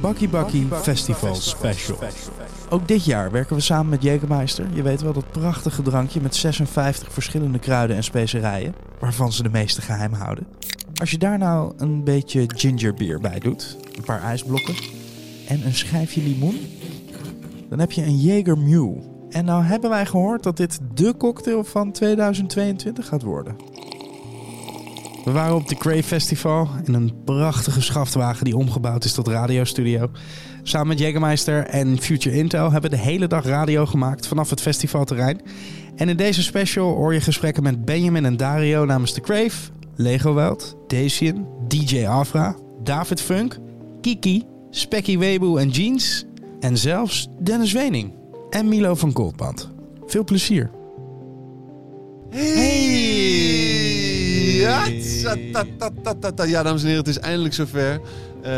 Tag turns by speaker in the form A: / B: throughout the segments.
A: Bakkie Bakkie Festival Special. Ook dit jaar werken we samen met Jägermeister. Je weet wel, dat prachtige drankje met 56 verschillende kruiden en specerijen, waarvan ze de meeste geheim houden. Als je daar nou een beetje gingerbeer bij doet, een paar ijsblokken en een schijfje limoen, dan heb je een Jaeger Mule. En nou hebben wij gehoord dat dit de cocktail van 2022 gaat worden. We waren op de Cray Festival in een prachtige schaftwagen die omgebouwd is tot radiostudio. Samen met Jägermeister en Future Intel hebben we de hele dag radio gemaakt vanaf het festivalterrein. En in deze special hoor je gesprekken met Benjamin en Dario namens The Crave, Lego Wild, Dacian, DJ Afra, David Funk, Kiki, Specky Webu en Jeans. En zelfs Dennis Wening en Milo van Goldband. Veel plezier.
B: Ja, tsa, ta, ta, ta, ta, ta. ja, dames en heren, het is eindelijk zover. Eh,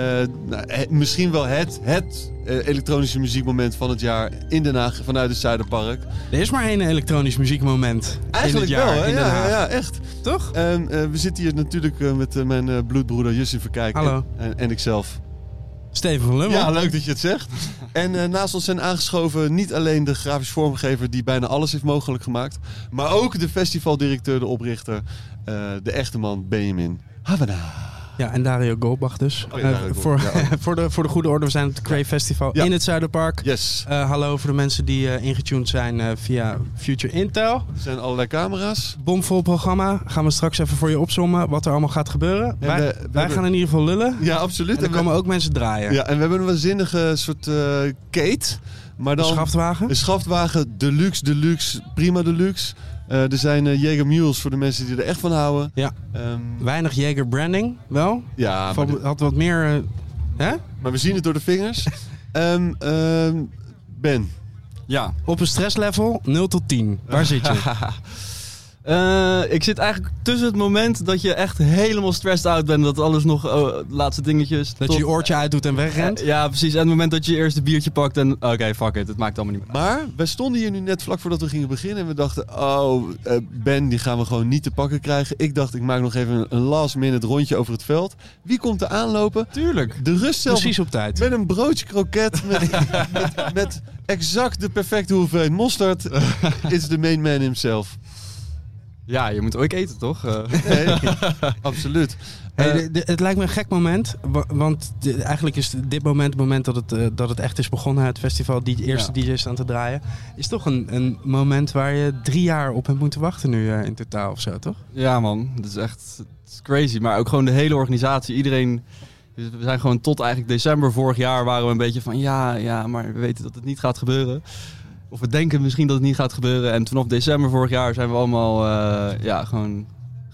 B: nou, he- misschien wel het, het eh, elektronische muziekmoment van het jaar in Den Haag vanuit het Zuiderpark.
A: Er is maar één elektronisch muziekmoment
B: Eigenlijk
A: in het jaar
B: wel, hè?
A: in Den
B: Ja,
A: Haag.
B: ja, ja, echt.
A: Toch?
B: En eh, we zitten hier natuurlijk eh, met eh, mijn eh, bloedbroeder Justin Verkijk
A: Hallo.
B: En, en, en ikzelf.
A: Steven van Lummel.
B: Ja, leuk dat je het zegt. En eh, naast ons zijn aangeschoven niet alleen de grafisch vormgever die bijna alles heeft mogelijk gemaakt, maar ook de festivaldirecteur, de oprichter, eh, de echte man Benjamin Havana.
A: Ja, en Dario Goldbach dus.
B: Oh ja,
A: Eh,
B: Dario
A: voor,
B: Goldbach,
A: voor, de, voor de goede orde, we zijn op het Crave Festival
B: Ja.
A: in het Zuiderpark.
B: Yes.
A: Eh, hallo voor de mensen die eh, ingetuned zijn eh, via Future Intel.
B: Er zijn allerlei camera's.
A: Bomvol programma. Gaan we straks even voor je opzommen wat er allemaal gaat gebeuren.
B: Ja,
A: wij
B: we- we
A: wij
B: hebben-
A: gaan in ieder geval lullen.
B: Ja, absoluut.
A: En er
B: we-
A: komen ook mensen draaien.
B: ja, en we hebben een waanzinnige soort eh kate. Maar
A: Een
B: dan
A: schaftwagen.
B: een schaftwagen, deluxe, deluxe, prima deluxe. Eh er zijn eh Jager Mules voor de mensen die er echt van houden.
A: Ja.
B: Ehm,
A: Weinig Jaeger branding, wel.
B: ja maar,
A: Van- had wat meer... eh, hè?
B: maar we zien het door de vingers. Ehm, ehm, ben,
C: Ja.
A: Op een stresslevel 0 tot 10. Waar zit je?
C: Eh, ik zit eigenlijk tussen het moment dat je echt helemaal stressed out bent. Dat alles nog, oh, laatste dingetjes.
A: Dat je je oortje uitdoet en wegrent?
C: Ja, precies. En het moment dat je je eerste biertje pakt en... Oké, fuck it. Het maakt allemaal niet meer
B: Maar wij stonden hier nu net vlak voordat we gingen beginnen. En we dachten, oh, eh, Ben, die gaan we gewoon niet te pakken krijgen. Ik dacht, ik maak nog even een- een last minute rondje over het veld. Wie komt er aanlopen?
C: Tuurlijk.
B: De rust zelf
A: Precies op tijd.
B: met een broodje kroket. Met, met, met exact de perfecte hoeveelheid mosterd. Is de main man himself.
C: Ja, je moet ook eten, toch? Eh,
B: Nee, absoluut.
A: Hey,
B: Eh,
A: de- de- het lijkt me een gek moment, wa- want de- eigenlijk is dit moment het moment dat het, eh, dat het echt is begonnen, het festival, die eerste DJ's aan te draaien, is toch een, een moment waar je drie jaar op hebt moeten wachten nu eh, in totaal of zo, toch?
C: ja, man. Het is echt het is crazy. Maar ook gewoon de hele organisatie. Iedereen... We zijn gewoon tot eigenlijk december vorig jaar waren we een beetje van... Ja, ja, maar we weten dat het niet gaat gebeuren. Of we denken misschien dat het niet gaat gebeuren. En vanaf december vorig jaar zijn we allemaal eh, ja, gewoon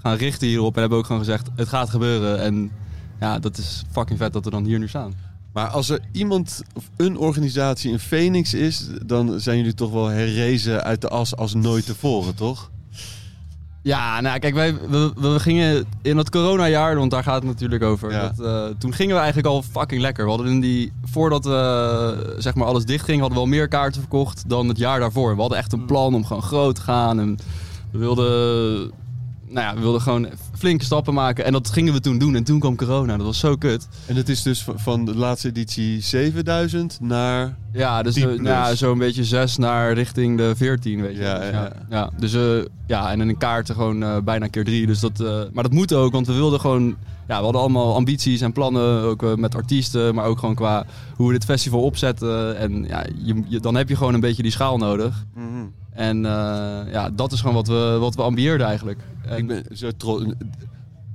C: gaan richten hierop. En hebben ook gewoon gezegd, het gaat gebeuren. En ja, dat is fucking vet dat we dan hier nu staan.
B: Maar als er iemand of een organisatie in Phoenix is... dan zijn jullie toch wel herrezen uit de as als nooit tevoren, toch?
C: Ja, nou kijk, wij, we, we gingen in dat coronajaar, want daar gaat het natuurlijk over.
B: Ja.
C: Dat, eh, toen gingen we eigenlijk al fucking lekker. We hadden in die, voordat eh, zeg maar alles dicht ging, hadden we al meer kaarten verkocht dan het jaar daarvoor. We hadden echt een plan om gewoon groot te gaan. En we wilden, nou ja, we wilden gewoon flinke stappen maken. En dat gingen we toen doen. En toen kwam corona. Dat was zo Oh, kut.
B: En het is dus van- van de laatste editie 7000 naar...
C: Ja, dus
B: 10
C: eh, nou ja,
B: plus.
C: zo'n beetje zes naar richting de 14, weet je.
B: Ja,
C: Dus
B: ja, ja.
C: ja. Dus eh, ja, en in een kaarten gewoon eh, bijna keer drie. Dus dat, eh, maar dat moet ook, want we wilden gewoon... Ja, we hadden allemaal ambities en plannen, ook eh, met artiesten, maar ook gewoon qua hoe we dit festival opzetten. En ja, je, je- dan heb je gewoon een beetje die schaal nodig.
B: Mhm.
C: En eh, ja, dat is gewoon wat we, wat we ambieerden eigenlijk. En-
B: Ik ben zo trots.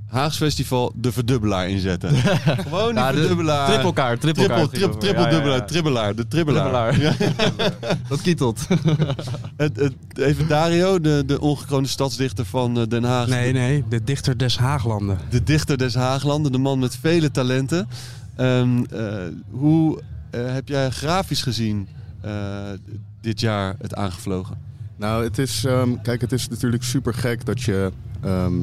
B: Haags Festival de verdubbelaar inzetten. Gewoon die
C: Ja, de
B: verdubbelaar.
C: trippelkaar, trippelkaar.
B: Trippel, trip,
C: ging
B: trippel,
C: over. Ja, ja,
B: dubbelaar,
C: ja.
B: tribbelaar, de tribbelaar.
C: Trippelaar. Dat kietelt.
B: Het- het- even Dario, de, de ongekroonde stadsdichter van eh, Den Haag.
A: Nee, nee, de dichter des Haaglanden.
B: De dichter des Haaglanden, de man met vele talenten. Ehm, eh, hoe eh, heb jij grafisch gezien eh, dit jaar het aangevlogen?
D: Nou, het is, ehm, kijk, het is natuurlijk super gek dat je. ehm,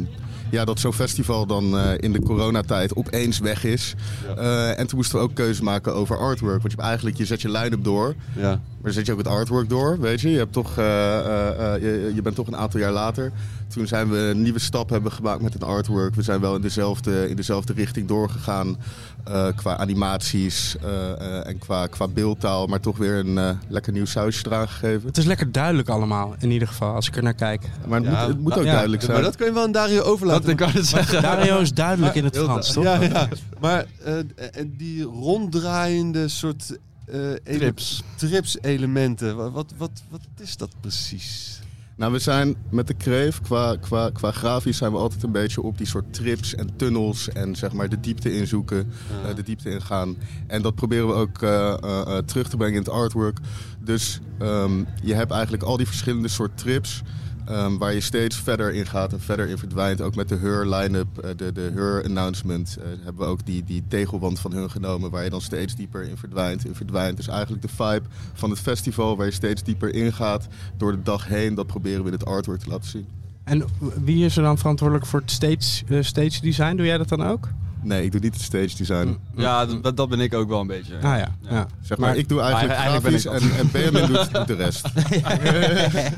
D: ja, dat zo'n festival dan eh, in de coronatijd opeens weg is.
B: Ja.
D: Eh, en toen moesten we ook keuze maken over artwork. Want je, hebt eigenlijk, je zet je line-up door.
B: Ja.
D: Maar zet je ook het artwork door, weet je. Je, hebt toch, eh, eh, eh, je, je bent toch een aantal jaar later. Toen zijn we een nieuwe stap hebben gemaakt met het artwork. We zijn wel in dezelfde, in dezelfde richting doorgegaan. eh, qua animaties eh, eh, en qua, qua beeldtaal. Maar toch weer een eh, lekker nieuw sausje eraan gegeven.
A: Het is lekker duidelijk allemaal, in ieder geval, eh, als ik er naar kijk.
D: Maar het,
B: Ja,
D: moet, het moet
B: nou,
D: ook
C: ja,
D: duidelijk zijn.
B: Maar dat kun je wel aan Dario
C: Dat
B: overlaten.
C: ik kan het zeggen.
E: Dario is duidelijk in het
B: Heel
E: Frans,
B: da-
E: toch?
B: Ja, ja. Maar eh, eh, die ronddraaiende soort eh, ele-
C: Trips.
B: trips-elementen, wa- wat, wat, wat is dat precies?
D: Nou, we zijn met de Kreef, qua, qua, qua grafisch zijn we altijd een beetje op die soort trips en tunnels en zeg maar de diepte inzoeken, eh, de diepte ingaan. En dat proberen we ook eh, eh, eh, terug te brengen in het artwork. Dus ehm, je hebt eigenlijk al die verschillende soort trips ehm, waar je steeds verder in gaat en verder in verdwijnt. Ook met de Heur-line-up, eh, de, de Heur-announcement, eh, hebben we ook die, die tegelwand van hun genomen waar je dan steeds dieper in verdwijnt, in verdwijnt. Dus eigenlijk de vibe van het festival waar je steeds dieper ingaat door de dag heen. Dat proberen we in het artwork te laten zien.
A: En wie is er dan verantwoordelijk voor het stage, eh, stage design? Doe jij dat dan ook?
D: Nee, ik doe niet het stage design.
C: Ja, dat, dat ben ik ook wel een beetje.
A: Ah ja, ja.
D: Zeg maar, ik doe eigenlijk,
C: Eigen- eigenlijk
D: grafisch
C: ben
D: en, en Benjamin doet, doet de rest.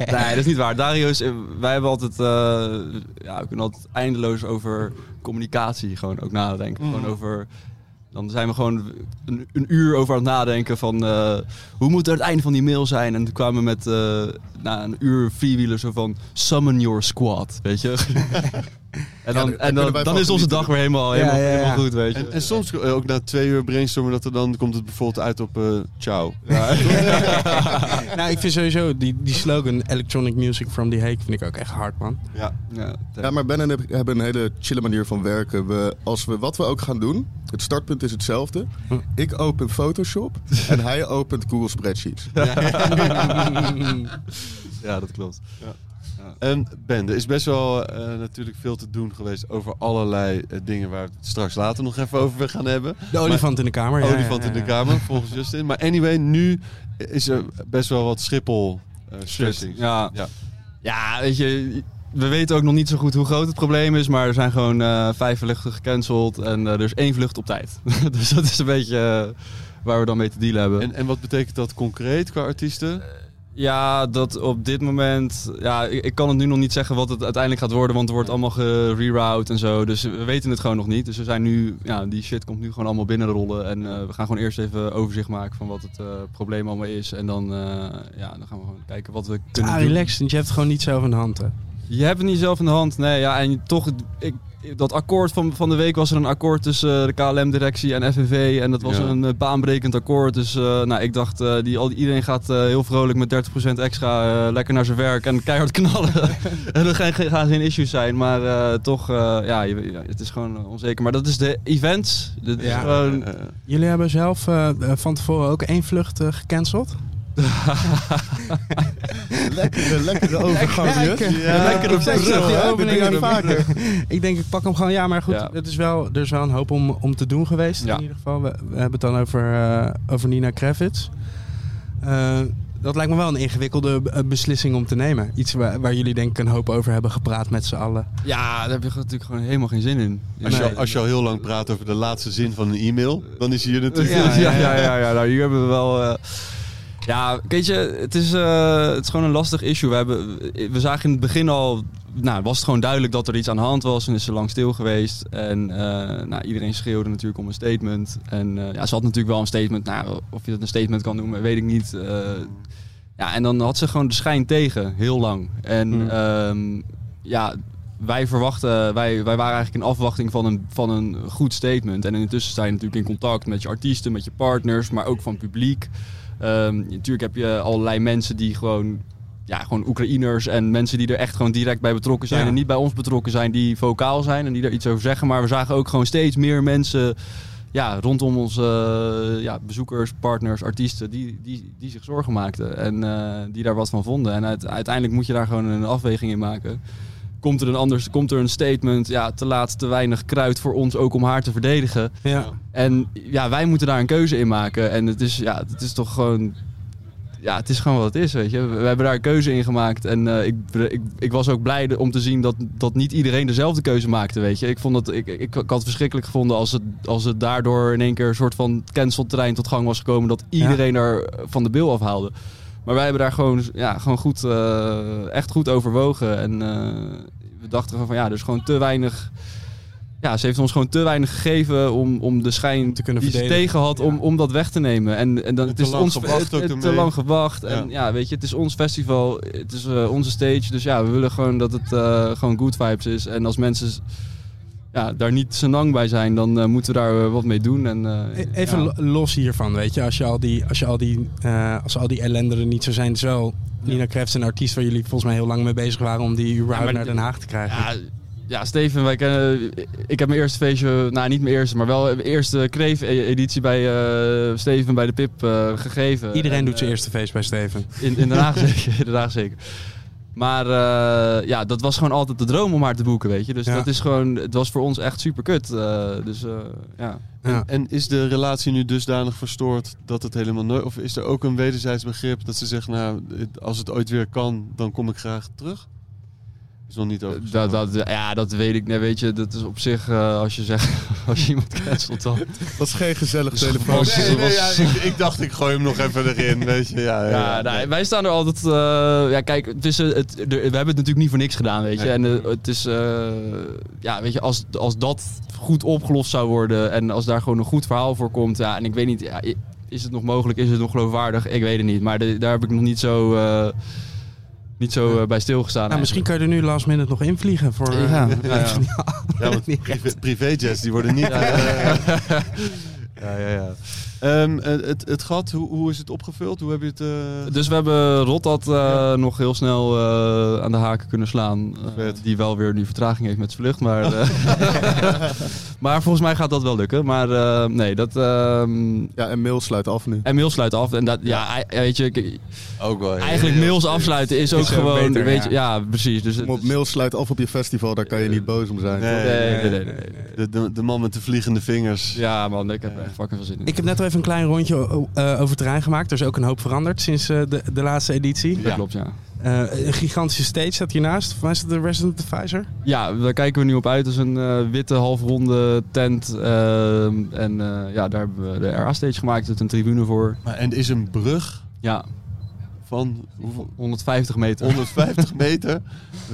C: Nee, dat is niet waar. Dario is, eh, wij hebben altijd, eh, ja, we kunnen altijd eindeloos over communicatie gewoon ook nadenken. Gewoon over, dan zijn we gewoon een, een uur over aan het nadenken van, eh, hoe moet er het einde van die mail zijn? En toen kwamen we met, eh, na een uur freewheelen zo van, summon your squad, weet je? en dan,
D: daar
C: en
D: kunnen
C: dan,
D: wij van
C: dan is onze
D: genieten.
C: dag weer helemaal, helemaal,
A: Ja, ja, ja.
C: helemaal goed, weet je?
B: En, en soms eh, ook na twee uur brainstormen, dat er dan komt het bijvoorbeeld uit op eh, ciao.
A: nou, ik vind sowieso die, die slogan Electronic Music from the Hague vind ik ook echt hard, man. Ah,
B: Ja.
C: Ja,
D: Ja, maar Ben en ik hebben een hele chille manier van werken. We, als we, wat we ook gaan doen, het startpunt is hetzelfde. Ik open Photoshop en hij opent Google Spreadsheets.
C: ja, dat klopt.
B: En Ben, er is best wel eh, natuurlijk veel te doen geweest over allerlei eh, dingen waar we het straks later nog even over gaan hebben.
A: De olifant in de kamer. ja,
B: Olifant
A: ja,
B: in
A: ja,
B: de
A: ja.
B: kamer, volgens Justin. Maar anyway, nu is er best wel wat Schiphol eh splitsing.
C: Ja.
B: Ja.
C: Ja. weet je, we weten ook nog niet zo goed hoe groot het probleem is, maar er zijn gewoon eh, vijf vluchten gecanceld en eh, er is één vlucht op tijd. dus dat is een beetje eh, waar we dan mee te dealen hebben.
B: En, en wat betekent dat concreet qua artiesten?
C: ja, dat op dit moment, ja, ik, ik kan het nu nog niet zeggen wat het uiteindelijk gaat worden, want er wordt allemaal gereroute en zo, dus we weten het gewoon nog niet. Dus we zijn nu, ja, die shit komt nu gewoon allemaal binnenrollen en eh, we gaan gewoon eerst even overzicht maken van wat het eh, probleem allemaal is en dan, eh, ja, dan gaan we gewoon kijken wat we kunnen
A: Ah,
C: doen.
A: relaxed, want je hebt het gewoon niet zelf in de hand. Hè.
C: Je hebt het niet zelf in de hand. Nee, ja, en toch, ik, dat akkoord van, van de week was er een akkoord tussen eh, de KLM-directie en FNV. En dat was
B: Ja.
C: een eh, baanbrekend akkoord. Dus eh, nou, ik dacht, eh, die, al, iedereen gaat eh, heel vrolijk met 30% extra eh, lekker naar zijn werk en keihard knallen. en dat gaan, gaan geen issues zijn. Maar eh, toch, eh, ja, je- ja, het is gewoon eh, onzeker. Maar dat is de events. Dat is
A: Ja.
C: gewoon...
B: Eh,
A: Jullie hebben zelf eh, eh, van tevoren ook één vlucht eh, gecanceld.
D: Lekkere, lekkere overgang, Jut.
B: Ja, lekker op
A: Ik zeg
D: bril,
A: die
D: hè? Dit
A: opening
D: doe jij
A: niet
D: vaker.
A: meer. Ik denk, ik pak hem gewoon. Ja, maar goed,
C: Ja.
A: Het is wel, er is wel een hoop om, om te doen geweest.
C: Ja.
A: In ieder geval, we, we hebben het dan over, eh, over Nina Kravitz. Eh, dat lijkt me wel een ingewikkelde eh, beslissing om te nemen. Iets waar, waar jullie denk ik een hoop over hebben gepraat met z'n allen.
C: Ja, daar heb je natuurlijk gewoon helemaal geen zin in.
B: Als, je,
A: Nee.
B: al- als je al heel lang praat over de laatste zin van een e-mail, dan is hier natuurlijk...
C: Ja, ja, ja, ja, ja. Nou, hier hebben we wel. eh, ja, weet je, het is, eh, het is gewoon een lastig issue. We, hebben, we zagen in het begin al. Nou, was het gewoon duidelijk dat er iets aan de hand was. En is ze lang stil geweest. En eh, nou, iedereen schreeuwde natuurlijk om een statement. En eh, ja, ze had natuurlijk wel een statement. Nou, of je dat een statement kan noemen, weet ik niet. Eh, ja, en dan had ze gewoon de schijn tegen, heel lang. En
A: Hmm.
C: ehm, ja, wij verwachten, wij, wij waren eigenlijk in afwachting van een, van een goed statement. En intussen sta je natuurlijk in contact met je artiesten, met je partners, maar ook van publiek. Ehm, natuurlijk heb je allerlei mensen die gewoon, ja, gewoon Oekraïners en mensen die er echt gewoon direct bij betrokken zijn
A: Ja.
C: en niet bij ons betrokken zijn, die vocaal zijn en die daar iets over zeggen. Maar we zagen ook gewoon steeds meer mensen ja, rondom onze eh, ja, bezoekers, partners, artiesten, die, die, die zich zorgen maakten en eh, die daar wat van vonden. En uit- uiteindelijk moet je daar gewoon een afweging in maken. Komt er een anders, komt er een statement, ja, te laat, te weinig kruid voor ons ook om haar te verdedigen.
A: Ja.
C: En ja, wij moeten daar een keuze in maken. En het is, ja, het is toch gewoon ja, het is gewoon wat het is, weet je. We, we hebben daar een keuze in gemaakt. En eh, ik, ik, ik was ook blij om te zien dat, dat niet iedereen dezelfde keuze maakte, weet je. Ik, vond dat, ik, ik, ik had het verschrikkelijk gevonden als het, als het daardoor in één keer een soort van cancelterrein tot gang was gekomen. Dat iedereen er van de bil afhaalde. Maar wij hebben daar gewoon, ja, gewoon goed, eh, echt goed overwogen. En eh, we dachten gewoon van ja, dus gewoon te weinig... Ja, ze heeft ons gewoon te weinig gegeven om, om de schijn
A: Te kunnen
C: die ze
A: verdedigen.
C: tegen had om, om dat weg te nemen. En, en dan,
B: En
C: het
B: te
C: is
B: lang
C: ons
B: gewacht
C: het-
B: ook
C: het- te
B: ermee.
C: lang gewacht. En ja. weet je, het is ons festival, het is eh, onze stage. Dus ja, we willen gewoon dat het eh, gewoon good vibes is. En als mensen s- ja, daar niet senang bij zijn, dan eh, moeten we daar eh, wat mee doen. En, eh,
A: E- Even
C: ja.
A: lo- los hiervan, weet je. Als, je al die, als, je al die, eh, als al die ellende er niet zou zijn, is wel Nina Kreft een artiest waar jullie volgens mij heel lang mee bezig waren om die überhaupt
C: maar
A: naar
C: die-
A: Den Haag te krijgen.
C: Ja, ja, Steven, wij kennen, ik heb mijn eerste feestje, nou niet mijn eerste, maar wel mijn eerste Kreef-editie bij eh, Steven bij de Pip eh, gegeven.
A: Iedereen
C: En,
A: doet zijn
C: eh,
A: eerste feest bij Steven.
C: In, in Den Haag zeker. In Den Haag zeker. Maar eh, ja, dat was gewoon altijd de droom om haar te boeken, weet je. Dus
A: Ja.
C: dat is gewoon, het was voor ons echt super kut. dus eh, ja.
A: Ja.
B: En is de relatie nu dusdanig verstoord dat het helemaal nooit... Of is er ook een wederzijds begrip dat ze zegt, nou, het- als het ooit weer kan, dan kom ik graag terug? Is nog niet over.
C: Eh, Dat, dat, ja, dat weet ik. Nee, weet je, dat is op zich, eh, als je zegt, als je iemand cancelt dan.
D: Dat is geen
C: Dus
D: gezellig telefoon.
C: gewoon-
B: Nee, nee, ja,
C: was-
B: ik, ik dacht, ik gooi hem nog even erin, weet je. Ja, ja,
C: Ja,
B: ja.
C: nou, wij staan er altijd. eh, ja, kijk, het is, eh, het, er- we hebben het natuurlijk niet voor niks gedaan, weet je.
B: Nee.
C: En eh, het is, eh, ja, weet je, als, als dat goed opgelost zou worden en als daar gewoon een goed verhaal voor komt, ja, en ik weet niet, ja, i- is het nog mogelijk, is het nog geloofwaardig? Ik weet het niet, maar de- daar heb ik nog niet zo, eh, niet zo eh, bij stilgestaan.
A: Nou, misschien kan je er nu last minute nog invliegen voor... eh,
C: Ja, ja, ja.
B: Ja, want privé- privéjets, die worden niet... eh, Ja, ja, ja. Ehm, eh, het, het gat, hoe, hoe is het opgevuld? Hoe heb je het... eh,
C: Dus we hebben Rotad eh, nog heel snel eh, aan de haken kunnen slaan. Eh,
B: Vet.
C: die wel weer nu vertraging heeft met zijn vlucht. Maar, eh, maar volgens mij gaat dat wel lukken. Maar eh, nee, dat. ehm,
D: Ja, en mail sluit af nu.
C: en mail sluit af. En dat, ja, ei- weet je, ik-
B: ook wel.
C: eigenlijk mails afsluiten is ook
A: Is ook
C: gewoon.
A: beter,
C: weet
A: ja.
C: Je, ja, precies. Dus het
D: Op
C: is-
D: mail sluit af op je festival, daar kan je niet boos om zijn.
B: Nee.
D: toch?
C: nee, nee, nee, nee, nee.
B: De, de, de man met de vliegende vingers.
C: Ja, man, ik heb er echt fucking veel zin in.
A: Ik heb net al even een klein rondje o- eh, over het terrein gemaakt. Er is ook een hoop veranderd sinds eh, de, de laatste editie.
C: dat klopt, ja.
A: Eh, een gigantische stage staat hiernaast. Of is het de Resident Advisor?
C: Ja, daar kijken we nu op uit. Dat is een eh, witte halfronde tent. ehm, en eh, ja, daar hebben we de RA-stage gemaakt. Er zit een tribune voor.
B: Maar, en er is een brug
C: Ja,
B: van hoeveel?
C: 150 meter.
B: 150 meter.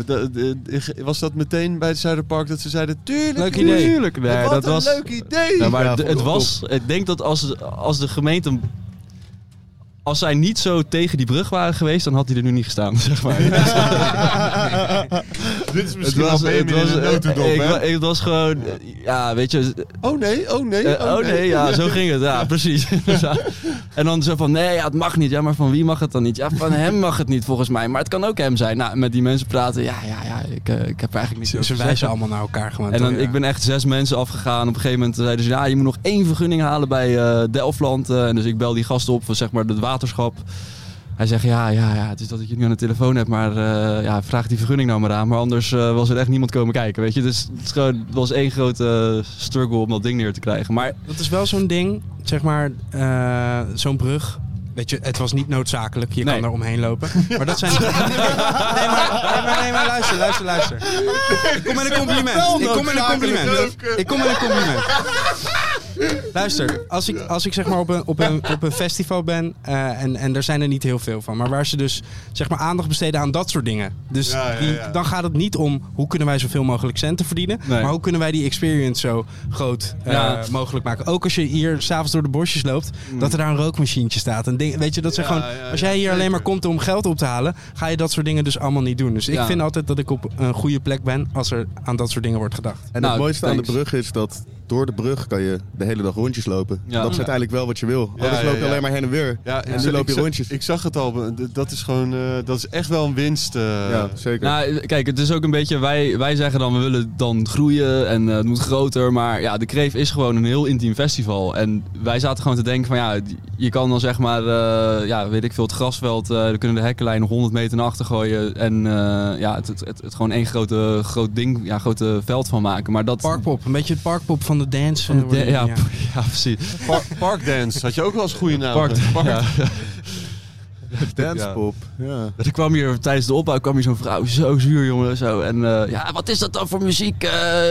B: De- de- de- Was dat meteen bij het Zuiderpark dat ze zeiden... Tuurlijk,
C: Leuk
B: tuurlijk,
C: idee. Tuurlijk, nee,
B: wat
C: dat
B: een
C: was-
B: leuk idee.
F: Nou,
C: Ja, Nou, maar
D: Ja,
C: d- het
D: klopt.
C: was, ik denk dat als, als de gemeente. hem- Als zij niet zo tegen die brug waren geweest, dan had hij er nu niet gestaan, zeg maar.
B: Dit is
C: het
B: misschien wel Benjamin in de notendop,
C: ik,
B: hè?
C: wa- ik was gewoon, ja, weet je,
B: Oh nee, oh nee,
C: eh, oh nee, ja, zo ging het, ja, precies. en dan zo van, nee, ja, het mag niet, ja, maar van wie mag het dan niet? Ja, van hem mag het niet, volgens mij, maar het kan ook hem zijn. Nou, met die mensen praten, ja, ja, ja, ik, eh, ik heb er eigenlijk niet
A: Ze,
C: over
A: ze
C: te
A: wijzen
C: zeggen.
A: allemaal naar elkaar gewoon.
C: En
A: toch?
C: dan,
A: Ja.
C: ik ben echt zes mensen afgegaan. Op een gegeven moment zeiden ze, ja, je moet nog één vergunning halen bij eh, Delftland. Eh, en dus ik bel die gast op van zeg maar het waterschap. Hij zegt, ja, ja, ja, het is dat ik je nu aan de telefoon heb, maar eh, ja, vraag die vergunning nou maar aan. Maar anders eh, was er echt niemand komen kijken, weet je. Dus het, is gewoon, het was één grote eh, struggle om dat ding neer te krijgen. Maar
A: Dat is wel zo'n ding, zeg maar, eh, zo'n brug. Weet je, het was niet noodzakelijk. Je
C: Nee.
A: kan er omheen lopen. Maar dat zijn... nee, maar, nee, maar, nee, maar luister, luister, luister. Ik kom met een compliment. Ik kom met een compliment. Ik kom met een compliment. Luister, als ik, als ik zeg maar op een, op een, op een festival ben, eh, en, en er zijn er niet heel veel van, maar waar ze dus zeg maar aandacht besteden aan dat soort dingen. Dus
B: Ja, ja,
A: die-
B: ja.
A: dan gaat het niet om hoe kunnen wij zoveel mogelijk centen verdienen,
C: Nee.
A: maar hoe kunnen wij die experience zo groot eh,
C: Ja.
A: mogelijk maken. Ook als je hier s'avonds door de bosjes loopt, dat er daar een rookmachientje staat. En ding, weet je, dat zijn
B: Ja,
A: gewoon,
B: ja,
A: als
B: ja,
A: jij hier alleen
B: zeker.
A: maar komt om geld op te halen, ga je dat soort dingen dus allemaal niet doen. Dus ik
C: Ja.
A: vind altijd dat ik op een goede plek ben als er aan dat soort dingen wordt gedacht.
D: En
C: Nou,
D: het mooiste aan de
C: thanks.
D: brug is dat door de brug kan je de hele dag rondjes lopen.
C: Ja.
D: Dat is uiteindelijk wel wat je wil.
B: Ja,
D: Anders
B: ja,
D: loop je
B: ja.
D: alleen maar heen en weer.
B: Ja,
D: En nu loop je
B: ik za-
D: rondjes.
B: Ik zag het al, d- dat is gewoon, eh, dat is echt wel een winst. eh.
D: Ja, zeker.
C: Nou, kijk, het is ook een beetje, wij, wij zeggen dan we willen dan groeien en eh, het moet groter. Maar ja, de Kreef is gewoon een heel intiem festival. En wij zaten gewoon te denken van ja, je kan dan zeg maar, eh, ja, weet ik veel, het grasveld, eh dan kunnen de hekkenlijnen 100 meter naar achter gooien. En eh, ja, het, het, het, het gewoon één grote, groot ding, ja, grote veld van maken. Maar dat...
A: Parkpop, een beetje het parkpop van de dance.
C: Van de,
A: eh,
C: ja, ja. precies.
B: Park, parkdance had je ook wel eens goede naam.
C: Park-
B: Park-
C: ja.
D: Dancepop. Ja.
C: Dus ik kwam hier tijdens de opbouw kwam hier zo'n vrouw, zo zuur jongen. Zo. En eh, ja, wat is dat dan voor muziek? Eh,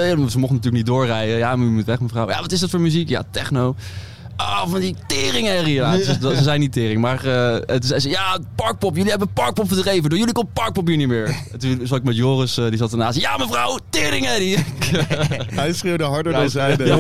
C: ze mochten natuurlijk niet doorrijden. Ja, maar u moet weg mevrouw. Ja, wat is dat voor muziek? Ja, techno. Ah, van die teringherrie. Ja, het is- dat- ze zijn niet tering, maar eh, het is, hij zei, ja, parkpop. Jullie hebben parkpop verdreven. Door jullie komt parkpop hier niet meer. En toen zat ik met Joris, eh, die zat ernaast. Ja, mevrouw, teringherrie.
D: Hij schreeuwde harder
C: Ja,
D: dan zij deed.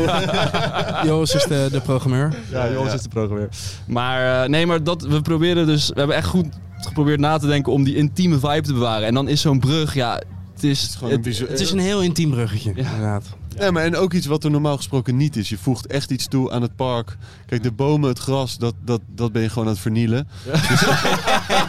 A: Joris is de, de programmeur.
C: Ja, Joris is de programmeur. Maar eh, nee, maar dat, we proberen dus, we hebben echt goed geprobeerd na te denken om die intieme vibe te bewaren. En dan is zo'n brug, ja, het is, het
B: gewoon een bizar-
A: Het is een heel intiem bruggetje,
C: Ja.
A: inderdaad.
B: Ja, maar en ook iets wat er normaal gesproken niet is. Je voegt echt iets toe aan het park. Kijk, de bomen, het gras, dat, dat, dat ben je gewoon aan het vernielen. Dus,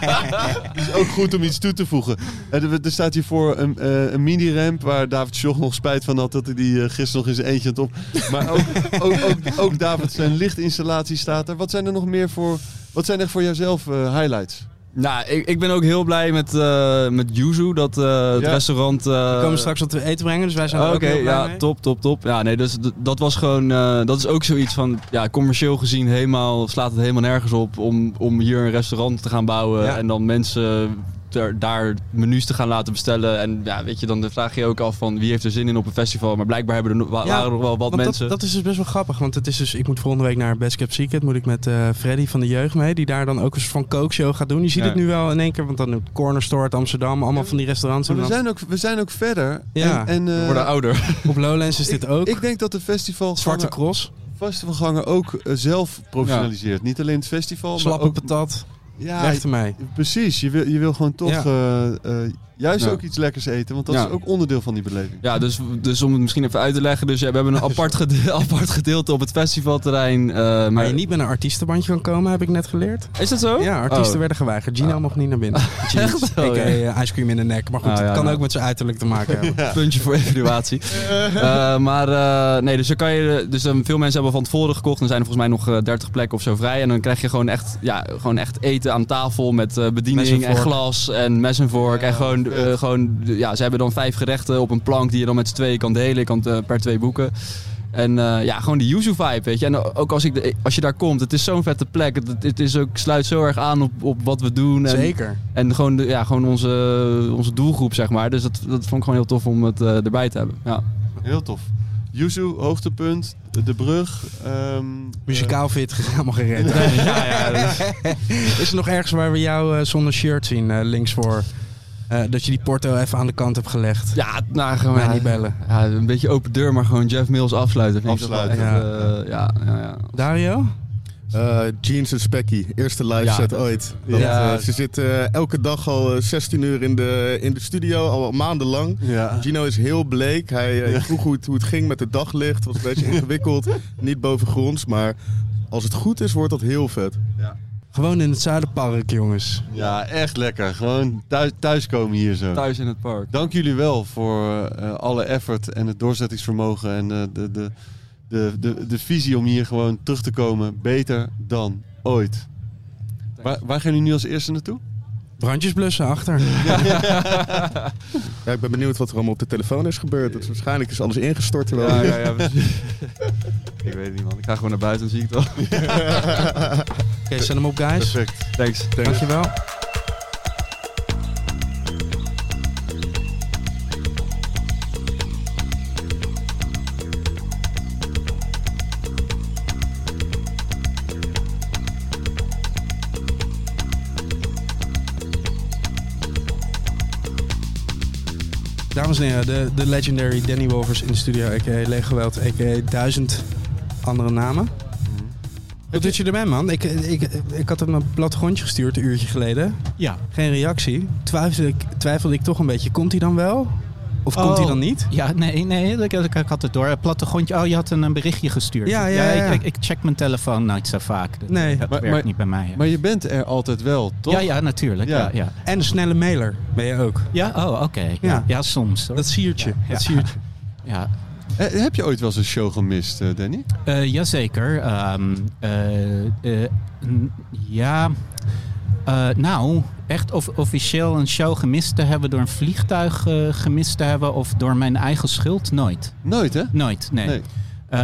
B: het is ook goed om iets toe te voegen. En Er, er staat hiervoor een, eh, een mini-ramp waar David Schoch nog spijt van had dat hij die eh, gisteren nog in zijn eentje had op. Maar ook, ook, ook, ook David zijn lichtinstallatie staat er. Wat zijn er nog meer voor... Wat zijn echt voor jouzelf eh, highlights?
C: Nou, ik, ik ben ook heel blij met, eh met Yuzu, dat eh, het
B: Ja.
C: restaurant... eh,
A: We komen straks wat te eten brengen, dus wij zijn
C: Oh,
A: er
C: Oké,
A: ook heel blij
C: ja,
A: mee.
C: top, top, top. Ja, nee, dus, d- dat was gewoon, eh, dat is ook zoiets van, ja, commercieel gezien helemaal, slaat het helemaal nergens op om, om hier een restaurant te gaan bouwen
A: Ja.
C: en dan mensen ter- daar menus te gaan laten bestellen. En ja, weet je, dan vraag je je ook af van wie heeft er zin in op een festival, maar blijkbaar hebben er, no- wa-
A: Ja,
C: waren er nog wel wat
A: Want
C: mensen.
A: Dat, dat is dus best wel grappig, want het is dus, ik moet volgende week naar Best Cap Secret, moet ik met eh, Freddy van de Jeugd mee, die daar dan ook een soort van kookshow gaat doen. Je ziet
C: Ja.
A: het nu wel in één keer, want dan doet Corner Store uit Amsterdam, allemaal van die restaurants.
B: Maar
A: En
B: we,
A: dan,
B: zijn ook, we zijn ook verder.
A: Ja,
B: en,
C: We worden
B: eh
C: ouder.
A: op Lowlands is dus dit ook.
B: ik denk dat de festival...
A: Zwarte Cross,
B: festivalganger ook eh, zelf professionaliseert. Niet alleen het festival, maar
A: slappe
B: ook...
A: patat,
B: Ja,
A: weg ermee.
B: precies. Je wil, je wil gewoon toch
A: Ja.
B: eh, eh, juist
C: Ja.
B: ook iets lekkers eten. Want dat
C: Ja.
B: is ook onderdeel van die beleving.
C: Ja, dus, dus om het misschien even uit te leggen. Dus ja, we hebben een apart, gede- apart gedeelte op het festivalterrein. eh,
A: Maar
C: maar
A: je niet met een artiestenbandje kan komen, heb ik net geleerd.
C: Is dat zo?
A: Ja, artiesten
C: Oh.
A: werden geweigerd. Gino mocht niet naar binnen. Jeez.
C: Echt wel,
A: Ik
C: ja.
A: eh, ice cream in de nek. Maar goed,
C: Ah, ja,
A: het kan
C: nou.
A: ook met zijn uiterlijk te maken hebben.
C: Puntje voor evaluatie. Eh, maar eh, nee, dus, dan kan je, dus dan veel mensen hebben van tevoren gekocht. Dan zijn er volgens mij nog eh, 30 plekken of zo vrij. En dan krijg je gewoon echt, ja, gewoon echt eten aan tafel met eh,
A: Mes en
C: bediening en,
A: vork.
C: glas en mes en vork. en gewoon, eh,
B: vet.
C: gewoon ja, ze hebben dan vijf gerechten op een plank die je dan met z'n tweeën kan delen. Je kan het, eh, per twee boeken. En eh, ja, gewoon die yuzu vibe, weet je. En eh, ook als, ik de- als je daar komt, het is zo'n vette plek. Het, het, het is ook, sluit zo erg aan op, op wat we doen. En,
A: Zeker.
C: en gewoon, de, ja, gewoon onze, onze doelgroep, zeg maar. Dus dat, dat vond ik gewoon heel tof om het eh, erbij te hebben. Ja.
B: Heel tof. Yuzu, hoogtepunt. De brug. ehm,
A: Muzikaal fit, helemaal gered.
C: ja, ja,
A: Is er nog ergens waar we jou eh, zonder shirt zien, eh, links voor? Eh, dat je die porto even aan de kant hebt gelegd.
C: ja, nou, gewoon,
A: Mij
C: ja,
A: niet bellen.
C: Ja, een beetje open deur, maar gewoon Jeff Mills afsluiten. vind ik toch wel
B: Afsluiten,
C: echt, eh, ja. ja, ja,
A: Dario?
D: Eh, Jeans en Specky, eerste live
C: Ja,
D: set
C: dat-
D: ooit.
B: Ja.
D: Dat, eh, ze zitten eh, elke dag al eh, 16 uur in de, in de studio, al maandenlang.
B: ja.
D: Gino is heel bleek. Hij eh,
B: Ja.
D: vroeg hoe het, hoe het ging met het daglicht. was een beetje ingewikkeld. Niet bovengronds, maar als het goed is, wordt dat heel vet.
A: Gewoon in het Zuiderpark, jongens.
B: ja, echt lekker. Gewoon thuis, thuiskomen hier zo.
C: Thuis in het park.
B: Dank jullie wel voor eh, alle effort en het doorzettingsvermogen. En eh, de, de, de, de, de visie om hier gewoon terug te komen. Beter dan ooit. Waar, waar gaan jullie nu als eerste naartoe?
A: Brandjes blussen achter.
D: Ja, ik ben benieuwd wat er allemaal op de telefoon is gebeurd. Het is waarschijnlijk is alles ingestort. Terwijl...
C: Ja, ja, ja, precies. ik weet het niet, man. Ik ga gewoon naar buiten en zie ik het wel.
A: Oké, zet hem op, guys.
B: Perfect.
C: Thanks.
A: Dankjewel. Dames en heren, de, de legendary Danny Wolvers in de studio, a.k.a. Leeggeweld, a.k.a. duizend andere namen.
G: Mhm.
A: Wat doet je erbij, man? Ik, ik, ik had hem een plattegrondje gestuurd een uurtje geleden.
G: Ja.
A: Geen reactie. Twijfelde ik, twijfelde ik toch een beetje. Komt hij dan wel? Of komt
G: Oh.
A: hij dan niet?
G: Ja, nee, nee, ik, ik, ik had het door. Het plattegrondje, oh, je had een, een berichtje gestuurd.
A: Ja, ja, ja.
G: Ik, ik, ik check mijn telefoon nooit zo vaak. Dat,
A: Nee.
G: dat
B: Maar-
G: werkt
B: maar-
G: niet bij mij. hè.
B: Maar je bent er altijd wel, toch?
G: ja, ja, natuurlijk.
B: Ja.
G: Ja, ja.
A: En een snelle mailer ben je ook.
G: ja oh, oké.
A: Ja.
G: Ja. ja, soms. Hoor.
A: Dat siertje.
G: Ja.
A: Dat siertje.
G: Ja.
B: Eh, heb je ooit wel eens een show gemist, eh, Danny?
G: Eh, jazeker. Ehm, eh, eh, n- ja. Eh, nou, echt of, officieel een show gemist te hebben, door een vliegtuig eh, gemist te hebben of door mijn eigen schuld, nooit.
B: Nooit, hè?
G: Nooit, nee. Eh,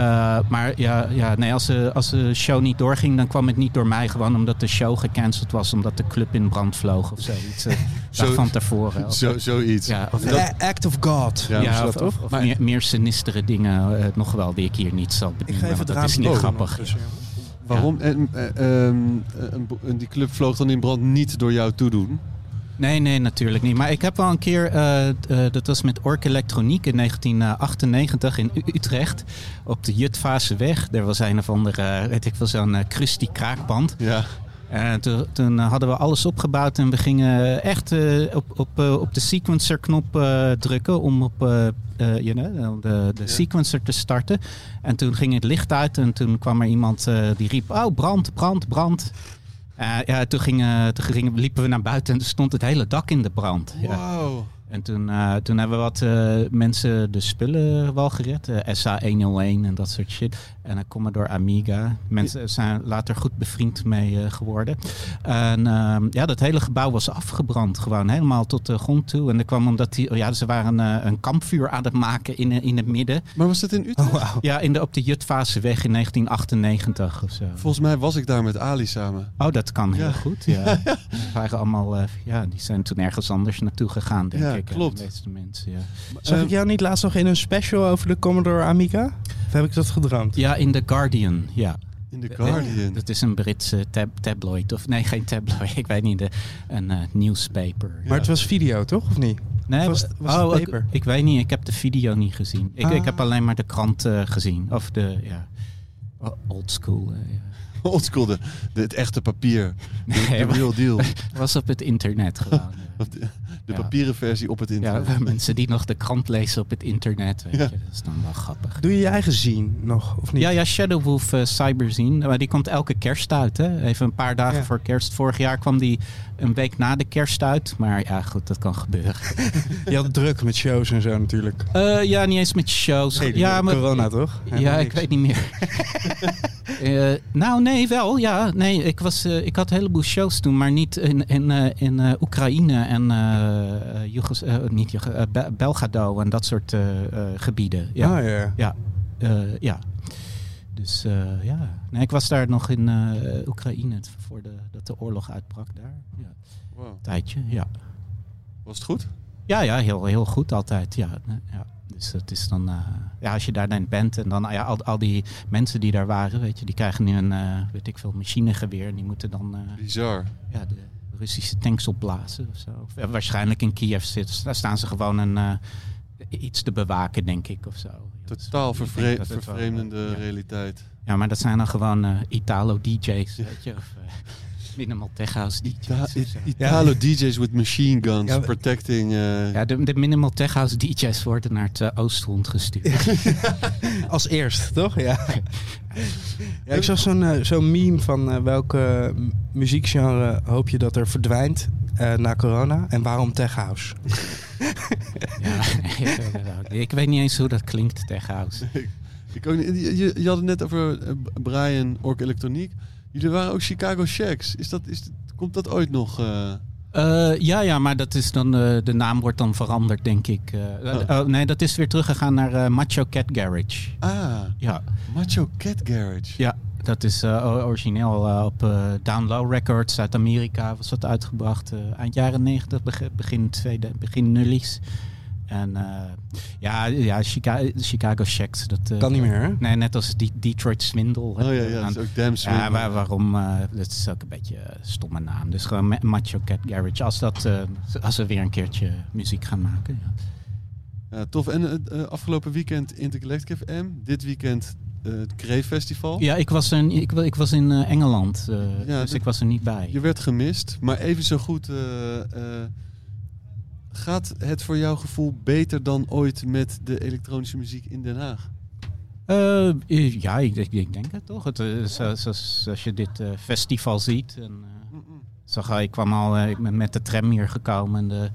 G: maar ja, ja nee, als, de, als de show niet doorging, dan kwam het niet door mij. Gewoon omdat de show gecanceld was, omdat de club in brand vloog of zoiets. eh,
B: Zo-
G: dag van tevoren. Of-
B: Zo, zoiets.
G: ja, of,
E: A- Act of God.
B: Ja,
G: ja,
B: dus
G: of,
B: dat-
G: of- of meer, meer sinistere dingen eh, nog wel die ik hier niet zal
E: Ik
G: bedienen.
E: ga even het
G: want dat
E: raam
G: is niet
B: open.
G: grappig.
B: Waarom? En, eh, ehm, een bo- een- die club vloog dan in brand niet door jou toedoen.
G: Nee, nee, natuurlijk niet. Maar ik heb wel een keer, eh, t- eh, dat was met Ork Elektroniek in 1998 in U- Utrecht. Op de Jutvaaseweg. Daar was een of andere, eh, weet ik wel, zo'n eh, crusty kraakband.
B: Ja.
G: En toen, toen eh, hadden we alles opgebouwd en we gingen echt eh, op, op, eh, op de sequencer-knop eh, drukken om op eh, eh, you know, de, de
B: Ja.
G: sequencer te starten. En toen ging het licht uit en toen kwam er iemand eh, die riep: Oh, brand, brand, brand. Eh, ja, toen, gingen, toen gingen, liepen we naar buiten en toen stond het hele dak in de brand. Ja.
B: Wauw.
G: En toen, eh, toen hebben we wat eh, mensen de spullen wel gered. Eh, SA101 en dat soort shit. En dan Commodore Amiga. Mensen zijn later goed bevriend mee eh, geworden. En ehm, ja, dat hele gebouw was afgebrand. Gewoon helemaal tot de grond toe. En dat kwam omdat die, oh ja, ze waren eh, een kampvuur aan het maken in, eh, in het midden. Oh,
B: Maar was dat in Utrecht?
G: Ja, in de, op de Jutvaaseweg in 1998 of zo.
B: Volgens mij was ik daar met Ali samen.
G: Oh, dat kan heel
B: Ja.
G: goed. Ja. Die waren allemaal, eh, ja, die zijn toen ergens anders naartoe gegaan, denk
B: Ja,
G: ik. eh,
B: klopt.
G: De meeste mensen, ja.
E: Zag
B: Eh,
E: ik jou niet laatst nog in een special over de Commodore Amiga? Of heb ik dat gedroomd?
G: Ja, in The Guardian, ja.
B: in The Guardian.
G: Dat is een Britse tab- tabloid. Of nee, geen tabloid. Ik weet niet. De, een eh, newspaper.
E: Maar het was video, toch? Of niet?
G: nee, oh,
E: was- was het
G: ik-
E: paper?
G: Ik, weet niet. Ik heb de video niet gezien. Ik, ik
E: Ah.
G: heb alleen maar de krant eh, gezien. Of de, ja. o- Old school. eh, ja.
B: Oldschool, de- de- het echte papier. De
G: Nee, maar
B: real deal.
G: het was op het internet gewoon. ja.
B: Of De, de
G: Ja.
B: papieren versie op het
G: ja,
B: internet.
G: waar mensen die nog de krant lezen op het internet. Weet
B: Ja.
G: je, dat is dan wel grappig.
E: Doe je je eigen zien nog, of niet?
G: Ja, ja, Shadowwolf eh, Cyberzine. Maar die komt elke kerst uit, hè? Even een paar dagen
E: Ja.
G: voor kerst. Vorig jaar kwam die een week na de kerst uit. Maar ja, goed, dat kan gebeuren.
E: Je had druk met shows en zo natuurlijk.
G: Eh, ja, niet eens met shows. ja, maar-
E: corona toch?
G: ja ik weet niet meer. Eh, nou, nee, wel. Ja, nee, ik, was, eh, ik had een heleboel shows toen, maar niet in, in, eh, in eh, Oekraïne en eh, eh, Jugos- eh, niet Jugos- eh, Be- Belgrado en dat soort eh, eh, gebieden. Ja.
E: Ja. ja.
G: Eh, ja. Dus eh, ja. Nee, ik was daar nog in eh, Oekraïne t- voor de, dat de oorlog uitbrak daar. Ja.
B: Wow.
G: Tijdje, ja.
B: Was het goed?
G: Ja, ja, heel, heel goed altijd. Ja, nee, ja. Dus het is dan, eh, ja, als je daar dan bent en dan ah ja, al, al die mensen die daar waren, weet je, die krijgen nu een, eh, weet ik veel, machinegeweer. En die moeten dan eh,
B: Bizar.
G: ja, de Russische tanks opblazen of zo. Of, eh, waarschijnlijk in Kiev zitten. Dus Daar staan ze gewoon een, eh, iets te bewaken, denk ik, of zo. Ja, dus
B: Totaal
G: ik denk
B: vervre-
G: dat het wel, eh,
B: vervreemdende
G: ja.
B: realiteit.
G: Ja, maar dat zijn dan gewoon eh, Italo-DJ's, weet je. Of eh, minimal tech house DJ's.
B: Ita-
G: of zo.
B: I- Italo DJ's with machine guns
E: Ja, maar-
B: protecting. eh,
G: ja, de, de minimal tech house DJ's worden naar het eh, Oostfront gestuurd.
E: Als eerst, toch? Ja. ja ik zag zo'n eh, zo'n meme van eh, welke m- muziekgenre hoop je dat er verdwijnt eh, na corona en waarom tech house?
G: ja, ik weet niet eens hoe dat klinkt tech house.
B: Ik ook niet, je, je- je had het net over eh, Brian, Ork Elektroniek. Jullie waren ook Chicago Shacks. Is dat, is, komt dat ooit nog? eh?
G: Eh, ja, ja, maar dat is dan, eh, de naam wordt dan veranderd, denk ik. Eh,
B: Oh.
G: oh, nee, dat is weer teruggegaan naar eh, Macho Cat Garage.
B: Ah,
G: Ja,
B: Macho Cat Garage.
G: ja dat is eh, o- origineel eh, op eh Down Low Records uit Amerika was dat uitgebracht. eh, eind jaren 90, beg- begin, tweede, begin nullies. En eh, ja, ja Chica- Chicago Shacks. Dat, eh,
E: Kan niet meer, hè?
G: Nee, net als Die- Detroit Swindle.
B: Oh ja, ja, dat is ook damn swing.
G: Ja, waar- waarom? eh, dat is ook een beetje een stomme naam. Dus gewoon Ma- Macho Cat Garage. Als, dat, eh, als we weer een keertje muziek gaan maken. Ja.
B: Ja, tof. En eh, eh, afgelopen weekend Intercollective M. Dit weekend eh, het Crave Festival.
G: Ja, ik was, in, ik, wa- ik was in eh, Engeland. eh,
B: Ja,
G: dus
B: dat-
G: ik was er niet bij.
B: Je werd gemist, maar even zo goed. eh, eh, gaat het voor jouw gevoel beter dan ooit met de elektronische muziek in Den Haag?
G: Eh, eh, ja, ik, ik, ik denk het toch. Het, eh, zo- zoals, als je dit eh, festival ziet. En, eh,
B: Mm,
G: zag, al, ik kwam al eh, ik ben met de tram hier gekomen. En de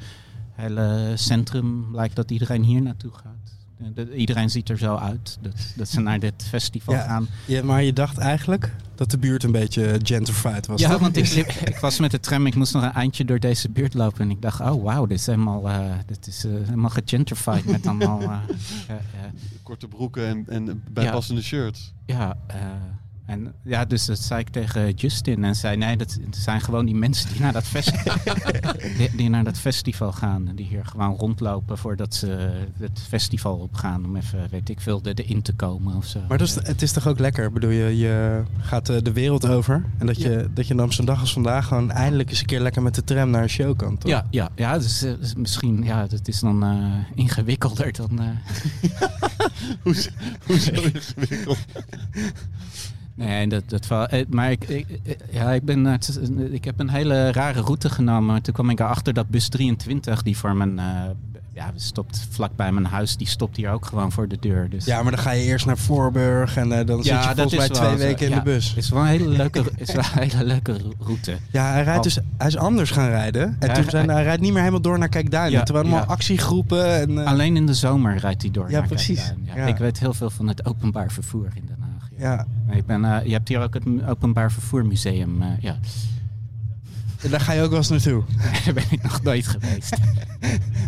G: hele centrum lijkt dat iedereen hier naartoe gaat. Eh, dat- Iedereen ziet er zo uit dat, dat ze naar dit festival
E: Ja.
G: gaan.
E: Ja, maar je dacht eigenlijk dat de buurt een beetje gentrified was.
G: Ja,
E: toch?
G: want ik, liep- ik was met de tram, ik moest nog een eindje door deze buurt lopen. En ik dacht, oh wauw, dit is helemaal, eh, dit is, eh, helemaal gegentrified met allemaal... eh, eh, eh,
B: Korte broeken en, en bijpassende shirts.
G: ja, eh, en, ja, dus dat zei ik tegen Justin. En zei, nee, dat zijn gewoon die mensen die naar dat, festival die, die naar dat festival gaan. Die hier gewoon rondlopen voordat ze het festival opgaan. Om even, weet ik veel, er- erin te komen of zo.
E: Maar dat is, het is toch ook lekker? Ik bedoel, je, je gaat eh, de wereld over. En dat je, dat je dan zo'n dag als vandaag gewoon eindelijk eens een keer lekker met de tram naar een show kan. Toch?
G: Ja, ja, ja dus, eh, dus misschien, ja, dat is dan eh, ingewikkelder dan... eh,
B: Hoezo hoezo ingewikkeld?
G: Nee, dat, dat wel. eh, Maar ik, ik, eh, ja, ik, ben, eh, het is een- ik heb een hele rare route genomen. Toen kwam ik erachter dat bus 23, die voor mijn. eh, ja, stopt vlakbij mijn huis, die stopt hier ook gewoon voor de deur. Dus.
E: Ja, maar dan ga je eerst naar Voorburg en eh, dan
G: Ja,
E: zit je
G: dat
E: volgens mij
G: is wel
E: twee
G: zo.
E: weken in
G: Ja.
E: de bus.
G: is wel een hele leuke, is wel een hele leuke ro- route.
E: Ja, hij, rijdt
G: Oh.
E: dus, hij is anders gaan rijden. En
G: Ja,
E: toen
G: hij-
E: zijn, hij rijdt niet meer helemaal door naar Kijkduin.
G: Ja,
E: terwijl allemaal
G: ja.
E: actiegroepen en... eh,
G: Alleen in de zomer rijdt hij door.
E: Ja,
G: naar
E: precies.
G: Kijkduin. Ja,
E: Ja.
G: Ik weet heel veel van het openbaar vervoer in Den Haag. Ja.
E: ja,
G: Ik ben, eh, je hebt hier ook het m- openbaar vervoermuseum. eh, ja.
E: daar ga je ook wel eens naartoe.
G: Daar ben ik nog nooit geweest.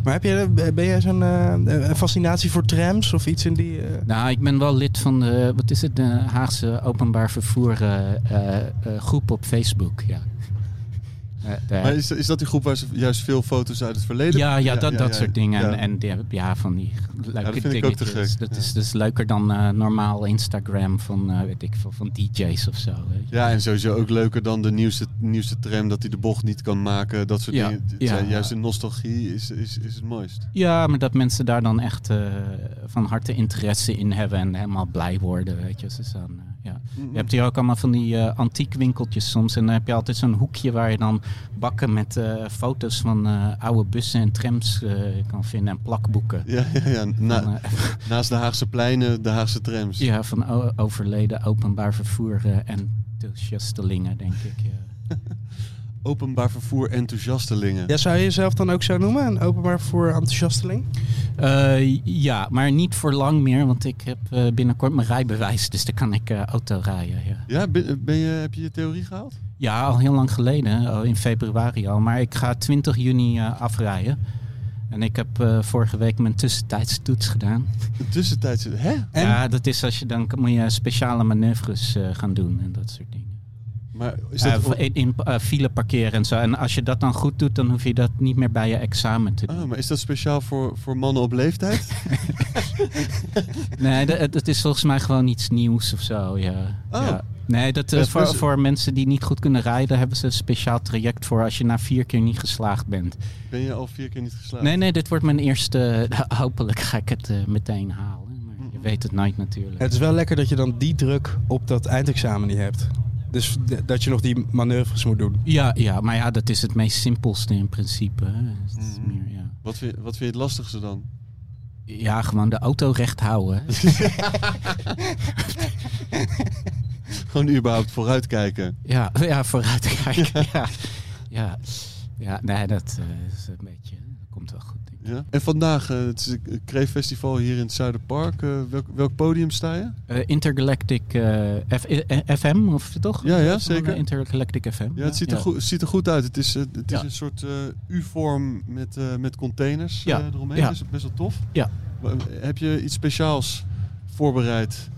E: Maar heb je, ben jij zo'n eh, een fascinatie voor trams of iets in die... eh,
G: Nou, ik ben wel lid van de, wat is het, de Haagse openbaar vervoer eh, eh, eh, groep op Facebook. Ja, Eh, daar-
B: Maar is, is dat die groep waar ze juist veel foto's uit het verleden...
G: ja, ja, dat, dat
B: ja,
G: soort dingen.
B: ja.
G: En, en die, ja, van die leuke
B: Ja, dat vind ik ook te
G: dingetjes.
B: gek,
G: Dat
B: ja.
G: is dus leuker dan eh, normaal Instagram van, eh, weet ik veel, van DJ's of zo. weet je.
B: Ja, en sowieso ook leuker dan de nieuwste, nieuwste tram dat hij de bocht niet kan maken. Dat soort
G: Ja,
B: dingen. Het
G: ja.
B: zijn Juist de nostalgie is, is, is het mooist.
G: Ja, maar dat mensen daar dan echt eh, van harte interesse in hebben en helemaal blij worden, weet je. Dus dan, eh, ja.
B: Mhm.
G: Je hebt hier ook allemaal van die eh antiekwinkeltjes soms. En dan heb je altijd zo'n hoekje waar je dan bakken met eh, foto's van eh, oude bussen en trams eh, kan vinden. En plakboeken.
B: Ja, ja, ja.
G: Van,
B: Na,
G: eh,
B: naast de Haagse pleinen, de Haagse trams.
G: ja, van o- overleden openbaar vervoer eh, en enthousiastelingen, denk ik. ja.
B: Openbaar vervoer enthousiastelingen.
E: Ja, zou je jezelf dan ook zo noemen? Een openbaar vervoer enthousiasteling?
G: Eh, ja, maar niet voor lang meer, want ik heb eh, binnenkort mijn rijbewijs. Dus dan kan ik eh, auto rijden, ja.
B: Ja, ben, ben je, heb je je theorie gehaald?
G: Ja, al heel lang geleden, al in februari al. Maar ik ga 20 juni eh, afrijden. En ik heb eh, vorige week mijn tussentijdse toets gedaan.
B: De tussentijd zit... Hè?
E: En?
G: Ja, dat is als je dan moet je speciale manoeuvres eh, gaan doen en dat soort dingen.
B: Maar is
G: Eh,
B: dat...
G: voor- in in eh, file parkeren en zo. En als je dat dan goed doet, dan hoef je dat niet meer bij je examen te doen.
B: Ah, maar is dat speciaal voor, voor mannen op leeftijd?
G: Nee, dat, dat is volgens mij gewoon iets nieuws of zo. Ja.
B: Oh.
G: Ja. Nee, dat, eh,
B: Dat is dus-
G: voor,
B: best-
G: voor mensen die niet goed kunnen rijden, hebben ze een speciaal traject voor als je na vier keer niet geslaagd bent.
B: Ben je al vier keer niet geslaagd?
G: Nee, nee, dit wordt mijn eerste. nou, Hopelijk ga ik het eh, meteen halen. Maar je
B: Mhm.
G: weet het nooit natuurlijk.
E: Het is wel lekker dat je dan die druk op dat eindexamen niet hebt. Dus d- dat je nog die manoeuvres moet doen.
G: Ja, ja, maar ja, dat is het meest simpelste in principe. hè. Het is
B: Mhm.
G: meer, ja.
B: Wat vind, wat vind je het lastigste dan?
G: ja, gewoon de auto recht houden.
B: Gewoon überhaupt vooruitkijken.
G: ja, ja, vooruitkijken. ja. ja, ja, nee, dat eh, is een beetje. Dat komt wel goed. Denk ik.
B: Ja? En vandaag, eh, het is het Kreef Festival hier in het Zuiderpark. Eh, welk, welc podium sta je?
G: Eh, Intergalactic eh, F- eh, FM, of toch?
B: Ja, ja,
G: Van,
B: zeker.
G: eh, Intergalactic FM.
B: Ja, het ziet er,
G: ja.
B: Goed, het ziet er goed uit. Het is, eh, het is
G: Ja.
B: een soort eh, U-vorm met, eh, met containers
G: Ja.
B: eh, eromheen.
G: Ja.
B: Dat is best wel tof.
G: Ja.
B: Maar, eh, heb je iets speciaals voorbereid?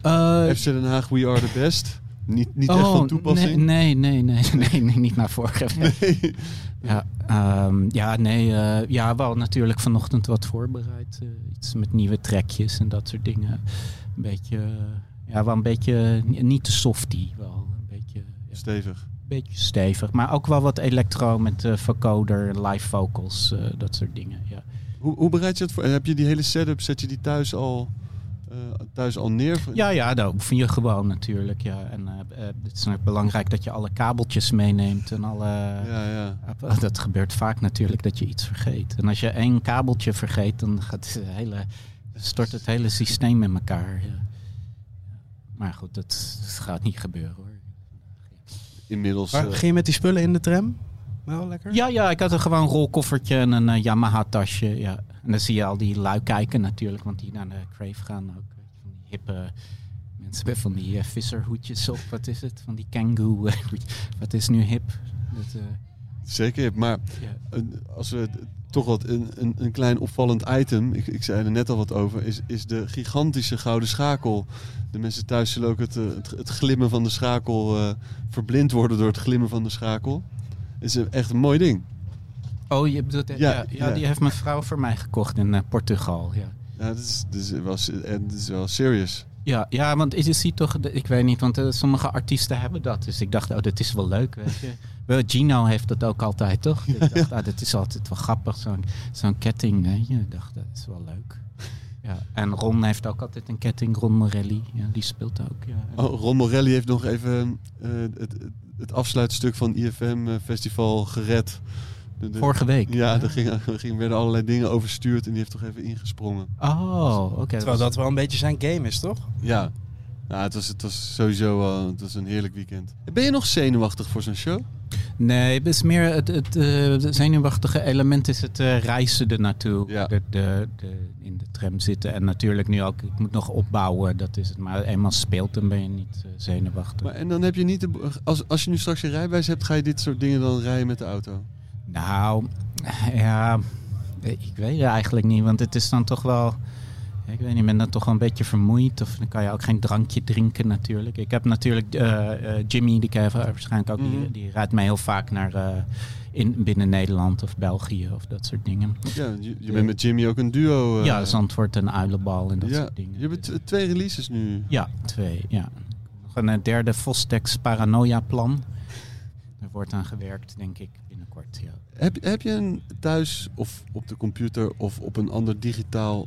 G: Eh,
B: FC Den Haag, we are the best. Niet, niet echt
G: oh,
B: van toepassing.
G: Nee, nee, nee, nee, nee, nee, niet naar voren.
B: Nee.
G: Ja, ehm, ja, nee, eh, ja, wel natuurlijk vanochtend wat voorbereid. eh, iets met nieuwe trekjes en dat soort dingen. Een beetje, eh, ja, wel een beetje, eh, niet te softie, wel een beetje, ja,
B: Stevig.
G: een beetje stevig. Maar ook wel wat electro met eh vocoder, live vocals, eh, dat soort dingen, ja.
B: Hoe, hoe bereid je het voor? En Heb je die hele setup, zet je die thuis al, eh, thuis al neer?
G: Ja, ja, daar oefen je gewoon natuurlijk, ja. En eh, eh, het is natuurlijk belangrijk dat je alle kabeltjes meeneemt en alle... eh,
B: ja, ja.
G: Dat gebeurt vaak natuurlijk dat je iets vergeet. En als je één kabeltje vergeet, dan gaat het hele, stort het hele systeem in elkaar. ja. Maar goed, dat, dat gaat niet gebeuren hoor.
B: Inmiddels.
E: Maar
B: eh,
E: ging je met die spullen in de tram? Wel lekker?
G: Ja, ja, ik had er gewoon een rolkoffertje en een eh, Yamaha-tasje. Ja. En dan zie je al die lui kijken natuurlijk, want die naar de Crave gaan ook. Van die hippe Mensen hebben van die eh, visserhoedjes op. Wat is het? Van die kangaroo. eh, hoedjes. wat is nu hip? Dat, eh,
B: Zeker, maar
G: ja.
B: een- als we het- toch wat een, een, een klein opvallend item, ik, ik zei er net al wat over, is, is de gigantische gouden schakel. De mensen thuis zullen ook het, eh, het, het glimmen van de schakel eh, verblind worden door het glimmen van de schakel. Het is een- echt een mooi ding.
G: Oh, je bedoelt... eh,
B: Ja,
G: ja, ja,
B: ja.
G: die heeft mijn vrouw voor mij gekocht in eh, Portugal. Ja.
B: Ja, dat is, dat is, wel, se- en dat is wel serious.
G: Ja, ja, want je ziet toch, de- ik weet niet, want eh, sommige artiesten hebben dat. Dus ik dacht, oh, dat is wel leuk, weet je. Wel, Gino heeft dat ook altijd, toch? Ik dacht, ah, dat is altijd wel grappig, zo'n zo'n ketting, weet je. Ik dacht, dat is wel leuk. Ja, en Ron heeft ook altijd een ketting, Ron Morelli. Ja, die speelt ook, ja.
B: Oh, Ron Morelli heeft nog even eh, het, het, het afsluitstuk van IFM-festival eh, gered. De- de-
G: Vorige week.
B: ja, er gingen, er gingen- werden allerlei dingen overstuurd en die heeft toch even ingesprongen.
G: Oh, oké.
E: Terwijl dat wel een beetje zijn game is, toch?
B: Ja. Nou, het, was, het was sowieso eh, het was een heerlijk weekend. Ben je nog zenuwachtig voor zo'n show?
G: Nee, het is meer het, het eh, het zenuwachtige element is het eh, reizen ernaartoe.
B: Ja.
G: De, de, de, in de tram zitten. En natuurlijk nu ook, ik moet nog opbouwen, dat is het. Maar eenmaal speelt, dan ben je niet eh, zenuwachtig.
B: Maar, en dan heb je niet de, als, als je nu straks je rijbewijs hebt, ga je dit soort dingen dan rijden met de auto?
G: Nou, ja, eh, ik weet het eigenlijk niet. Want het is dan toch wel... ja, Ik weet niet, ik ben dan toch wel een beetje vermoeid. Of dan kan je ook geen drankje drinken natuurlijk. Ik heb natuurlijk eh, eh, Jimmy, die ken je waarschijnlijk ook.
B: Mhm.
G: Die, die rijdt mij heel vaak naar... eh, in, binnen Nederland of België of dat soort dingen.
B: Ja, je, je bent met Jimmy ook een duo. eh,
G: Ja, Zandvoort en Uilenbal en dat
B: ja.
G: soort dingen.
B: Je hebt t- twee releases nu.
G: Ja, twee, ja. Nog een eh, derde Vostex Paranoia-plan. Er wordt aan gewerkt, denk ik, binnenkort. Ja.
B: Heb, heb je een thuis of op de computer of op een ander digitaal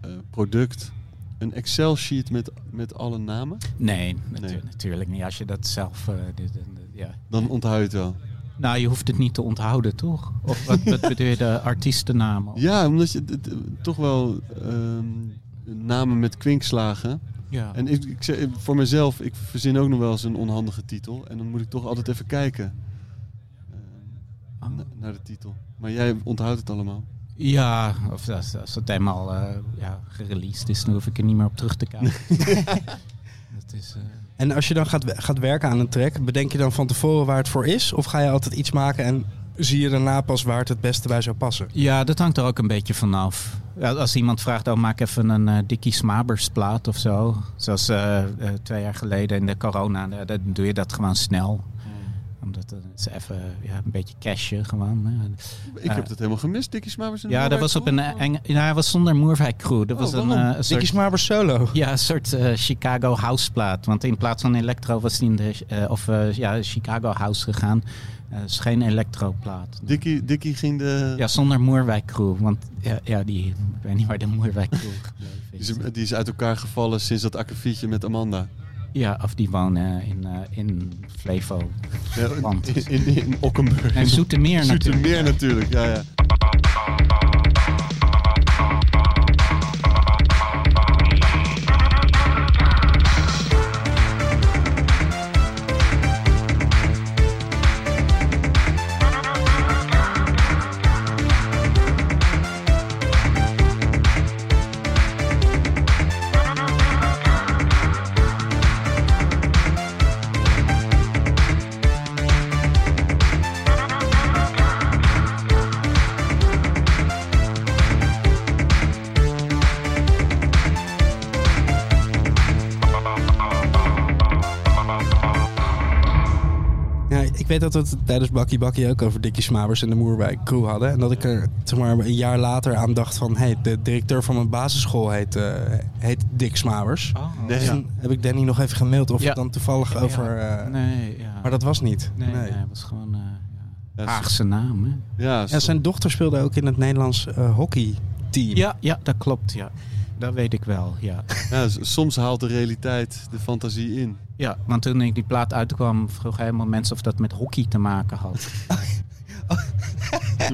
B: eh, product een Excel-sheet met, met alle namen?
G: Nee, natu-
B: Nee.
G: natuurlijk niet. Als je dat zelf... eh, dit en dat- ja.
B: Dan onthoud je het wel.
G: Nou, je hoeft het niet te onthouden, toch? Of wat, wat bedoel je, de artiestennamen?
B: Ja, omdat je d- d- toch wel ehm, namen met kwinkslagen.
G: Ja.
B: En ik, ik, zeg- voor mezelf, ik verzin ook nog wel eens een onhandige titel. En dan moet ik toch altijd even kijken
G: Ah.
B: eh,
G: Oh.
B: na- naar de titel. Maar jij onthoudt het allemaal.
G: Ja, of als, als het eenmaal eh, ja, gereleased is, dan hoef ik er niet meer op terug te kijken. dat is... eh,
E: En als je dan gaat, we- gaat werken aan een track, bedenk je dan van tevoren waar het voor is? Of ga je altijd iets maken en zie je daarna pas waar het het beste bij zou passen?
G: Ja, dat hangt er ook een beetje vanaf. Ja, Als iemand vraagt, oh, maak even een eh, Dickie Smabers plaat of zo. Zoals eh, eh, twee jaar geleden in de corona, eh, dan doe je dat gewoon snel. Omdat eh, het is even ja, een beetje cashje gewoon. hè.
B: Ik
G: Eh.
B: heb dat helemaal gemist, Dikkie Smabers. en de
G: Ja, dat
B: Moerwijk
G: was
B: Crew.
G: op een eh, enge... Ja, hij was zonder Moerwijk Crew. Dat
B: Oh,
G: was een,
B: waarom?
G: eh, een
E: Dickie
G: soort,
E: Smaber solo.
G: ja, een soort eh, Chicago House plaat. Want in plaats van electro was hij in de... eh, of eh, ja, Chicago House gegaan. Eh is geen electro plaat.
B: Dikkie, Dikkie ging de...
G: Ja, zonder Moerwijk Crew. Want ja, ja die, ik weet niet waar de Moerwijk Crew gebleven
B: Die
G: is.
B: is, die is uit elkaar gevallen sinds dat akkefietje met Amanda.
G: Ja, of die wonen in, eh, in Flevo.
B: Ja, in,
G: Want-
B: in, in Okkenburg.
G: En Zoetermeer natuurlijk.
B: Zoetermeer natuurlijk, ja, ja.
E: Ja, ik weet dat we het tijdens Bakkie Bakkie ook over Dickie Smabers en de Moerbijk crew hadden. En dat ik er zeg maar, een jaar later aan dacht van... Hey, de directeur van mijn basisschool heet, eh, heet Dick Smabers.
G: Oh,
B: Nee,
E: Dus
B: ja.
E: toen heb ik Danny nog even gemaild of
G: Ja.
E: het dan toevallig over... eh,
G: nee, ja.
E: Maar dat was niet.
G: nee,
E: Nee.
G: nee. het was gewoon eh
B: Ja,
G: ja. Haagse naam. Hè?
B: Ja,
E: Ja, zijn dochter speelde ook in het Nederlands eh, hockeyteam.
G: Ja, ja, dat klopt. Ja. Dat weet ik wel, ja.
B: ja, s- soms haalt de realiteit de fantasie in.
G: Ja, want toen ik die plaat uitkwam, vroeg helemaal mensen of dat met hockey te maken had.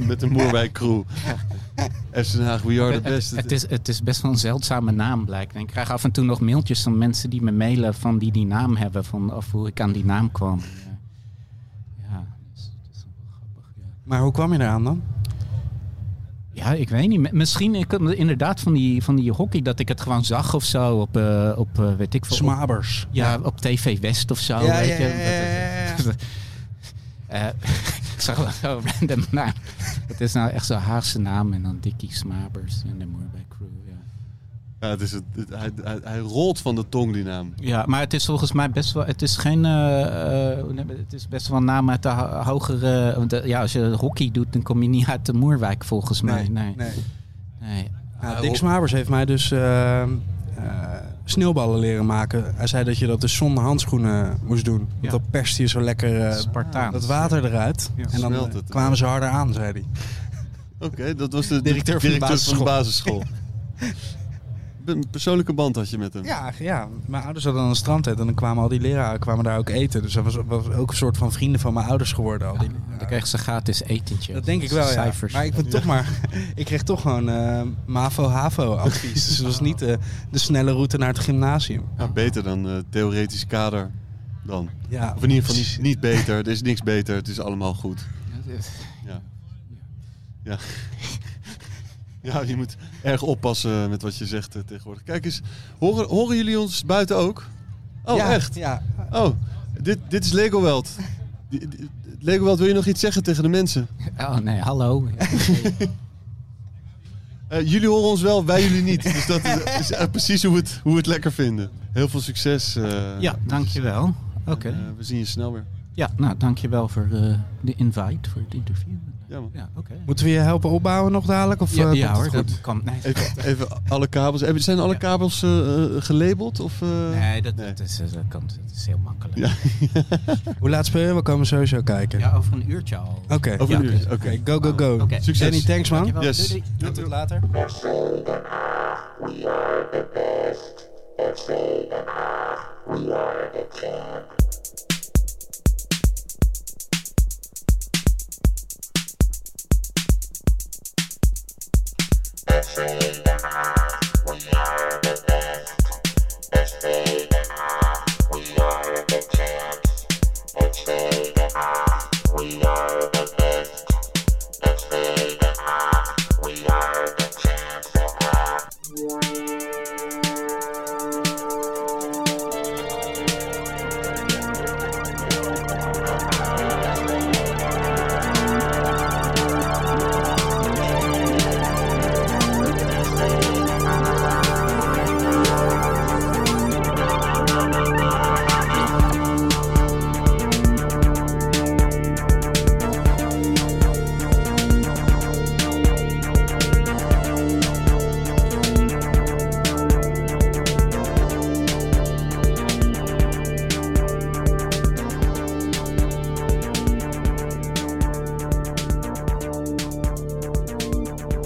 B: Met de Moerwijk crew. FC Den Haag, we are the best.
G: Het, het is, het is best wel een zeldzame naam, blijkt. En ik krijg af en toe nog mailtjes van mensen die me mailen van die die naam hebben. Van of hoe ik aan die naam kwam. Ja, ja dus, dat is wel grappig, ja.
E: Maar hoe kwam je eraan dan?
G: Ja, ik weet niet. M- Misschien ik, inderdaad van die, van die hockey dat ik het gewoon zag of zo op, eh, op eh, weet ik veel. op-
E: Smabers.
G: ja, op TV West of zo.
E: Ja,
G: weet
E: ja,
G: je.
E: ja, ja, ja.
G: Eh, ik zag wel zo random naam. Het is nou echt zo'n Haagse naam en dan Dickie Smabers en de Moorbij Crew. Ja.
B: Ja, het is het, het- hij, hij, hij rolt van de tong, die naam.
G: Ja, maar het is volgens mij best wel. Het is geen. eh, eh, hoe noem je het Het is best wel een naam uit de ho- hogere. want, eh, ja, als je hockey doet, dan kom je niet uit de Moerwijk volgens mij. Nee. nee. Ah,
E: Nou, Dick Smabers heeft mij dus eh, eh, sneeuwballen leren maken. Hij zei dat je dat dus zonder handschoenen moest doen.
G: Ja.
E: Want dan perste je zo lekker eh,
G: Spartaans.
E: dat water eruit. En dan
B: Smelt
E: eh,
B: het.
E: kwamen ze harder aan, zei hij.
B: Oké, dat was de
E: Directeur van de
B: basisschool. Een persoonlijke band had je met hem.
E: Ja, ja, mijn ouders hadden dan een strandtent en dan kwamen al die leraren kwamen daar ook eten. Dus dat was, was ook een soort van vrienden van mijn ouders geworden. Al die,
G: Dan kreeg ze gratis etentje.
E: Dat denk ik wel, ja.
G: Cijfers.
E: Maar ik, ben toch maar, ik kreeg toch gewoon eh, MAVO-HAVO-advies. dus het was niet eh, de snelle route naar het gymnasium.
B: Ja, beter dan eh, theoretisch kader dan.
E: Ja,
B: Of in ieder geval niet, niet beter. Er is niks beter. Het is allemaal goed. Ja. Ja. Ja, je moet erg oppassen met wat je zegt eh, tegenwoordig. Kijk eens, horen, horen jullie ons buiten ook? Oh,
E: ja,
B: echt?
E: Ja.
B: Oh, dit, dit is Lego Welt. Die- die- Lego Welt, wil je nog iets zeggen tegen de mensen?
G: Oh nee, hallo.
B: Eh, jullie horen ons wel, wij jullie niet. Dus dat is, is, eh, precies hoe we, het, hoe we het lekker vinden. Heel veel succes. eh,
G: Ja, dankjewel. Oké.
B: en, eh, we zien je snel weer.
G: Ja, nou dankjewel voor eh, de invite, voor het interview.
B: Ja, man.
G: Ja, oké.
E: Moeten we je helpen opbouwen nog dadelijk? Of,
G: Ja,
E: eh,
G: ja
E: komt
G: hoor,
E: het goed?
G: dat kan. Nee,
B: Even, even alle kabels. Hebben- Zijn alle
G: Ja.
B: kabels eh, eh, gelabeld? Of, eh?
G: nee, dat,
B: Nee.
G: dat is, eh, dat kan, dat is heel makkelijk.
B: Ja.
G: Ja.
E: Hoe laat speel je? We komen sowieso kijken.
G: over een uurtje al.
E: Oké.
B: Over
G: Ja.
B: een uurtje. Oké.
E: Oké, go, go, go.
G: Oké.
B: Succes.
E: Danny, thanks man.
G: Dankjewel,
B: Yes.
G: doei, doei.
E: Tot later.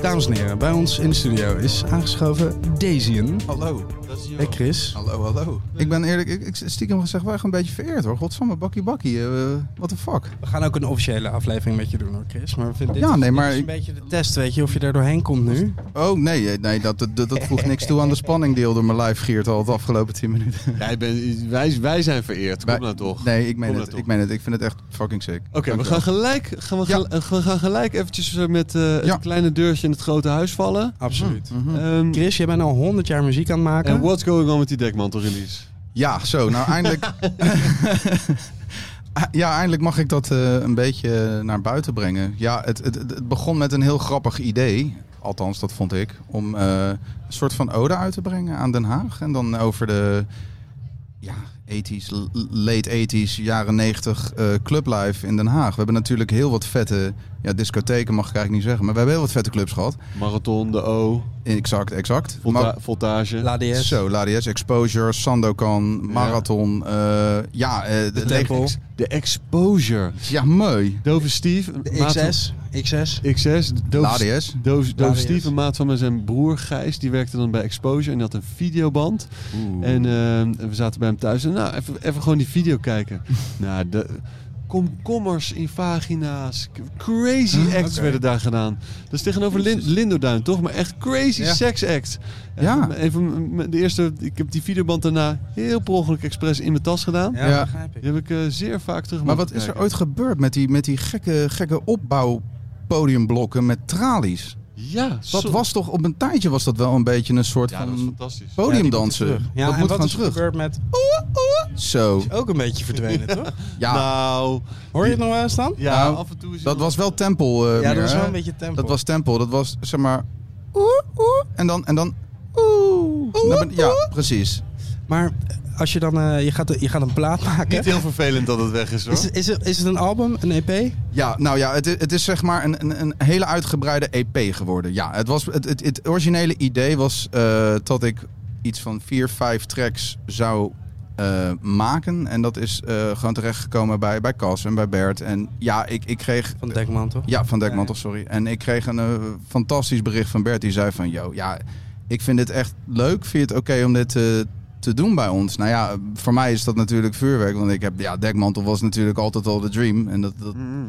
E: Dames en heren, bij ons in de studio is aangeschoven Daisyen.
H: Hallo.
E: Hey Chris.
H: Hallo, hallo. Ik ben eerlijk, ik, ik stiekem gezegd, wel echt een beetje vereerd hoor. Godsamme, bakkie bakkie. eh, what the fuck?
E: We gaan ook een officiële aflevering met je doen hoor Chris. Maar we vinden dit,
H: Ja, nee, maar
E: dit is een
H: ik-
E: beetje de test, weet je, of je er doorheen komt nu.
H: Oh nee, eh, nee dat, dat, dat dat voegt niks toe aan de spanning die al door mijn lijf giert al de afgelopen 10 minuten.
B: Jij bent- wij, wij zijn vereerd. Kom
H: Wij-
B: nou toch.
H: Nee, ik meen,
B: Kom
H: het,
B: nou toch.
H: ik meen het. Ik vind het echt fucking sick.
B: Oké, we, gaan gelijk- gaan we,
H: Ja.
B: gel- eh, we gaan gelijk eventjes eh, met eh, het
H: Ja.
B: kleine deurtje in het grote huis vallen.
E: Absoluut.
G: Mhm.
B: Ehm,
E: Chris, jij bent al 100 jaar muziek aan het maken.
B: en what's going on met die dekmantel release?
H: Ja, zo. Nou, eindelijk. Ah, ja, eindelijk mag ik dat eh, een beetje naar buiten brengen. Ja, het, het, het het begon met een heel grappig idee. Althans, dat vond ik. Om eh, een soort van ode uit te brengen aan Den Haag. En dan over de. Ja, 80s, l- late 80s, jaren 90 eh, clublife in Den Haag. We hebben natuurlijk heel wat vette. Ja, discotheken mag ik eigenlijk niet zeggen. Maar we hebben heel wat vette clubs gehad.
B: Marathon, de O,
H: Exact, exact.
B: volta-
H: Maar-
B: voltage.
E: La DS.
H: zo, Ladies, Exposure, Sandokan, Marathon. Ja, ja eh, de
E: Tempel.
H: Lex-
B: De exposure.
H: Ja, mooi.
B: Dove Steve. een maat van-
E: XS. XS.
B: XS. Dove,
H: Ladies.
B: Dove, Dove
E: LADS.
B: Steve, een maat van mij, zijn broer Gijs, die werkte dan bij Exposure en die had een videoband. En ehm, we zaten bij hem thuis en nou, even, even gewoon die video kijken. nou, de komkommers in vagina's. Crazy acts werden daar gedaan. Dat is tegenover Lin Lindoduin, toch? Maar echt crazy
H: Ja.
B: sex act. En
H: Ja.
B: Even m- de eerste, ik heb die videoband daarna heel per ongeluk expres in mijn tas gedaan.
E: Ja,
H: Ja.
E: begrijp ik.
B: Die heb ik eh, zeer vaak terug
H: Maar
B: moeten
H: wat is er
B: kijken.
H: ooit gebeurd met die, met die gekke, gekke opbouwpodiumblokken met tralies?
B: Ja,
H: Dat
B: zo-
H: was toch op een tijdje was dat wel een beetje een soort
B: Ja, dat is
H: van
B: fantastisch.
H: podiumdansen.
E: terug.
A: Ja,
H: dat
A: en
H: moet
A: wat
H: gaan
A: is er
H: terug.
A: gebeurd met...
H: Zo.
E: Ook een beetje verdwenen, toch?
H: Ja,
B: Nou,
A: Hoor je het nog wel eens dan?
B: ja,
H: Nou,
B: af en toe is
H: dat was wel tempel. eh,
E: Ja,
H: meer,
E: dat was
H: hè?
E: wel een beetje tempo.
H: Dat was tempel. Dat was zeg maar. Oeh, oeh, en dan. En dan oeh, naar ben- ja, precies.
E: Maar als je dan... eh, je, gaat, je gaat een plaat maken.
B: niet heel vervelend dat het weg is hoor.
E: Is, is, het, is het een album,
A: E
E: een EP?
H: Ja, nou ja, het, i- het is zeg maar een, een, een hele uitgebreide EP geworden. Ja, het, was, het, het, het originele idee was eh, dat ik iets van vier, vijf tracks zou eh, maken. En dat is eh, gewoon terechtgekomen bij, bij Cas en bij Bert. En ja, ik, ik kreeg
E: Van Dekman, toch?
H: Ja, van Dekmantel, sorry. En ik kreeg een eh, fantastisch bericht van Bert. Die zei van, yo, ja, ik vind dit echt leuk. Vind je het oké om dit eh, te doen bij ons? Nou ja, voor mij is dat natuurlijk vuurwerk. Want ik heb, ja, Dekmantel was natuurlijk altijd al de dream. En dat, dat
B: Mm-hmm.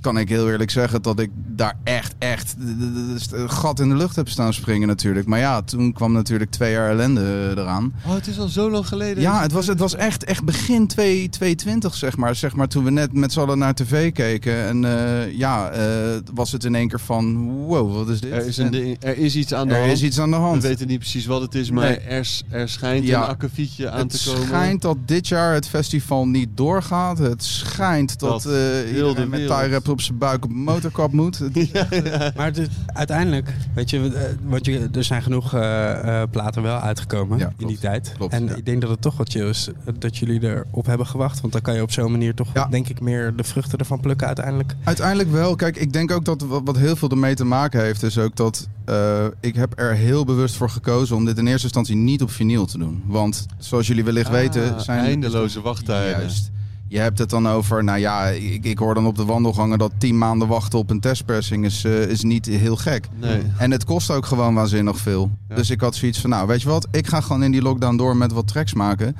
H: kan ik heel eerlijk zeggen. Dat ik daar echt, echt d- d- d- een gat in de lucht heb staan springen natuurlijk. Maar ja, toen kwam natuurlijk twee jaar ellende eh, eraan.
B: Oh, het is al zo lang geleden.
H: Ja, het was, het was echt, echt begin 2 220, zeg maar. zeg maar. Toen we net met z'n allen naar tv keken. En eh, ja, eh, was het in één keer van... Wow, wat is dit?
B: Er is, een,
H: En
B: ding- er is iets aan de
H: er
B: hand.
H: is iets aan de hand.
B: We weten niet precies wat het is, maar
H: Nee.
B: er, s- er schijnt
H: Ja.
B: een akkefietje aan
H: Het
B: te komen.
H: schijnt dat dit jaar het festival niet doorgaat. Het schijnt dat,
B: Dat
H: eh,
B: heel de
H: iedereen met
B: wereld.
H: tie-rap op zijn buik op een motorkap moet. Het-
A: Maar dit- uiteindelijk, weet je, eh, want je, er zijn genoeg eh, eh, platen wel uitgekomen
H: Ja,
A: in
H: klopt.
A: die tijd.
H: Klopt,
A: en
H: ja.
A: ik denk dat het toch wat chill is eh, dat jullie erop hebben gewacht. Want dan kan je op zo'n manier toch,
H: Ja.
A: denk ik, meer de vruchten ervan plukken uiteindelijk.
H: Uiteindelijk wel. Kijk, ik denk ook dat wat, wat heel veel ermee te maken heeft, is ook dat eh, ik heb er heel bewust voor gekozen om dit in eerste instantie niet op vinyl te doen. Want zoals jullie wellicht
B: Ah,
H: weten, zijn
B: eindeloze wachttijden.
H: Juist. Je hebt het dan over, nou ja, ik, ik hoor dan op de wandelgangen dat 10 maanden wachten op een testpressing is, eh, is niet heel gek.
B: Nee.
H: En het kost ook gewoon waanzinnig veel.
B: Ja.
H: Dus ik had zoiets van, nou weet je wat, ik ga gewoon in die lockdown door met wat tracks maken.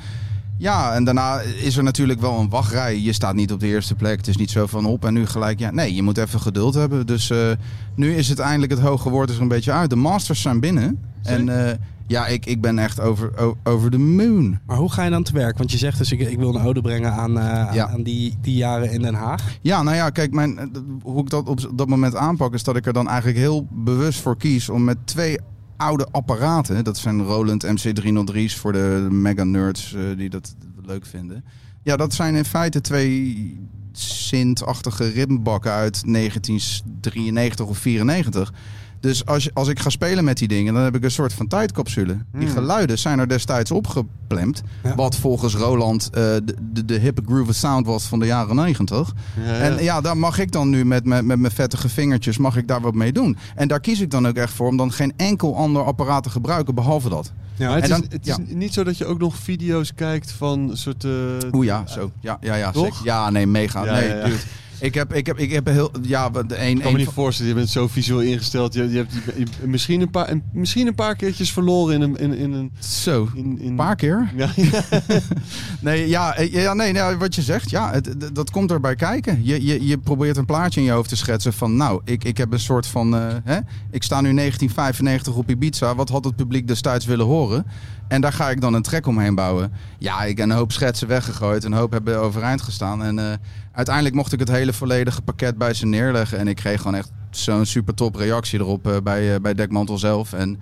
H: Ja, en daarna is er natuurlijk wel een wachtrij. Je staat niet op de eerste plek. Het is niet zo van op en nu gelijk. Ja, nee, je moet even geduld hebben. Dus eh, nu is het eindelijk het hoge woord er een beetje uit. De masters zijn binnen. En eh, ja, ik, ik ben echt over, o- over de moon.
A: Maar hoe ga je dan te werk? Want je zegt dus, ik, ik wil een ode brengen aan, eh, aan-
H: Ja.
A: aan die, die jaren in Den Haag.
H: Ja, nou ja, kijk, mijn, eh, d- hoe ik dat op z- dat moment aanpak, is dat ik er dan eigenlijk heel bewust voor kies om met twee oude apparaten, dat zijn Roland MC303's voor de mega nerds eh, die dat leuk vinden. Ja, dat zijn in feite twee Sint-achtige ritmebakken uit 1993 of 94. Dus als, je- als ik ga spelen met die dingen, dan heb ik een soort van tijdcapsule. Die geluiden zijn er destijds opgeplemd.
A: Ja.
H: Wat volgens Roland eh, de, de, de hippe groove sound was van de jaren 90.
B: Ja, ja.
H: En ja, daar mag ik dan nu met, met, met mijn vettige vingertjes mag ik daar wat mee doen. En daar kies ik dan ook echt voor om dan geen enkel ander apparaat te gebruiken behalve dat.
B: Maar het
H: en
B: is,
H: dan-
B: het
H: ja.
B: is niet zo dat je ook nog video's kijkt van soort... eh,
H: Oeh ja, zo. Ja, ja, ja.
B: Toch?
H: zeker. Ja, nee, mega.
B: Ja,
H: nee,
B: ja, ja.
H: dude. Ik heb, ik heb, ik heb heel, ja, de een,
B: Ik kan me
H: een
B: niet voorstellen, je bent zo visueel ingesteld. Je, je hebt je- je- misschien, een paar, een- misschien een paar keertjes verloren in een... In, in een
H: zo.
B: in, in,
H: Een paar keer.
B: Ja, ja.
H: Nee, ja, eh, ja, nee, nou, wat je zegt, ja, het, d- dat komt erbij kijken. Je, je, je probeert een plaatje in je hoofd te schetsen van, nou, ik, ik heb een soort van, eh, hè, ik sta nu 1995 op Ibiza, wat had het publiek destijds willen horen? En daar ga ik dan een track omheen bouwen. Ja, ik heb een hoop schetsen weggegooid, een hoop hebben overeind gestaan. En eh, uiteindelijk mocht ik het hele volledige pakket bij ze neerleggen. En ik kreeg gewoon echt zo'n super top reactie erop eh, bij, eh, bij Dekmantel zelf. En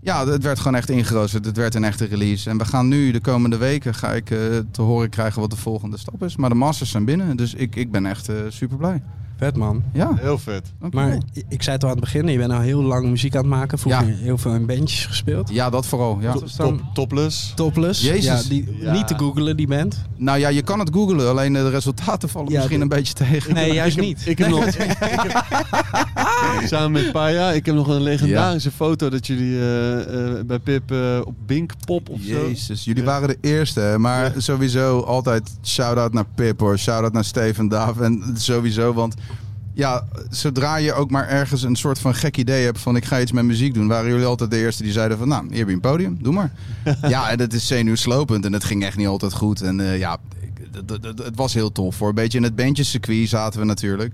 H: ja, het werd gewoon echt ingeroosterd. Het werd een echte release. En we gaan nu, de komende weken, ga ik eh, te horen krijgen wat de volgende stap is. Maar de masters zijn binnen, dus ik, ik ben echt super blij.
A: Vet man.
H: Ja,
B: Heel vet.
H: dankjewel.
A: Maar ik- ik zei het al aan het begin, je bent al heel lang muziek aan het maken. Vroeger
H: Ja.
A: heel veel in bandjes gespeeld.
H: Ja, dat vooral. Ja.
A: is dan-
B: Top, topless.
A: Topless.
H: Jezus.
A: Ja, die,
B: Ja.
A: Niet te googelen, die band.
H: Nou ja, je kan het googlen, alleen eh, de resultaten vallen
A: Ja,
H: misschien
A: de-
H: een beetje tegen.
A: Nee, juist niet.
B: Ik heb nog... ik heb- samen met Paya, ik heb nog een legendarische foto dat jullie eh, eh, bij Pip eh, op Binkpop of zo...
H: Jezus, jullie waren de eerste. hè. Maar sowieso altijd shout-out naar Pip hoor. Shout-out naar Steven Daaf. En sowieso, want ja, zodra je ook maar ergens een soort van gek idee hebt van ik ga iets met muziek doen, waren jullie altijd de eerste die zeiden van nou, hier heb je een podium, doe maar. ja, en dat is zenuwslopend en het ging echt niet altijd goed. En eh, ja, ik- dat- dat- dat- het was heel tof hoor. Een beetje in het bandjescircuit zaten we natuurlijk.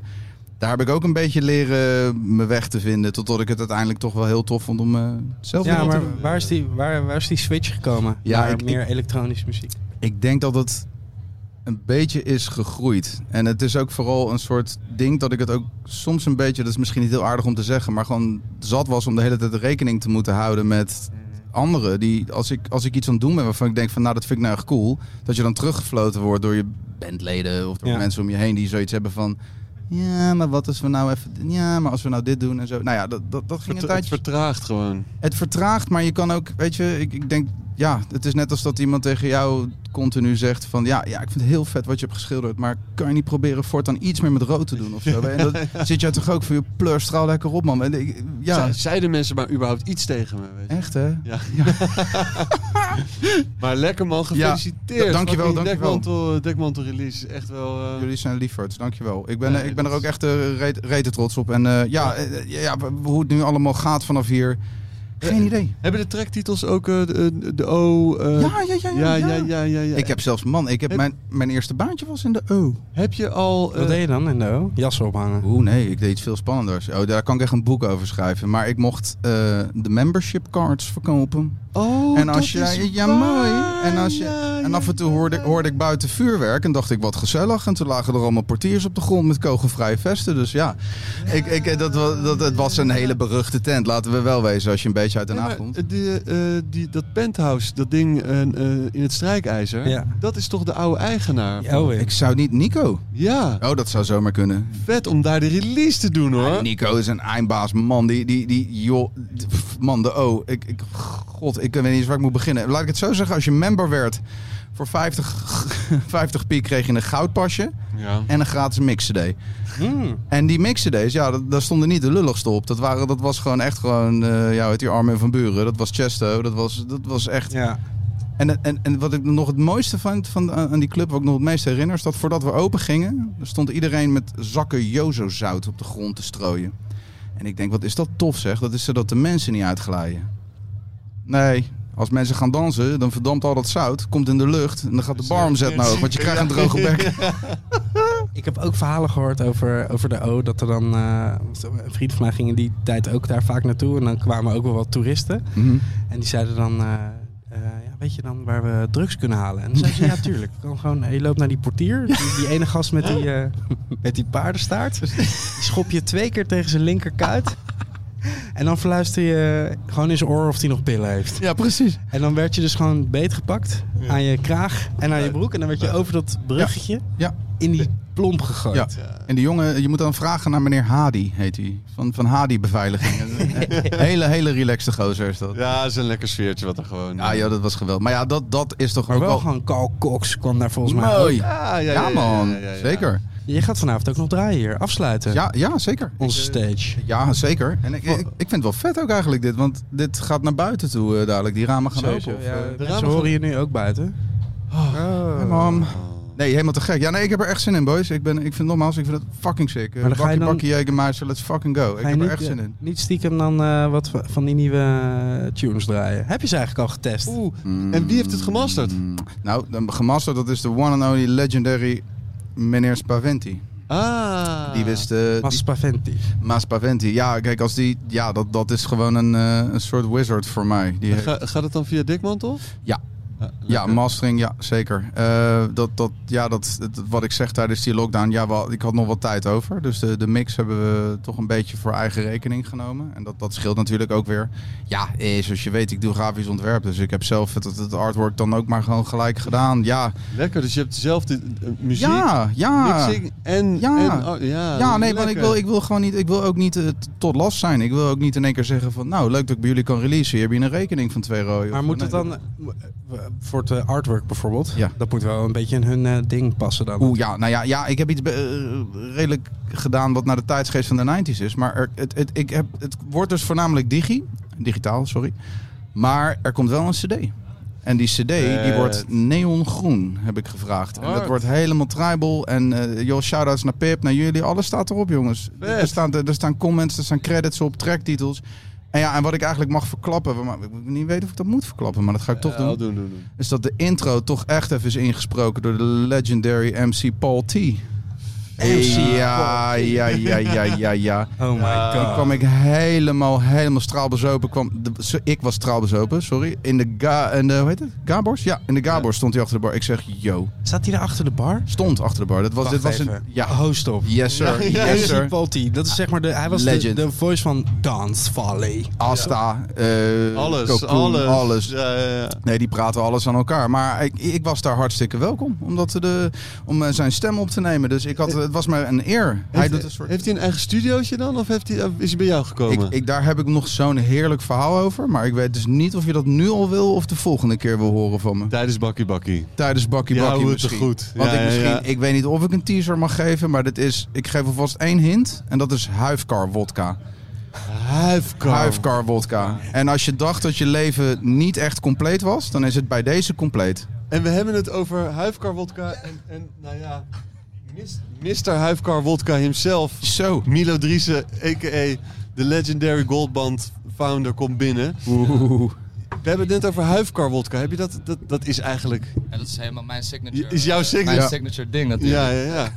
H: Daar heb ik ook een beetje leren me weg te vinden. Totdat ik het uiteindelijk toch wel heel tof vond om eh, zelf weer
A: Ja,
H: wat te
A: maar waar is die, waar, waar is die switch gekomen?
H: Ja,
A: Ja,
H: ik-
A: meer elektronische muziek.
H: ik denk dat het. eh, een beetje is gegroeid. En het is ook vooral een soort ding dat ik het ook soms een beetje, dat is misschien niet heel aardig om te zeggen, maar gewoon zat was om de hele tijd rekening te moeten houden met anderen. Die, als ik, als ik iets aan het doen ben waarvan ik denk van nou dat vind ik nou echt cool, dat je dan teruggefloten wordt door je bandleden of door
A: Ja.
H: mensen om je heen die zoiets hebben van ja, maar wat als we nou even, ja, maar als we nou dit doen en zo. Nou ja, dat, dat, dat ging een
B: Vertra- het
H: tijdje.
B: vertraagt gewoon.
H: Het vertraagt, maar je kan ook, weet je, ik, ik denk, ja, het is net als dat iemand tegen jou continu zegt van, ja, ja, ik vind het heel vet wat je hebt geschilderd, maar kan je niet proberen voortaan iets meer met rood te doen of zo? En dan zit jij toch ook voor je pleur, straal lekker op, man. En ik- Ja,
B: Ze- Zeiden mensen maar überhaupt iets tegen me? Weet je?
H: echt hè?
B: Maar lekker man, gefeliciteerd.
H: Ja, dankjewel,
B: Fucking
H: dankjewel.
B: Dekmantel, eh, dekmantel release is echt wel... eh,
H: Jullie zijn liefhebs, dankjewel. Ik ben,
B: Nee,
H: eh, ik ben er
B: dat
H: ook
B: is-
H: echt eh, reet- rete trots op. En eh, ja, eh, ja, ja, w- hoe het nu allemaal gaat vanaf hier, geen
B: Eh,
H: idee.
B: Hebben de tracktitels ook eh, de, de O? eh,
H: Ja, ja, ja, ja.
B: ja, ja, ja, ja.
H: Ik heb zelfs, man, ik heb
B: Het-
H: mijn, mijn eerste baantje was in de O.
B: Heb je al... eh,
A: Wat deed je dan in de O? Jassen ophangen.
H: Oeh, nee, ik deed iets veel spannenders. Oh, daar kan ik echt een boek over schrijven. Maar ik mocht eh, de membership cards verkopen.
B: oh,
H: en als
B: dat
H: je,
B: is
H: ja,
B: waar.
H: mooi. En als je,
B: Ja,
H: en
B: ja,
H: af en toe hoorde,
B: ja.
H: hoorde ik buiten vuurwerk en dacht ik wat gezellig. En toen lagen er allemaal portiers op de grond met kogelvrije vesten. Dus ja, ik, ik, dat, wa- dat, het was een hele beruchte tent. Laten we wel wezen als je een beetje uit Den
B: Ja,
H: Haag
B: maar,
H: komt.
B: eh, die, eh, die, dat penthouse, dat ding eh, eh, in het strijkijzer,
A: Ja.
B: dat is toch de oude eigenaar? Ja.
A: Oh,
H: eh, Ik zou niet Nico. Oh, dat zou zomaar kunnen.
B: vet om daar de release te doen hoor.
H: Nico is een eindbaas, man. Die, die, die, joh, pff, man, de O. Ik, ik, god, ik weet niet eens waar ik moet beginnen. Laat ik het zo zeggen, als je member werd voor 50, 50 piek kreeg je een goudpasje
B: Ja.
H: en een gratis mix-cd. En die mix-cd's, ja, dat, daar stonden niet de lulligste op. Dat, waren, dat was gewoon echt gewoon, eh ja, het die Armin van Buren. Dat was Chesto, dat was, dat was echt...
A: Ja.
H: En, en, en wat ik nog het mooiste vond van, eh, aan aan die club, wat ik nog het meest herinner, is dat voordat we open gingen, er stond iedereen met zakken Jozo-zout op de grond te strooien. En ik denk, wat is dat tof zeg? Dat is zodat de mensen niet uitglijden. Nee, als mensen gaan dansen, dan verdampt al dat zout, komt in de lucht en dan gaat de bar omzet naar hoog, want je krijgt een droge bek.
A: Ik heb ook verhalen gehoord over, over de O. Dat er dan. eh, een vriend van mij ging in die tijd ook daar vaak naartoe. En dan kwamen ook wel wat toeristen.
H: Mhm.
A: En die zeiden dan. eh, eh, ja, weet je dan waar we drugs kunnen halen? En dan zeiden ze, ja tuurlijk. Kan gewoon, je loopt naar die portier. Die, die ene gast met die, eh, met die paardenstaart. Die schop je twee keer tegen zijn linkerkuit. En dan verluister je gewoon in zijn oor of hij nog pillen heeft.
H: Ja, precies.
A: En dan werd je dus gewoon beetgepakt aan je kraag en aan je broek. En dan werd je over dat bruggetje
H: Ja.
A: in die plomp gegooid.
H: Ja. En die jongen, je moet dan vragen naar meneer Hadi, heet hij. Van, van Hadi Beveiliging. hele, hele relaxte gozer is dat.
B: Ja, is een lekker sfeertje wat er gewoon... eh,
H: Ja, joh, dat was geweldig. Maar ja, dat, dat is toch
A: Maar
H: ook
A: wel
H: wel
A: gewoon Carl Cox kwam daar volgens mij Ah, ook.
H: mooi.
B: Ah, Ja, ja,
H: Ja, man.
B: ja, ja, ja.
H: Zeker.
A: Je gaat vanavond ook nog draaien hier. Afsluiten.
H: Ja, ja, zeker.
A: Onze
B: eh,
A: stage.
H: Ja, zeker. En ik, ik, ik vind het wel vet ook eigenlijk dit. Want dit gaat naar buiten toe eh, dadelijk. Die ramen gaan
A: Sowieso,
H: open. Of,
A: ja,
H: eh, Oh,
A: de mensen horen je nu ook buiten.
B: Oh.
H: hey, mam. Nee, helemaal te gek. Ja, nee, ik heb er echt zin in, boys. Ik, ben, ik vind nogmaals, ik vind het fucking sick. Eh,
A: Maar dan ga je
H: Bakkie,
A: dan-
H: bakkie, Jägermeister, let's fucking go. Ik
A: Ga je
H: heb er
A: niet,
H: echt
A: eh,
H: zin in.
A: Niet stiekem dan eh, wat va- van die nieuwe eh, tunes draaien. Heb je ze eigenlijk al getest?
B: Oeh, en wie heeft het gemasterd?
H: Mm, Nou, de gemasterd, dat is de one and only legendary meneer Spaventi.
B: Ah.
H: Die wist... eh,
A: Mas
H: die-
A: Paventi.
H: Maas Spaventi. Ja, kijk, als die... Ja, dat, dat is gewoon een, eh, een soort wizard voor mij. Die eh, heeft-
B: Ga- gaat het dan via Dikmantel?
H: Ja.
B: Ah,
H: Ja,
B: lekker.
H: mastering, ja, zeker. Eh, dat, dat, ja, dat, het- wat ik zeg tijdens die lockdown, ja, wel, ik had nog wat tijd over. Dus de, de mix hebben we toch een beetje voor eigen rekening genomen. En dat, dat scheelt natuurlijk ook weer. Ja, eh, zoals je weet, ik doe grafisch ontwerp. Dus ik heb zelf het, het artwork dan ook maar gewoon gelijk gedaan. Ja,
B: Lekker, dus je hebt zelf de eh, muziek,
H: ja, ja.
B: mixing en...
H: Ja.
B: en oh, ja,
H: Ja, nee, maar
B: lekker.
H: ik wil, ik wil gewoon niet, ik wil ook niet eh, t- tot last zijn. Ik wil ook niet in één keer zeggen van, nou, leuk dat ik bij jullie kan releasen. Hier heb je een rekening van twee rode.
A: Maar
H: Of-
A: moet
H: nee,
A: het dan, eh, w- voor het eh, artwork bijvoorbeeld,
H: Ja.
A: dat moet wel een beetje in hun eh, ding passen dan.
H: Oeh, ja, nou ja, ja ik heb iets be- eh, redelijk gedaan wat naar de tijdsgeest van de 90s is. Maar er, het, het, ik heb, het wordt dus voornamelijk digi, digitaal, sorry. Maar er komt wel een cd. En die cd die
A: Eh,
B: Vet.
H: wordt neongroen, heb ik gevraagd. En dat
B: Hard. wordt
H: wordt helemaal tribal. En eh joh, shout-outs naar Pip, naar jullie. Alles staat erop, jongens.
B: Vet.
H: Er staan, er staan comments, er staan credits op, tracktitels. En ja, en wat ik eigenlijk mag verklappen... Maar ik moet niet weten of ik dat moet verklappen, maar dat ga ik toch
B: Ja,
H: doen
B: eh, oh, doen, doen, doen.
H: is dat de intro toch echt even is ingesproken door de legendary MC Paul T. Ja, ja, ja, ja, ja, ja.
A: Oh my
H: Toen kwam ik helemaal, helemaal straalbezopen. Kwam de, zo- ik was straalbezopen, sorry. In de, ga, in de hoe heet het? Gabors? Ja, in de Gabors stond hij achter de bar. Ik zeg, yo.
A: Staat hij daar achter de bar?
H: Stond achter de bar. Dat was,
A: Wacht
H: dit was
A: even. Oh,
H: een... Ja.
A: Host op.
H: Yes, sir. Yes,
A: Yes,
H: sir.
A: Dat is zeg maar de, hij was de,
H: Legend.
A: de voice van Dance Valley.
H: Asta. eh,
B: Alles,
H: Cocoon,
B: alles.
H: alles.
B: Ja, ja, ja.
H: Nee, die praten alles aan elkaar. Maar ik, ik was daar hartstikke welkom. Omdat de, om eh, zijn stem op te nemen. Dus ik had, het was me een eer. Hij
B: Heeft,
H: doet een soort...
B: heeft hij een eigen studiootje dan? Of heeft hij, is hij bij jou gekomen?
H: Ik, ik, daar heb ik nog zo'n heerlijk verhaal over. Maar ik weet dus niet of je dat nu al wil of de volgende keer wil horen van me.
B: Tijdens Bakkie Bakkie.
H: Tijdens Bakkie
B: Die
H: Bakkie
B: houden we te
H: misschien.
B: goed.
H: Want
B: Ja,
H: ik,
B: ja,
H: misschien,
B: ja.
H: ik weet niet of ik een teaser mag geven. Maar dit is, ik geef alvast één hint. En dat is huifkar wodka.
B: Huifkar.
H: Huifkar wodka. En als je dacht dat je leven niet echt compleet was. Dan is het bij deze compleet.
B: En we hebben het over Huifkar Wodka en, en nou ja, mis- Mr. Huifkar Wodka himself.
H: Zo.
B: Milo Driessen, a.k.a. de legendary goldband founder, komt binnen. We hebben het net over Huifkar Wodka. Heb je dat? Dat, dat is eigenlijk...
I: En dat is helemaal mijn signature.
B: Is jouw
I: eh,
B: signature-
I: Mijn
H: Ja.
I: signature ding natuurlijk.
B: Ja, ja,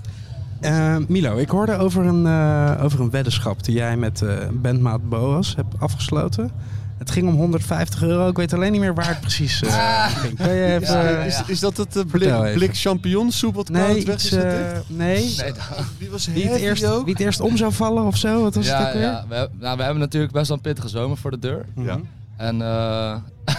B: ja.
A: Eh, Milo, ik hoorde over een, eh, over een weddenschap die jij met eh, bandmaat Boas hebt afgesloten. Het ging om 150 euro. Ik weet alleen niet meer waar het precies eh,
H: Ah.
A: ging. Kan je even... eh,
B: Is, is dat het eh,
A: Vertel
B: blik,
A: even.
B: blik champignonsoep wat
A: Nee,
B: koud weg
A: iets,
B: is? dat
A: eh,
B: dit?
A: nee.
I: Nee, dat-
B: Die was
A: Wie het,
B: heavy
A: eerst,
B: ook.
A: wie het eerst om zou vallen of zo? Wat was het
I: ja,
A: ook weer?
I: ja. We, heb- nou, we hebben natuurlijk best wel een pittige zomer voor de deur.
B: Ja.
A: Mhm.
I: En eh,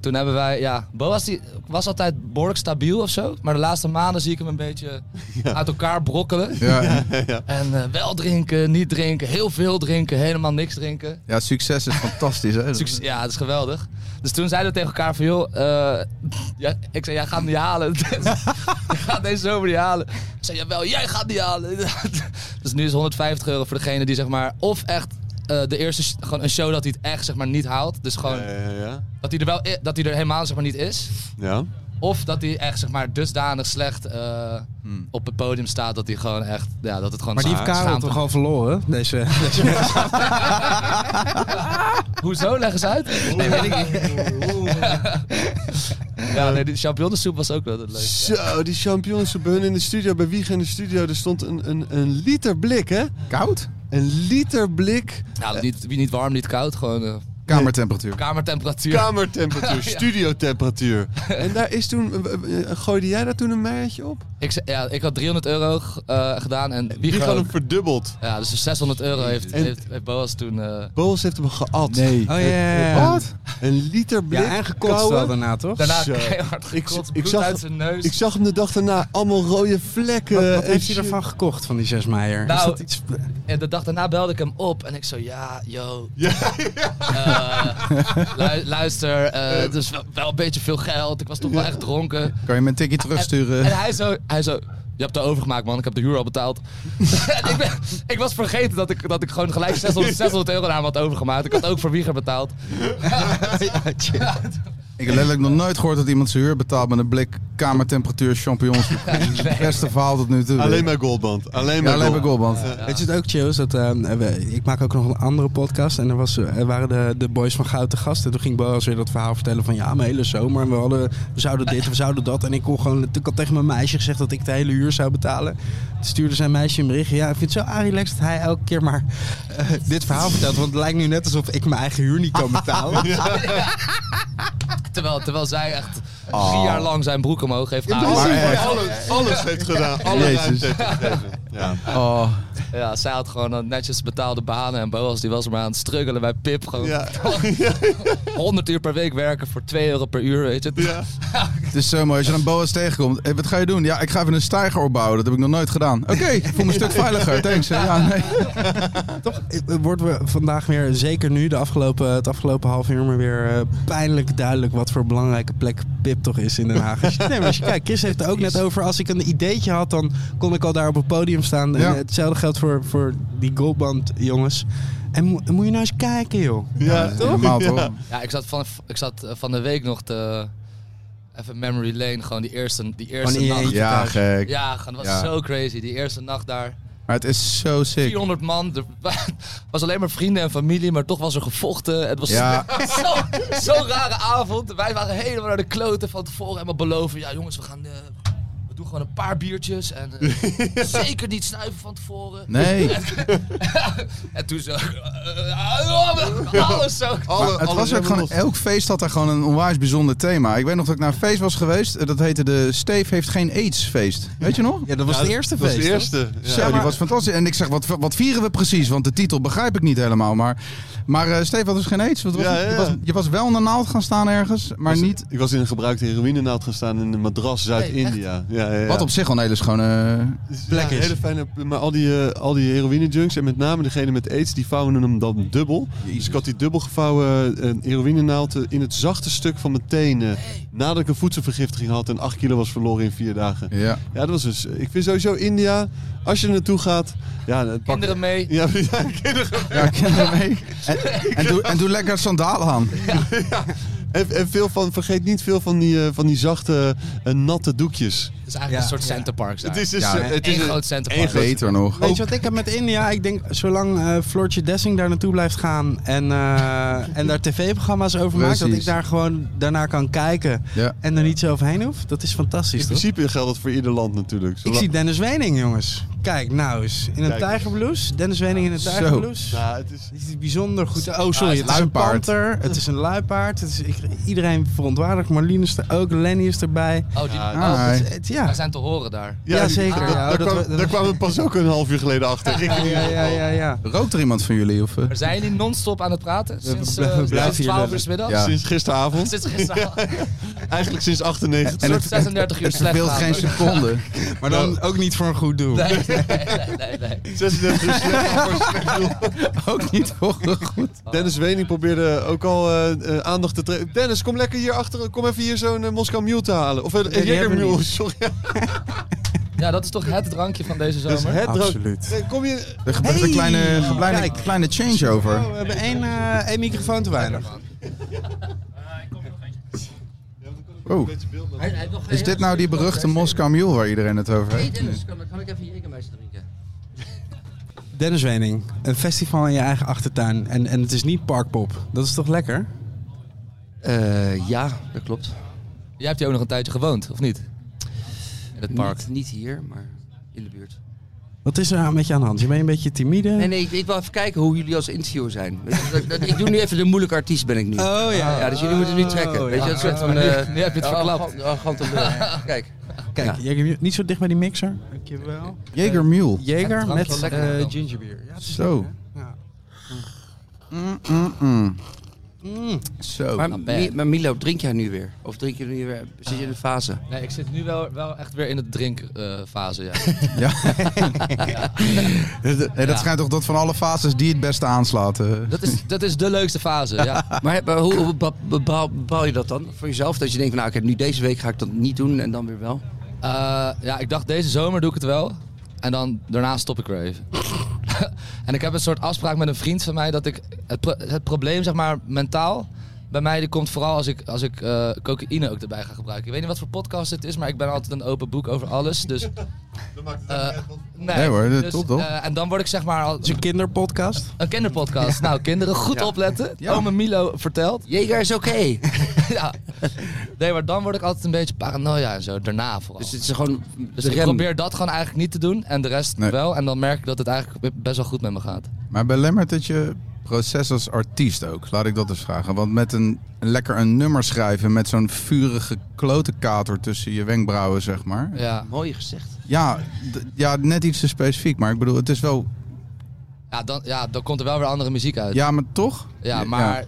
I: toen hebben wij, ja, Bo was, die, was altijd behoorlijk stabiel of zo. Maar de laatste maanden zie ik hem een beetje uit elkaar brokkelen.
H: Ja,
I: En eh, wel drinken, niet drinken, heel veel drinken, helemaal niks drinken.
H: ja succes is fantastisch. Hè?
B: Mhm.
I: Succes- Ja, dat is geweldig. Dus toen zeiden we tegen elkaar van, joh, eh, ja, ik zei, jij gaat hem niet halen. Je gaat deze zomer niet halen. Ik zei, jawel, jij gaat niet halen. dus nu is 150 euro voor degene die zeg maar, of echt eh, de eerste, sh- gewoon een show dat hij het echt zeg maar niet haalt. Dus gewoon,
B: Ja, ja, ja.
I: dat hij er wel, i- dat hij er helemaal zeg maar niet is.
B: ja.
I: Of dat hij echt zeg maar dusdanig slecht eh, op het podium staat dat hij gewoon echt, ja, dat het gewoon
A: Hmm. Maar die
H: Ah,
A: heeft
I: scha-
A: Karel
I: schaamte-
A: toch al verloren? Deze, deze
I: Hoezo? Leg eens uit. Nee, weet ik niet. ja, nee, die champignonsoep was ook wel leuk. ja.
B: Zo, die champignonsoep bij hun in de studio, bij Wieg in de studio, er stond een, een, een liter blik, hè?
H: Koud?
B: Een liter blik
I: Nou, niet, niet warm, niet koud, gewoon eh,
H: Kamertemperatuur.
I: kamertemperatuur.
B: kamertemperatuur,
I: Ja.
B: studiotemperatuur. En daar is toen, eh, eh, gooide jij daar toen een meiertje op?
I: ik, ze- ja, ik had 300 euro eh, gedaan en wie
B: Die gaan hem
I: ook.
B: verdubbeld.
I: Ja, dus 600 euro heeft,
B: En-
I: heeft, heeft Boas toen... eh,
B: Boos heeft hem geat.
H: Nee.
A: Oh ja, ja, ja.
B: Wat? Een liter blik.
A: Ja, en gekotst
B: koude.
A: wel daarna, toch?
I: daarna
B: Zo.
I: keihard
B: Ik-
I: gekotst,
B: ik
I: bloed
B: zag-
I: uit zijn neus.
B: Ik zag hem de dag daarna, allemaal rode vlekken.
A: Wat, wat
B: en
A: heeft hij
B: shit.
A: ervan gekocht, van die 6 meijer?
I: Nou,
A: is dat iets...
I: En de dag daarna belde ik hem op en ik zo, ja, yo.
B: Ja.
I: eh, lu- luister, eh, het is wel, wel een beetje veel geld. Ik was toch wel echt dronken.
H: Kan je me een tikje
I: En
H: terugsturen?
I: hij zo, hij zo, je hebt de overgemaakt man, ik heb de huur al betaald. En ik, ben, ik was vergeten dat ik, dat ik gewoon gelijk 600, 600 euro aan hem had overgemaakt. Ik had ook voor Wieger betaald.
H: Ik heb letterlijk nog nooit gehoord dat iemand zijn huur betaalt met een blik kamertemperatuur champignons. Het beste verhaal tot nu toe.
B: Alleen maar goldband. Alleen maar
H: ja, alleen maar
B: gold.
H: goalband.
A: Weet je het ook, Chill? is Dat, eh, we- ik maak ook nog een andere podcast. En er, was, er waren de, de boys van Goud te gast. En toen ging Boas weer dat verhaal vertellen van... Ja, mijn hele zomer. En we, hadden, we zouden dit, we zouden dat. En ik kon gewoon... Ik had tegen mijn meisje gezegd dat ik de hele huur zou betalen. Toen stuurde zijn meisje een berichtje. Ja, ik vind het zo relaxed dat hij elke keer maar eh, dit verhaal vertelt. Want het lijkt nu net alsof ik mijn eigen huur niet kan betalen.
I: Terwijl, terwijl zij echt
H: Ah.
I: drie jaar lang zijn broek omhoog heeft gehouden.
B: Maar echt, alles, alles heeft gedaan. Alle
H: Jezus.
B: ruimte heeft gegeven. Ja.
H: Oh,
I: Ja, zij had gewoon een netjes betaalde banen. En Boas die was maar aan het struggelen bij Pip. Gewoon
B: Ja.
I: 100 uur per week werken voor 2 euro per uur, weet je.
B: Ja.
H: het is zo mooi. Als je dan Boas tegenkomt, hey, wat ga je doen? Ja, ik ga even een stijger opbouwen. Dat heb ik nog nooit gedaan. Oké, ik voel me een stuk veiliger. Thanks. Ja, nee.
A: Toch eh, worden we vandaag weer, zeker nu, de afgelopen, het afgelopen half uur, maar weer eh, pijnlijk duidelijk wat voor belangrijke plek Pip toch is in Den Haag. Als je- nee, maar als je kijkt, Chris heeft er ook net over, als ik een ideetje had, dan kon ik al daar op het podium staan. En,
H: Ja.
A: eh, hetzelfde geldt voor, voor die goalband jongens. En mo- moet je nou eens kijken, joh.
B: Ja.
H: Normaal toch?
I: Ja, ik zat van, ik zat eh, van de week nog te... Even memory lane, gewoon die eerste, die eerste
A: in je
I: nacht.
A: eentje.
H: Ja, gek.
I: Ja, gewoon, dat was
H: Ja.
I: zo crazy. Die eerste nacht daar.
H: Maar het is zo sick.
I: 400 man. Er wa- was alleen maar vrienden en familie, maar toch was er gevochten. Het was
H: Ja.
I: zo- zo'n rare avond. Wij waren helemaal naar de kloten van tevoren. Helemaal beloven, ja jongens, we gaan... eh, We doen gewoon een paar biertjes en eh, zeker niet snuiven van tevoren.
H: Nee.
I: En toen zo... alles zo...
B: Alle-
H: Maar het
B: alle
H: was ook
B: remmen
H: gewoon,
B: los.
H: elk feest had daar gewoon een onwijs bijzonder thema. Ik weet nog dat ik naar een feest was geweest. eh, Dat heette de Steef heeft geen aids feest. Weet je nog?
A: Ja, dat was het eerste
B: Dat
A: feest.
B: was de
A: toch?
B: eerste.
H: Zo, die was fantastisch. En ik zeg, wat, wat vieren we precies? Want de titel begrijp ik niet helemaal. Maar, maar eh Steef had dus geen aids. Want het was,
B: Ja, ja, ja.
H: Je, was, je was wel naar naald gaan staan ergens, maar
B: Was-
H: niet...
B: Ik was in een gebruikte heroïnenaald gaan staan in een madras Zuid-India. ja, ja, ja.
H: Wat op zich al een hele schone... eh,
B: plek is. Hele fijne, maar al die, eh, al die heroïne-junks en met name degene met aids, die vouwen hem dan dubbel. Dus ik had die dubbel gevouwen eh, heroïnenaald eh, in het zachte stuk van mijn teen. eh, nadat ik een voedselvergiftiging had en 8 kilo was verloren in vier dagen.
H: Ja.
B: Ja, dat was dus. Ik vind sowieso India, als je er naartoe gaat. Ja, het pak-
I: Kinderen mee.
B: Ja, ja, kinderen.
H: Ja, kinderen mee. En, en, doe, en doe lekker sandalen aan.
B: En, en veel van, vergeet niet veel van die, eh, van die zachte, eh, natte doekjes.
I: Het is eigenlijk
A: Ja,
I: een soort
A: ja.
I: centerparks daar.
B: Het is dus,
H: Ja,
B: eh, het is
I: Eén
B: een-
I: groot centerpark.
B: één groot-
H: Beter nog.
A: Weet je wat ik heb met India? Ik denk, zolang eh Floortje Dessing daar naartoe blijft gaan en, eh, en daar tv-programma's over maakt, dat ik
H: Precies.
A: daar gewoon daarnaar kan kijken
H: Ja.
A: en er niet zo overheen hoef. Dat is fantastisch,
B: In
A: toch?
B: principe geldt dat voor ieder land natuurlijk.
A: Ik
B: Zolang-
A: zie Dennis Wening, jongens. Kijk, nou eens. In een
B: Kijk eens.
A: tijgerblouse. Dennis Wening in een
H: Zo. Nou,
A: tijgerblouse.
B: Ja, het is...
A: Dit is bijzonder goed. Oh,
I: Ah,
A: sorry. Het
I: het
A: is een
H: luipaard.
A: panter. Het is een luipaard. Het is, ik, iedereen verontwaardigd. Marlien is er ook. Lenny is erbij.
I: Oh, die,
B: Ja,
I: oh,
H: Hi.
A: Het- het- ja.
I: wij zijn te horen daar.
A: Ja, zeker.
B: Daar,
A: Ja,
B: daar
A: dat
B: kwam-
A: we- dat-
B: daar kwamen we pas ook een half uur geleden achter. Ik-
A: Ja, ja, ja, ja.
H: Rookt er iemand van jullie? Of, eh?
I: Maar zijn jullie non-stop aan het praten? Sinds, eh,
A: blijven
I: sinds
A: hier
I: 12
A: lullen.
I: uur 's middags?
H: Ja.
B: Sinds gisteravond.
I: Sinds gisteren.
B: Eigenlijk sinds 98.
I: Een soort 36 uur
H: het
I: slecht
H: verveelt
I: gaan.
H: geen seconde.
A: Maar dan ook niet voor een goed doel. dus
I: Nee, nee, nee, nee, nee.
B: 36 uur slecht.
H: Ook niet voor goed.
B: Dennis Wening probeerde ook al eh, eh, aandacht te trekken. Dennis, kom lekker hier achter. Kom even hier zo'n eh, Moskou Mule te halen. Of een
A: die hebben we
B: Mule,
A: niet.
B: sorry.
I: Ja, dat is toch het drankje van deze
B: Dat
I: zomer?
B: is het drank-
E: Absoluut.
B: Nee, Kom je...
H: Er gebeurt een kleine, een kleine, kleine changeover.
A: Oh, we hebben één, eh, één microfoon te weinig.
H: Oh, is dit nou die beruchte Moskou Mule waar iedereen het over heeft?
J: kan, kan ik even Jägermeister drinken?
A: Dennis Wening, een festival in je eigen achtertuin. En, en het is niet parkpop. Dat is toch lekker?
J: ja, dat klopt.
I: Jij hebt hier ook nog een tijdje gewoond, of niet? In het park.
J: Niet, niet hier, maar in de buurt.
A: Wat is er nou met je aan de hand? Je bent een beetje timide.
J: Nee, nee, ik, ik wil even kijken hoe jullie als interviewer zijn. Weet je, dat- dat- ik doe nu even de moeilijke artiest ben ik nu.
A: Oh ja.
J: Ja, dus jullie moeten het nu trekken. Weet je, dat soort van... eh,
I: Oh, Nu heb je het verklapt.
J: arrogant- arrogant om de- Kijk.
A: Kijk, Jager- niet zo dicht bij die mixer. Dankjewel.
H: Jager Mule.
A: Jager
I: drankje
A: met
I: wel lekker
A: eh
I: dan.
A: gingerbeer. Ja,
H: Zo.
A: Ja.
H: Mm, mm, mm.
A: Mm.
H: Zo.
J: Maar,
I: bad.
J: Mi- maar Milo, drink jij nu weer? Of drink je nu weer? Zit je in de fase?
I: Nee, ik zit nu wel, wel echt weer in de drinkfase, ja.
H: Ja. Nee, dat schijnt toch dat van alle fases die het beste aanslaat. eh.
I: Dat is, dat is de leukste fase, ja.
J: Maar, maar hoe hoe bepa- bepaal, bepaal je dat dan voor jezelf? Dat je denkt, van, nou, ik heb nu deze week ga ik dat niet doen en dan weer wel.
I: Eh, ja, ik dacht deze zomer doe ik het wel. En dan daarna stop ik er even. en ik heb een soort afspraak met een vriend van mij dat ik... Het, pro- het probleem, zeg maar, mentaal... Bij mij die komt vooral als ik, als ik eh, cocaïne ook erbij ga gebruiken. Ik weet niet wat voor podcast het is, maar ik ben altijd een open boek over alles. Dus, Eh, nee,
H: Nee hoor, dat
I: dus,
H: top, toch?
I: eh, en dan word ik zeg maar al,
A: Het is een kinderpodcast.
I: een kinderpodcast. Nou, kinderen, goed opletten. Ome Milo vertelt.
J: Jager is oké.
I: ja. Nee, maar dan word ik altijd een beetje paranoia en zo. Daarna vooral.
J: Dus
I: Dus,
J: het is gewoon de
I: ik
J: rem.
I: probeer dat gewoon eigenlijk niet te doen. En de rest
H: Nee.
I: wel. En dan merk ik dat het eigenlijk best wel goed met me gaat.
H: Maar belemmert het je proces als artiest ook? Laat ik dat eens vragen. Want met een lekker een nummer schrijven met zo'n vurige klotenkater tussen je wenkbrauwen, zeg maar.
I: Ja,
J: Mooi gezegd.
H: Ja, d- ja, net iets te specifiek. Maar ik bedoel, het is wel...
I: ja, dan, ja dan komt er wel weer andere muziek uit. Ja,
H: Ja, maar toch?
I: maar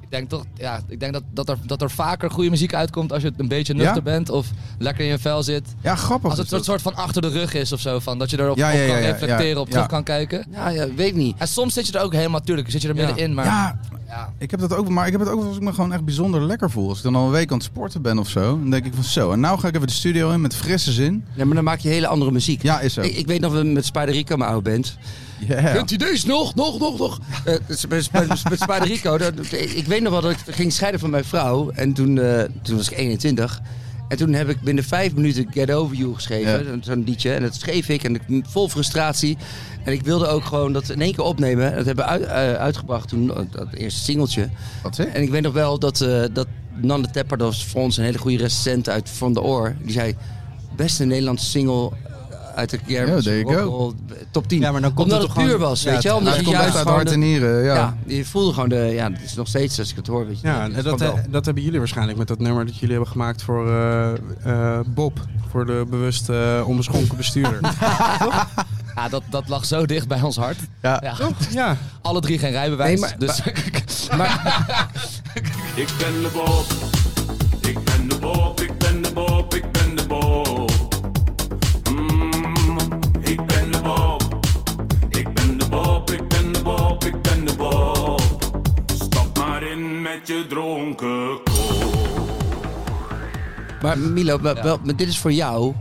I: ik denk toch... Ja, ik denk dat, dat, er, dat er vaker goede muziek uitkomt als je een beetje
H: Ja?
I: nuchter bent. Of lekker in je vel zit.
H: Ja, grappig.
I: Als het
H: is
I: een
H: dat.
I: soort van achter de rug is of zo. Van, dat je erop
H: Ja,
I: op
H: ja, ja,
I: kan
H: ja,
I: reflecteren,
H: ja,
I: op terug
H: ja.
I: kan kijken.
J: Ja, Nou ja, weet niet.
I: En soms zit je er ook helemaal... Tuurlijk, zit je er
J: Ja.
I: middenin. Maar
H: Ja,
I: Ja.
H: ik heb dat ook, maar ik heb het ook wel als ik me gewoon echt bijzonder lekker voel. Als ik dan al een week aan het sporten ben of zo, dan denk ik van zo. En nou ga ik even de studio in met frisse zin.
J: Nee, maar dan maak je hele andere muziek.
H: Ja, is zo.
J: Ik, ik weet nog, we met Spider Rico mijn oude band.
H: Yeah.
J: Kent u deze nog, nog, nog, nog? Eh, dus met Sp- met Spider Rico, dat- dat- ik weet nog wel dat ik ging scheiden van mijn vrouw. En toen, eh, toen was ik 21. En toen heb ik binnen vijf minuten Get Over You geschreven.
H: Ja.
J: Zo'n- Zo'n liedje. En dat schreef ik. En ik, vol frustratie. En ik wilde ook gewoon dat in één keer opnemen. En dat hebben we uit- eh, uitgebracht toen, eh, dat eerste singeltje.
H: Wat zeg?
J: En ik weet nog wel dat, eh dat Nanne Tepper, dat was voor ons een hele goede recensent uit Van de Oor. Die zei, beste Nederlandse single uit de
H: Ja,
J: Gerber
H: there you go.
J: top 10.
A: Ja, maar dan komt
J: Omdat
A: het
J: het,
A: toch
J: puur
A: gewoon-
J: was,
A: Ja,
J: weet je wel?
A: het-
J: Omdat
H: Hij
J: je
H: komt echt
J: juist
H: uit
J: gewoon... de-
H: hart en nieren, ja.
J: Ja, je voelde gewoon de... Ja, het is nog steeds als ik het hoor, weet je.
A: Ja, en dat,
H: wel.
A: eh, dat hebben jullie waarschijnlijk met dat nummer dat jullie hebben gemaakt voor eh, eh, Bob. Voor de bewust eh, onbeschonken bestuurder.
I: Ja, dat, dat lag zo dicht bij ons hart.
H: Ja.
A: ja.
I: Alle drie geen rijbewijs.
J: Nee, maar-
I: dus
F: Ik ben de Bob. Ik ben de Bob, ik ben de Bob, ik ben de Bob. Mm, ik ben de Bob. Ik ben de Bob, ik ben de Bob, ik ben de Bob. Stap maar in met je dronken kop.
J: Maar Milo, wel- wel- maar dit is voor jou.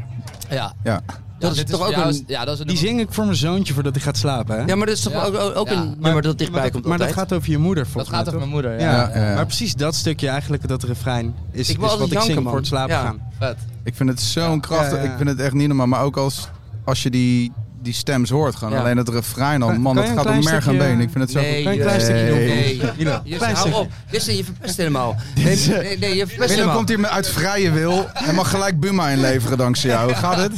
I: ja.
H: Ja.
I: Ja,
J: is
I: dit
J: toch ook
I: ja,
J: een-
I: is- Ja, dat is een
A: Die zing ik voor mijn zoontje voordat hij gaat slapen, hè?
J: Ja, maar dat is toch
I: Ja.
J: ook, ook ook
I: Ja.
J: een nummer dat dichtbij
A: maar dat,
J: komt
A: Maar dat
J: altijd.
A: gaat over je moeder,
I: Dat
A: volgens mij,
I: gaat over
A: toch?
I: mijn moeder, ja.
A: Ja,
H: Ja, ja, ja.
A: maar precies dat stukje eigenlijk, dat refrein, is,
J: Ik
A: is
J: wil altijd
A: wat ik zing
J: janken, man.
A: voor het slapen
J: Ja.
A: gaan.
I: Vet.
H: Ik vind het zo'n krachtig.
A: Ja, ja, ja.
H: Ik vind het echt niet normaal. Maar ook als, als je die, die stems hoort, gewoon
J: Ja.
H: alleen het refrein al.
A: Kan- kan
H: Man, dat
A: je een
H: gaat om
A: klein
H: merg en
A: stukje-
H: been. Ik vind het zo
J: Nee,
H: goed.
A: Kan je een klein stukje doen?
J: Nee.
A: Milo,
J: Jesse,
A: klein
J: hou
A: stukje.
J: op. Jesse, je verpest helemaal. Nee, nee, nee, je verpest
H: Willem
J: helemaal.
H: komt hier met- uit vrije wil en mag gelijk Buma inleveren dankzij jou. Gaat het?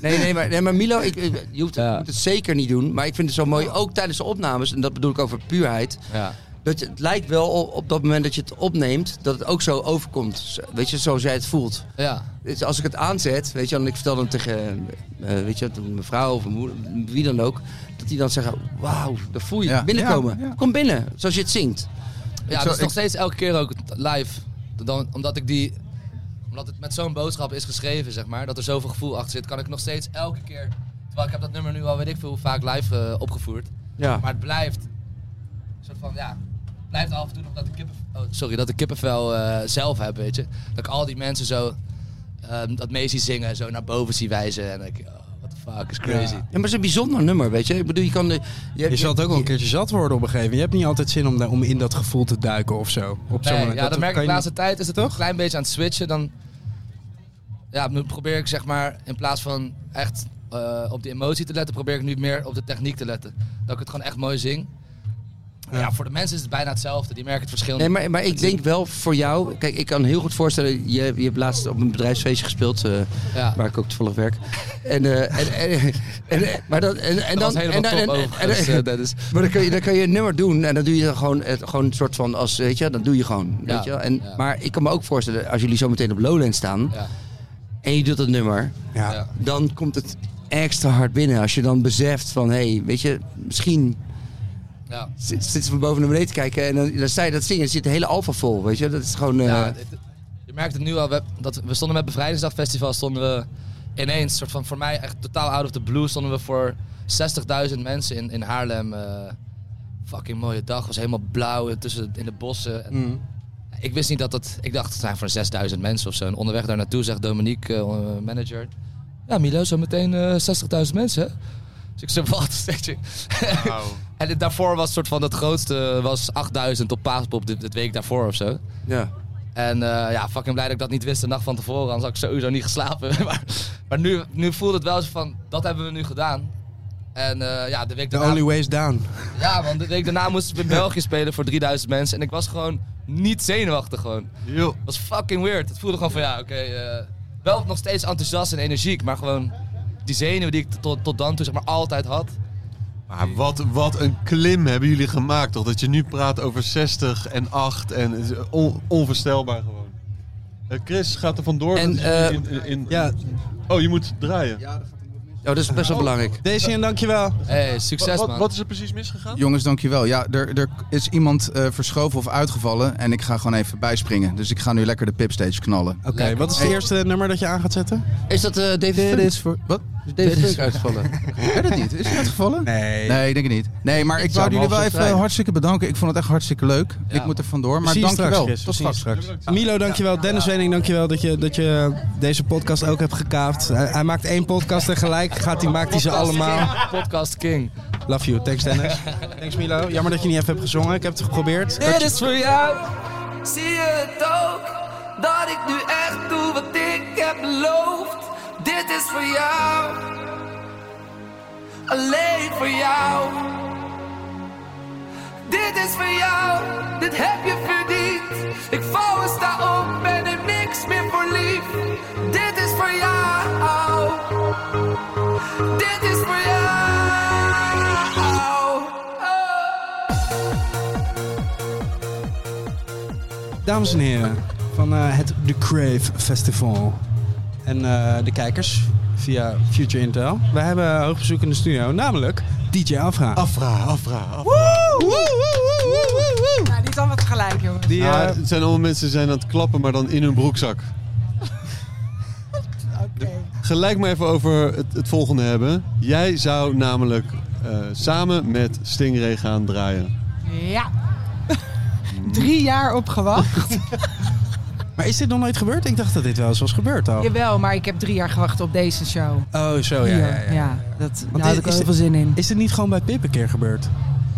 J: Nee, nee, maar, nee, maar Milo, ik, ik- je hoeft, je moet het zeker niet doen. Maar ik vind het zo mooi, ook tijdens de opnames, en dat bedoel ik over puurheid.
I: Ja.
J: Dat je- het lijkt wel op, op dat moment dat je het opneemt, dat het ook zo overkomt. Zo- Weet je, zoals jij het voelt.
I: Ja.
J: Dus als ik het aanzet, weet je, en ik vertel dan tegen, eh, weet je, toen mijn vrouw of mijn moeder, wie dan ook, dat die dan zeggen, wauw, dat voel je
H: Ja.
J: binnenkomen.
H: Ja, ja.
J: Kom binnen, zoals je het zingt.
I: Ja, dus
H: zou-
I: dat is
H: ik-
I: nog steeds elke keer ook live. Dan, omdat ik die omdat het met zo'n boodschap is geschreven, zeg maar, dat er zoveel gevoel achter zit, kan ik nog steeds elke keer. Terwijl ik heb dat nummer nu al weet ik veel hoe vaak live eh, opgevoerd.
J: Ja.
I: Maar het blijft. Een soort van, ja. het Blijft af en toe nog dat ik kippenvel, oh, sorry, dat ik kippenvel eh, zelf heb, weet je. Dat ik al die mensen zo. ehm, dat mee zie zingen, en zo naar boven zie wijzen. En dan denk ik, oh, what the fuck, is crazy.
J: Ja, maar het is een bijzonder nummer, weet je. Ik bedoel, je kan... eh, Je,
A: Je
J: je-
A: zal het ook wel een keertje zat worden op een gegeven moment. Je hebt niet altijd zin om, daar- om in dat gevoel te duiken of zo. Op zo'n
I: Nee,
A: moment.
I: ja, dat merk
A: kan
I: ik de
A: je
I: laatste tijd. Is het toch een klein beetje aan het switchen. Dan ja, nu probeer ik zeg maar in plaats van echt eh, op de emotie te letten, probeer ik nu meer op de techniek te letten. Dat ik het gewoon echt mooi zing. Ja, voor de mensen is het bijna hetzelfde. Die merken het verschil
J: Nee,
I: niet.
J: maar, maar ik denk wel voor jou... Kijk, ik kan heel goed voorstellen... Je, je hebt laatst op een bedrijfsfeestje gespeeld... eh,
I: Ja.
J: waar ik ook toevallig werk. En, eh, en, en, en- maar dan... En, en
I: Dat
J: dan
I: was helemaal
J: en, dan-
I: top
J: en-
I: overigens,
J: en-
I: eh, Dennis.
J: Maar dan kan, je, dan kan je een nummer doen en dan doe je dan gewoon, het, gewoon een soort van als, weet je, dat doe je gewoon.
I: Ja,
J: Weet je? wel. En,
I: ja.
J: Maar ik kan me ook voorstellen, als jullie zo meteen op Lowland staan
I: Ja.
J: en je doet dat nummer,
A: Ja.
I: Ja.
J: dan komt het extra hard binnen. Als je dan beseft van, hé, hey, weet je, misschien
I: Ja.
J: zit- zitten ze van boven naar beneden te kijken en dan, dan sta je dat zingen, zit de hele alfa vol, weet je. Dat is gewoon... eh,
I: Ja, het- je merkt het nu al. We, dat, we stonden met Bevrijdingsdagfestival stonden we ineens, soort van voor mij echt totaal out of the blue, stonden we voor 60.000 mensen in, in Haarlem. eh, fucking mooie dag, was helemaal blauw eh, tussen, in de bossen. En Ik wist niet dat dat. Ik dacht, het zijn voor 6000 mensen of zo. En onderweg daar naartoe zegt Dominique, eh, onze manager. Ja, Milo, zo meteen eh, 60.000 mensen. hè?" Dus ik zei, wat? Weet je? en het daarvoor was soort van het grootste was 8000 op Paaspop, de, de week daarvoor of zo.
J: ja.
I: En eh, ja, fucking blij dat ik dat niet wist de nacht van tevoren, anders had ik sowieso niet geslapen. maar maar nu, nu voelde het wel eens van, dat hebben we nu gedaan. En eh, ja, de week
A: The
I: daarna...
A: only way is down.
I: Ja, want de week daarna moesten we in België spelen voor 3000 mensen. En ik was gewoon niet zenuwachtig gewoon.
B: Yo.
I: Dat was fucking weird. Het voelde gewoon van, ja, oké... eh, wel nog steeds enthousiast en energiek, maar gewoon die zenuw die ik tot, tot dan toe zeg maar altijd had.
B: Maar wat, wat een klim hebben jullie gemaakt, toch? Dat je nu praat over 60 en 8 en het is on- onvoorstelbaar gewoon. Eh, Chris gaat er vandoor.
J: En,
B: Dat is
J: eh,
B: in, in, in-
A: Ja,
B: Oh, je moet draaien.
J: Oh, dat is best wel belangrijk.
A: Daisy, en dankjewel.
I: hey,
B: Wa-
I: succes
B: wat,
I: man.
B: wat is er precies misgegaan?
H: Jongens, dankjewel. Ja, er, er is iemand eh, verschoven of uitgevallen. En ik ga gewoon even bijspringen. Dus ik ga nu lekker de pipstage knallen.
A: Oké, wat is het eerste nummer dat je aan gaat zetten?
J: Is dat eh David Funk?
H: is voor... Wat?
J: Is David Funk uitgevallen?
H: Weet het niet. Is hij uitgevallen?
A: Nee.
H: Nee, ik denk het niet. Nee, maar ik,
J: zou
H: wou
J: hem
H: jullie wel
J: al
H: even
J: vertreinen.
H: hartstikke bedanken. Ik vond het echt hartstikke leuk.
I: Ja.
H: Ik moet er vandoor, maar
A: Zie je straks,
H: dankjewel.
A: Chris.
H: Tot
A: Zie je
H: straks.
A: Milo, dankjewel. Dennis Wening, dankjewel dat je, dat je eh, deze podcast ook hebt gekaapt. Hij, hij maakt één podcast tegelijk. Gaat hij, maakt hij ze allemaal.
I: Podcast King.
A: Love you. Thanks Dennis. Thanks Milo. Jammer dat je niet even hebt gezongen. Ik heb het geprobeerd.
I: Dit is voor jou. Zie je het ook? Dat ik nu echt doe wat ik heb beloofd. Dit is voor jou. Alleen voor jou. Dit is voor jou. Dit heb je verdiend. Ik val en sta op en neem niks meer voor lief. Dit is voor jou.
A: Dames en heren, van eh, het The Crave Festival. En eh, de kijkers via Future Intel. We hebben hoog bezoek in de studio, namelijk DJ Afra.
B: Afra, afra, afra.
K: Nou, niet allemaal tegelijk, jongen.
A: Die,
G: Nou,
A: eh,
B: Ja, het zijn allemaal mensen die zijn aan het klappen, maar dan in hun broekzak. Gelijk maar even over het, het volgende hebben. Jij zou namelijk eh, samen met Stingray gaan draaien.
K: Ja.
A: Mm.
K: Drie jaar op gewacht.
A: Maar is dit nog nooit gebeurd? Ik dacht dat dit wel eens was gebeurd al.
K: Jawel, maar ik heb drie jaar gewacht op deze show.
A: Oh, zo ja.
K: Hier.
A: ja, ja.
K: dat,
A: dit
K: daar had ik
A: is
K: wel heel
A: de-
K: veel zin in.
A: Is dit niet gewoon bij Pip een keer gebeurd?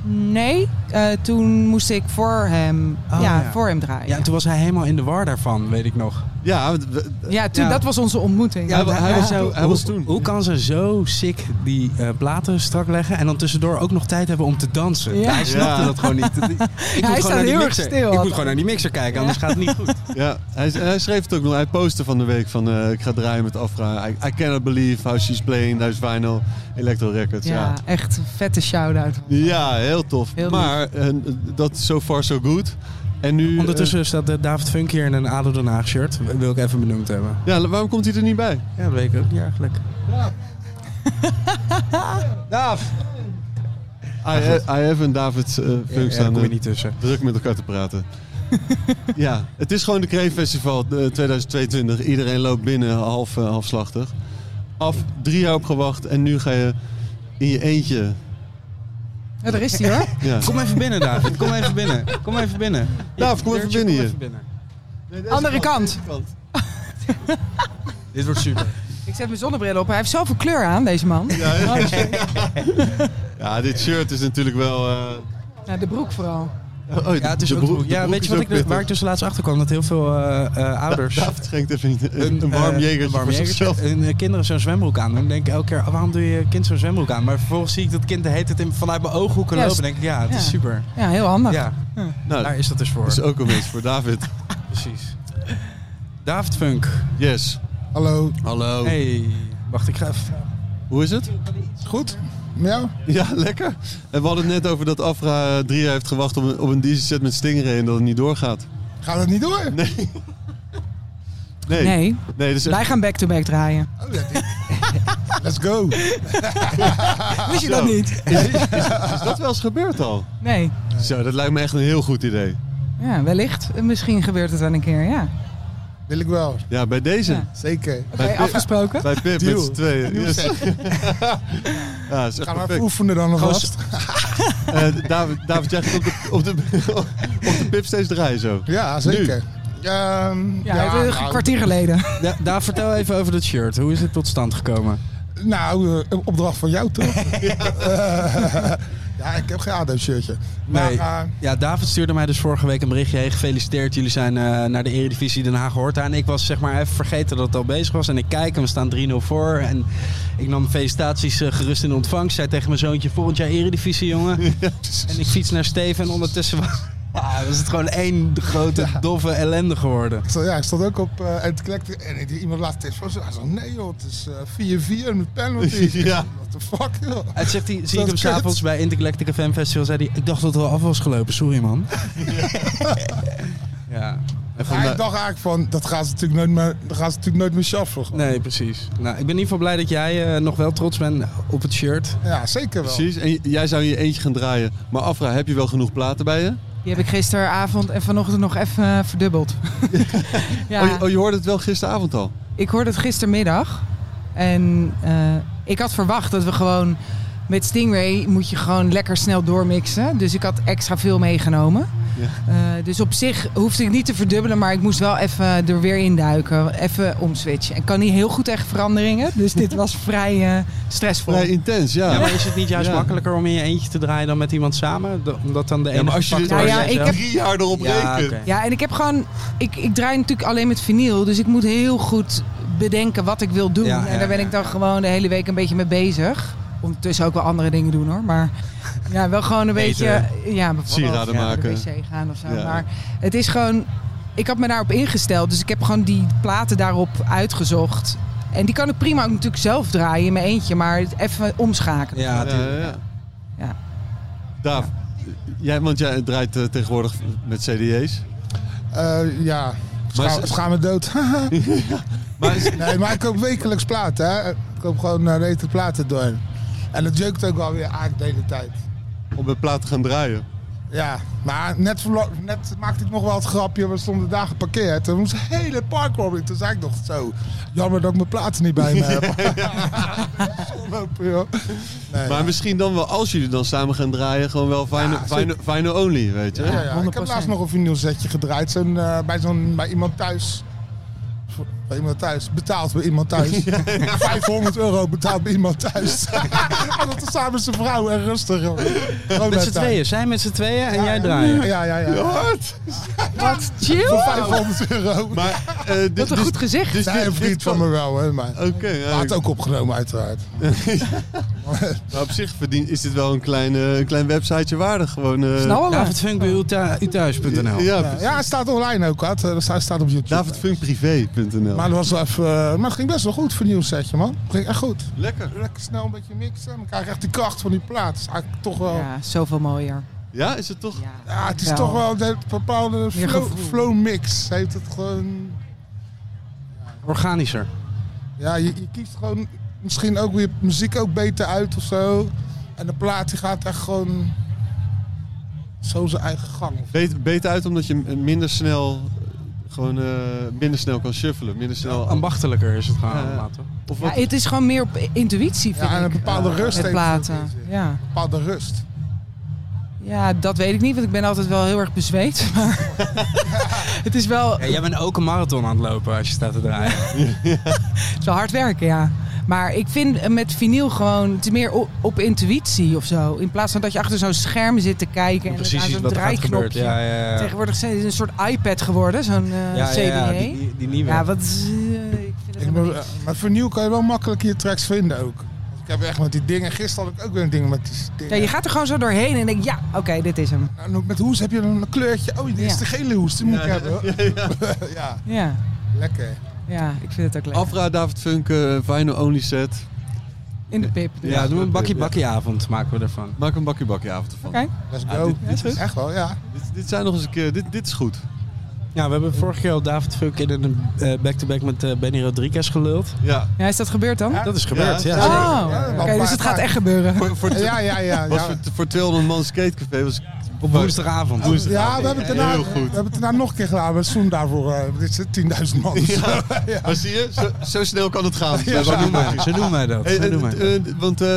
K: Nee, eh, toen moest ik voor hem,
A: Oh,
K: ja,
A: ja.
K: Voor hem draaien.
A: Ja,
K: Ja,
A: en toen was hij helemaal in de war daarvan, weet ik nog.
B: Ja, we- we-
K: toen,
A: Ja.
K: dat was onze ontmoeting.
B: Ja, hij was
A: zo-
B: toen- hij
A: hoe-
B: was toen.
A: Hoe kan ze zo sick die eh, platen strak leggen en dan tussendoor ook nog tijd hebben om te dansen?
K: Ja.
A: Hij snapte
B: Ja.
A: dat gewoon niet. Ik moet gewoon
K: staat
A: naar die
K: heel erg
A: mixer-
K: stil.
A: Ik moet gewoon naar die mixer kijken, anders gaat het niet goed.
B: ja hij, hij schreef het ook nog. Hij postte van de week van eh, ik ga draaien met Afra. I, I cannot believe how she's playing. That is vinyl. Electro Records.
K: ja,
B: Ja.
K: echt een vette shout-out.
B: Ja, heel tof.
K: Heel lief.
B: maar eh, dat is so far so good. En nu... eh,
A: Ondertussen staat eh, David Funk hier in een ADO Den Haag shirt. W- Wil ik even benoemd hebben.
B: eh, ja, waarom komt hij er niet bij?
A: Ja, dat weet ik ook niet eigenlijk. Daaf!
B: I, I have en David eh Funk
A: Ja, ja, daar
B: staan
A: kom
B: eh,
A: je niet tussen.
B: druk met elkaar te praten. ja, het is gewoon de Crave Festival eh, 2022. Iedereen loopt binnen half, eh, halfslachtig. Af, drie jaar op gewacht en nu ga je in je eentje.
K: Ja, daar is hij hoor.
B: Ja.
A: Kom even binnen, David. Kom even binnen. Kom even binnen.
B: Daaf, kom even binnen hier.
K: Andere kant.
A: Dit wordt super.
K: Ik zet mijn zonnebril op. Hij heeft zoveel kleur aan, deze man.
B: Ja, dit shirt is natuurlijk wel... eh,
K: Nou, de broek vooral.
B: oh, de-
A: Ja, het is
B: de
A: ook
B: broek-
A: broek.
B: de
A: Ja,
B: broek
A: weet je
B: is ook
A: wat ik, er- waar
B: pittig.
A: ik dus laatst achter kwam? Dat heel veel eh, eh, ouders.
B: David schenkt even een, een, een
A: eh,
B: warm jegertje
A: warm
B: voor
A: jegertje.
B: zichzelf.
A: En eh, kinderen zo'n zwembroek aan. Dan denk ik elke keer, oh, waarom doe je je kind zo'n zwembroek aan? Maar vervolgens zie ik dat kind de heet het in, vanuit mijn ooghoeken
K: Ja,
A: lopen.
K: is-
A: denk ik, ja, het is
K: ja.
A: super.
K: Ja, heel handig.
A: Ja,
B: Nou,
A: daar is dat dus voor.
B: dat is ook een wens voor David.
A: Precies. David Funk.
B: Yes.
L: Hallo.
B: Hallo.
A: Hey, wacht, ik ga even...
B: Hoe is het?
L: Goed? Ja?
B: Ja, lekker. En we hadden het net over dat Afra 3 jaar heeft gewacht op een, op een DJ-set met Stingray en dat het niet doorgaat.
L: Gaat het niet door?
B: Nee. Nee.
K: Nee,
B: Nee, dus
K: wij gaan back-to-back draaien.
L: Oh, dat- Let's go.
K: Wist je dat
B: zo.
K: niet?
B: Oh. is dat wel eens gebeurd al?
K: Nee.
B: Zo, dat lijkt me echt een heel goed idee.
K: Ja, wellicht. Misschien gebeurt het wel een keer, ja.
L: Wil ik wel.
B: Ja, bij deze.
K: Ja.
L: Zeker.
K: Oké, afgesproken.
B: Bij Pip met
L: Deal.
B: z'n tweeën. Yes. ja, is echt
L: Gaan we
B: perfect.
L: even oefenen dan alvast.
B: Eh, David, David, jij gaat op de, op de, op de Pip steeds draaien zo.
L: Ja, zeker. Ehm,
K: Ja, het is een
L: nou,
K: kwartier geleden.
A: Da Daaf, vertel even over dat shirt. Hoe is het tot stand gekomen?
L: Nou, eh, een opdracht van jou toch? Eh, ja, ik heb geen ADO-shirtje. Maar
A: Nee.
L: eh,
A: Ja, David stuurde mij dus vorige week een berichtje. Hey, gefeliciteerd, jullie zijn eh, naar de Eredivisie Den Haag gehoord. En ik was zeg maar even vergeten dat het al bezig was. En ik kijk en we staan 3-0 voor. En ik nam felicitaties eh, gerust in ontvangst. Zei tegen mijn zoontje, volgend jaar Eredivisie, jongen. En ik fiets naar Steven en ondertussen was, Ah, was het gewoon één grote, doffe ellende geworden.
L: ik stond- ja, ik stond ook op eh Eclectic en ik- iemand laat het van zo. Hij zei, nee joh, het is eh, 4-4 met penalty.
B: Ja.
L: What the fuck joh.
A: Het zegt hij, zie ik
L: Dat
A: hem
L: is
A: s'avonds
L: kut.
A: bij Intergalactica Fan Festival. Zei hij, ik dacht dat het al af was gelopen. Sorry, man. ja. En
L: Maar
A: vandaar-
L: ik dacht eigenlijk van, dat gaan ze natuurlijk nooit meer, dat gaan ze natuurlijk nooit meer shuffen. gewoon.
A: Nee, precies. Nou, ik ben in ieder geval blij dat jij eh, nog wel trots bent op het shirt.
L: Ja, zeker wel.
B: Precies. En j- jij zou in je eentje gaan draaien. Maar Afra, heb je wel genoeg platen bij je?
K: Die heb ik gisteravond en vanochtend nog even eh, verdubbeld. ja,
B: Oh, je, oh, je hoorde het wel gisteravond al.
K: ik hoorde het gistermiddag. En eh, ik had verwacht dat we gewoon... Met Stingray moet je gewoon lekker snel doormixen. Dus ik had extra veel meegenomen.
B: Ja.
K: Eh, dus op zich hoefde ik niet te verdubbelen, maar ik moest wel even er weer induiken. Even omswitchen. Ik kan niet heel goed tegen veranderingen, dus dit was vrij eh, stressvol.
B: Vrij intens,
A: Ja, maar is het niet juist makkelijker om in je eentje te draaien dan met iemand samen? Da- Omdat dan de ene
B: Ja, maar als je
A: gepakt
K: Nou
A: wordt
K: ja,
A: en
K: ik
A: zelf-
K: heb-
B: drie jaar erop
A: Ja,
B: rekent.
A: oké.
K: Ja, en ik heb gewoon. Ik, ik draai natuurlijk alleen met vinyl. Dus ik moet heel goed bedenken wat ik wil doen.
A: Ja, ja,
K: en daar ben
A: ja,
K: ik dan gewoon de hele week een beetje mee bezig. Ondertussen ook wel andere dingen doen hoor. Maar ja, wel gewoon een beetje.
A: Eten.
K: Ja, bijvoorbeeld
B: Sieraden
K: naar
B: maken.
K: de wc gaan of zo.
B: Ja.
K: Maar het is gewoon. Ik had me daarop ingesteld. Dus ik heb gewoon die platen daarop uitgezocht. En die kan ik prima ook natuurlijk zelf draaien in mijn eentje. Maar het even omschakelen.
A: Ja,
B: Ja,
A: tuurlijk.
B: ja, ja.
K: Ja.
B: Daaf, jij, want jij draait eh, tegenwoordig met CD's.
L: Eh, ja, Scha
B: ze-
L: schaam me dood. nee, maar ik koop wekelijks platen. Hè. Ik koop gewoon eh rete platen door. En dat jeukt ook alweer eigenlijk de hele tijd.
B: Om de plaat te gaan draaien.
L: Ja, maar net, verlo- net maakte ik nog wel het grapje. We stonden daar geparkeerd. Toen moest het hele park rollen. Toen zei ik nog zo... Jammer dat ik mijn platen niet bij me heb. Lopen, joh. Nee,
B: maar misschien dan wel, als jullie dan samen gaan draaien, gewoon wel Vinyl
L: Ja,
B: vinyl- vinyl Only, weet je?
L: Ja, ja, Ik heb laatst nog een vinylsetje gedraaid zo'n, eh, bij, zo'n, bij iemand thuis. Bij iemand thuis. Betaald bij iemand thuis. 500 euro betaald bij iemand thuis. en dat is samen zijn vrouw en rustig. joh. Gewoon
E: Met
L: daar
E: z'n
L: thuis.
E: tweeën. Zij met z'n tweeën en
L: Ja,
E: jij
L: ja.
E: draaien.
L: Ja, ja, ja.
B: Wat?
L: Wat chill. Voor 500 euro.
B: Maar, eh, dit-
L: Wat een
B: dus-
L: goed gezicht.
B: dus
L: nee,
B: dit-
L: een
B: dit
L: vriend van
B: kan-
L: me wel. Hè, maar
B: Oké, ja,
L: Laat
B: ik-
L: ook opgenomen uiteraard.
B: Maar op zich verdient, is dit wel een klein, eh, een klein websiteje waardig. Gewoon, eh,
E: Davidfunkbijuthuis.nl
B: Ja,
L: Ja, ja, het staat online ook. Had. Eh, Hij staat op YouTube.
B: Davidfunkprivé.nl.
L: Maar, dat was wel even, eh, maar het ging best wel goed voor een nieuw setje, man. Het ging echt goed.
B: Lekker.
L: Lekker snel een beetje mixen. Dan krijg je echt de kracht van die plaat. is eigenlijk toch wel... Ja,
K: Ja, zoveel mooier.
B: Ja, is het toch?
L: het is
K: Wel.
L: toch wel een bepaalde
K: Meer
L: flow,
K: gevoel.
L: flow mix. Heeft het gewoon...
E: Organischer.
L: Ja, je, je kiest gewoon misschien ook weer muziek ook beter uit of zo. En de plaat die gaat echt gewoon zo zijn eigen gang.
B: Beter, beter uit omdat je m- minder snel, eh, gewoon, eh, minder snel kan shuffelen. Minder snel...
E: Ambachtelijker is het gewoon
B: Ja.
E: allemaal, toch?
B: of
K: Ja,
B: wat?
K: het is gewoon meer op intuïtie, vind
L: Ja, en een
K: ik,
L: bepaalde
K: eh,
L: rust
K: Met
L: heeft het ook
K: platen.
L: in zich.
K: Ja.
L: Een bepaalde rust.
K: ja, dat weet ik niet, want ik ben altijd wel heel erg bezweet. Maar het is wel,
A: Ja, jij bent ook een marathon aan het lopen als je staat te draaien.
K: het is wel hard werken, ja. Maar ik vind eh, met vinyl gewoon het is meer op, op intuïtie of zo. In plaats van dat je achter zo'n scherm zit te kijken en
A: Precies
K: aan zo'n
A: wat er gaat gebeuren.
K: draaiknopje.
A: Ja, ja, ja.
K: Tegenwoordig zijn het een soort iPad geworden, zo'n eh
A: Ja,
K: CD.
A: ja, ja, die, die, die nieuwe.
K: Ja, wat is, eh, ik vind het
L: Ik
K: helemaal
L: bedoel,
K: niks.
L: eh, maar voor nieuw kan je wel makkelijk je tracks vinden ook. Want Ik heb echt met die dingen. Gisteren had ik ook weer een ding met die
K: Ja,
L: dingen.
K: je gaat er gewoon zo doorheen en denk ja, oké, dit is hem.
L: En ook Nou, met hoes heb je dan een kleurtje. Oh, dit is
K: Ja.
L: de gele hoes. Die moet ik hebben. hoor. Ja.
K: Ja,
L: lekker.
K: ja ik vind het ook leuk.
B: Afra, David Funk, eh, Vinyl Only set.
K: In de pip.
A: ja, doen we een bakkie bakkie avond maken we ervan.
B: Maak een bakkie bakkie avond ervan.
K: Oké.
L: Let's
B: Ja,
L: go.
B: dit- dit is-
L: Echt wel, ja.
B: Dit, dit zijn nog eens een keer, dit, dit is goed.
A: Ja, we hebben vorige keer al David Funk in een eh, back-to-back met eh, Benny Rodriguez geluld.
B: Ja.
K: Ja, is dat gebeurd dan?
A: Dat is gebeurd, ja.
L: Ja.
K: Oh,
L: Ja,
K: oké,
L: maar-
K: dus het gaat echt gebeuren.
B: Voor, voor,
L: Ja, ja, ja.
B: was
L: ja.
B: voor, voor 200 man skatecafé was
A: Op woensdagavond.
L: Ja, we hebben, het daarna,
B: Heel
L: we
B: goed.
L: hebben het daarna nog een keer gedaan. met Zoom daarvoor. eh, dit zit 10.000 man. of zo. Ja.
B: Maar zie je, zo, zo snel kan het gaan.
A: Ja, zo doen wij- zo doen wij dat.
B: Hey,
A: Zo
B: eh,
A: doen wij
B: eh,
A: dat.
B: eh, want eh,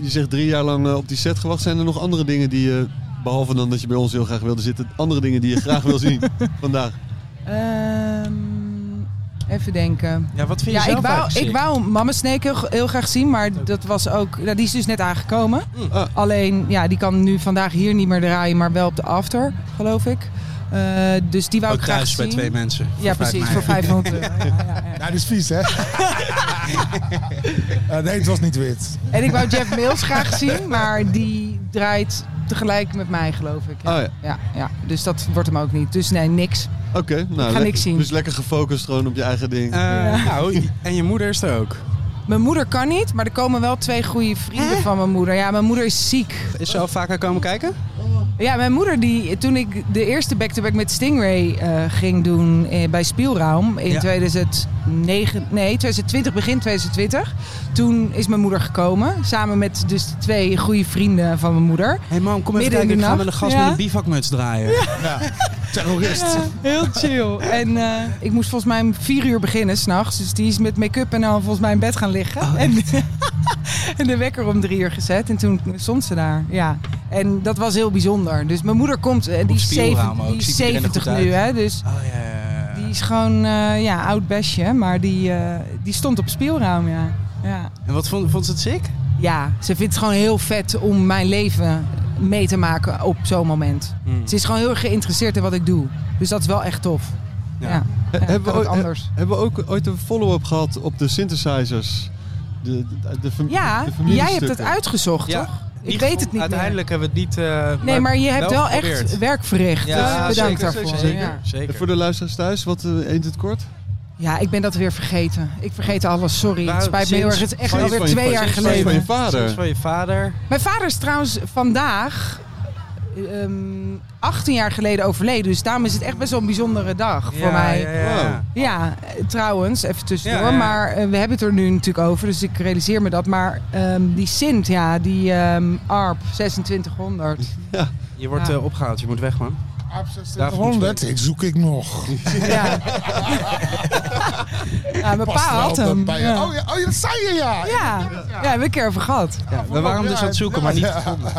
B: je zegt drie jaar lang eh, op die set gewacht. Zijn er nog andere dingen die je, behalve dan dat je bij ons heel graag wilde zitten, andere dingen die je graag wil zien vandaag?
K: Ehm, even denken.
A: Ja, wat vind je
K: Ja, ik
A: zelf
K: wou,
A: eigenlijk
K: ik
A: sick?
K: wou Mama Snake heel, heel graag zien, maar dat was ook, nou, die is dus net aangekomen.
A: Mm.
B: ah.
K: Alleen, ja, die kan nu vandaag hier niet meer draaien, maar wel op de after, geloof ik. Eh, dus die wou
A: Ook
K: ik graag
A: thuis bij
K: zien.
A: twee mensen.
K: ja,
A: Voor vijf
K: precies,
A: mei.
K: voor 500 euro. Ja, ja, ja.
L: Nou, dit is vies, hè? Eh, nee, het was niet wit.
K: En ik wou Jeff Mills graag zien, maar die draait tegelijk met mij, geloof ik.
A: Oh
K: Ja.
B: Ah ja,
K: Ja, ja, dus dat wordt hem ook niet. Dus nee, niks.
B: oké. nou,
K: niks
B: lekker.
K: zien.
B: Dus lekker gefocust gewoon op je eigen ding.
A: Eh, Nou, en je moeder is er ook.
K: Mijn moeder kan niet, maar er komen wel twee goede vrienden van mijn moeder. Ja, mijn moeder is ziek.
A: Is ze al vaker komen kijken?
K: Ja, mijn moeder, die, toen ik de eerste back-to-back met Stingray eh, ging doen eh, bij Spielraum in
A: Ja.
K: 2009, nee, 2020, begin 2020. Toen is mijn moeder gekomen, samen met dus twee goede vrienden van mijn moeder.
A: Hé hey mam, kom even
K: Midden in
A: kijken.
K: de
A: Ik ga
K: nacht,
A: met een gast
K: ja.
A: met een bivakmuts draaien.
L: Terrorist.
K: heel chill. En eh, ik moest volgens mij om vier uur beginnen s'nachts. Dus die is met make-up en dan volgens mij in bed gaan liggen.
A: Oh,
K: en, en de wekker om drie uur gezet. En toen stond ze daar. Ja. En dat was heel bijzonder. Dus mijn moeder komt, eh, die is,
A: Spielraam
K: zeven-
A: ook.
K: die is
A: Ziet iedereen er
K: 70
A: goed
K: nu.
A: uit?
K: Hè? Dus
A: Oh ja, ja, ja.
K: die is gewoon eh, ja, oud besje. Maar die, eh, die stond op speelruim, ja. ja.
A: En wat vond, vond ze het sick?
K: Ja, ze vindt het gewoon heel vet om mijn leven mee te maken op zo'n moment. Ze is gewoon heel erg geïnteresseerd in wat ik doe. Dus dat is wel echt tof.
A: Ja.
K: Ja.
B: He-
K: Ja,
B: hebben, we
K: kan
B: ooit,
K: ook anders.
B: he- hebben we ook ooit een follow-up gehad op de synthesizers? De, de, de fam- de
K: Ja, jij hebt
B: familiestukken?
K: het uitgezocht,
A: Ja.
K: toch? Ik weet het niet meer.
A: Uiteindelijk hebben we het niet... eh,
K: Nee, maar je hebt wel,
A: geprobeerd.
K: echt werk verricht.
A: Ja,
K: dus bedankt
A: zeker,
K: daarvoor.
A: Zeker,
K: Ja.
A: zeker.
B: En voor de luisteraars thuis, wat eh, eet het kort?
K: ja, ik ben dat weer vergeten. Ik vergeet alles, sorry.
A: Nou,
K: het spijt me heel erg. Het is echt
B: Van je-
K: alweer
B: van je-
K: twee jaar
B: van je- Van
K: geleden.
B: je vader.
A: Sinds van je vader.
K: Mijn vader is trouwens vandaag ehm, 18 jaar geleden overleden. Dus daarom is het echt best wel een bijzondere dag voor mij.
E: Ja, ja, ja.
K: Ja, eh, trouwens, even tussendoor.
E: Ja, ja.
K: Maar eh, we hebben het er nu natuurlijk over, dus ik realiseer me dat. Maar ehm, die Sint, ja, die ehm, ARP 2600.
A: Je wordt
K: Ja.
A: eh, opgehaald, je moet weg, man.
L: Aap 2600, ik zoek ik nog.
K: ja. ja, mijn
L: Past
K: pa
L: wel
K: had
L: dat
K: hem.
L: bij-
K: Ja.
L: Oh, ja, oh, ja, dat zei je ja.
K: Ja, ja, we hebben een keer over gehad.
A: Ja, we waren hem dus aan het zoeken, maar niet
L: Ja.
A: gevonden.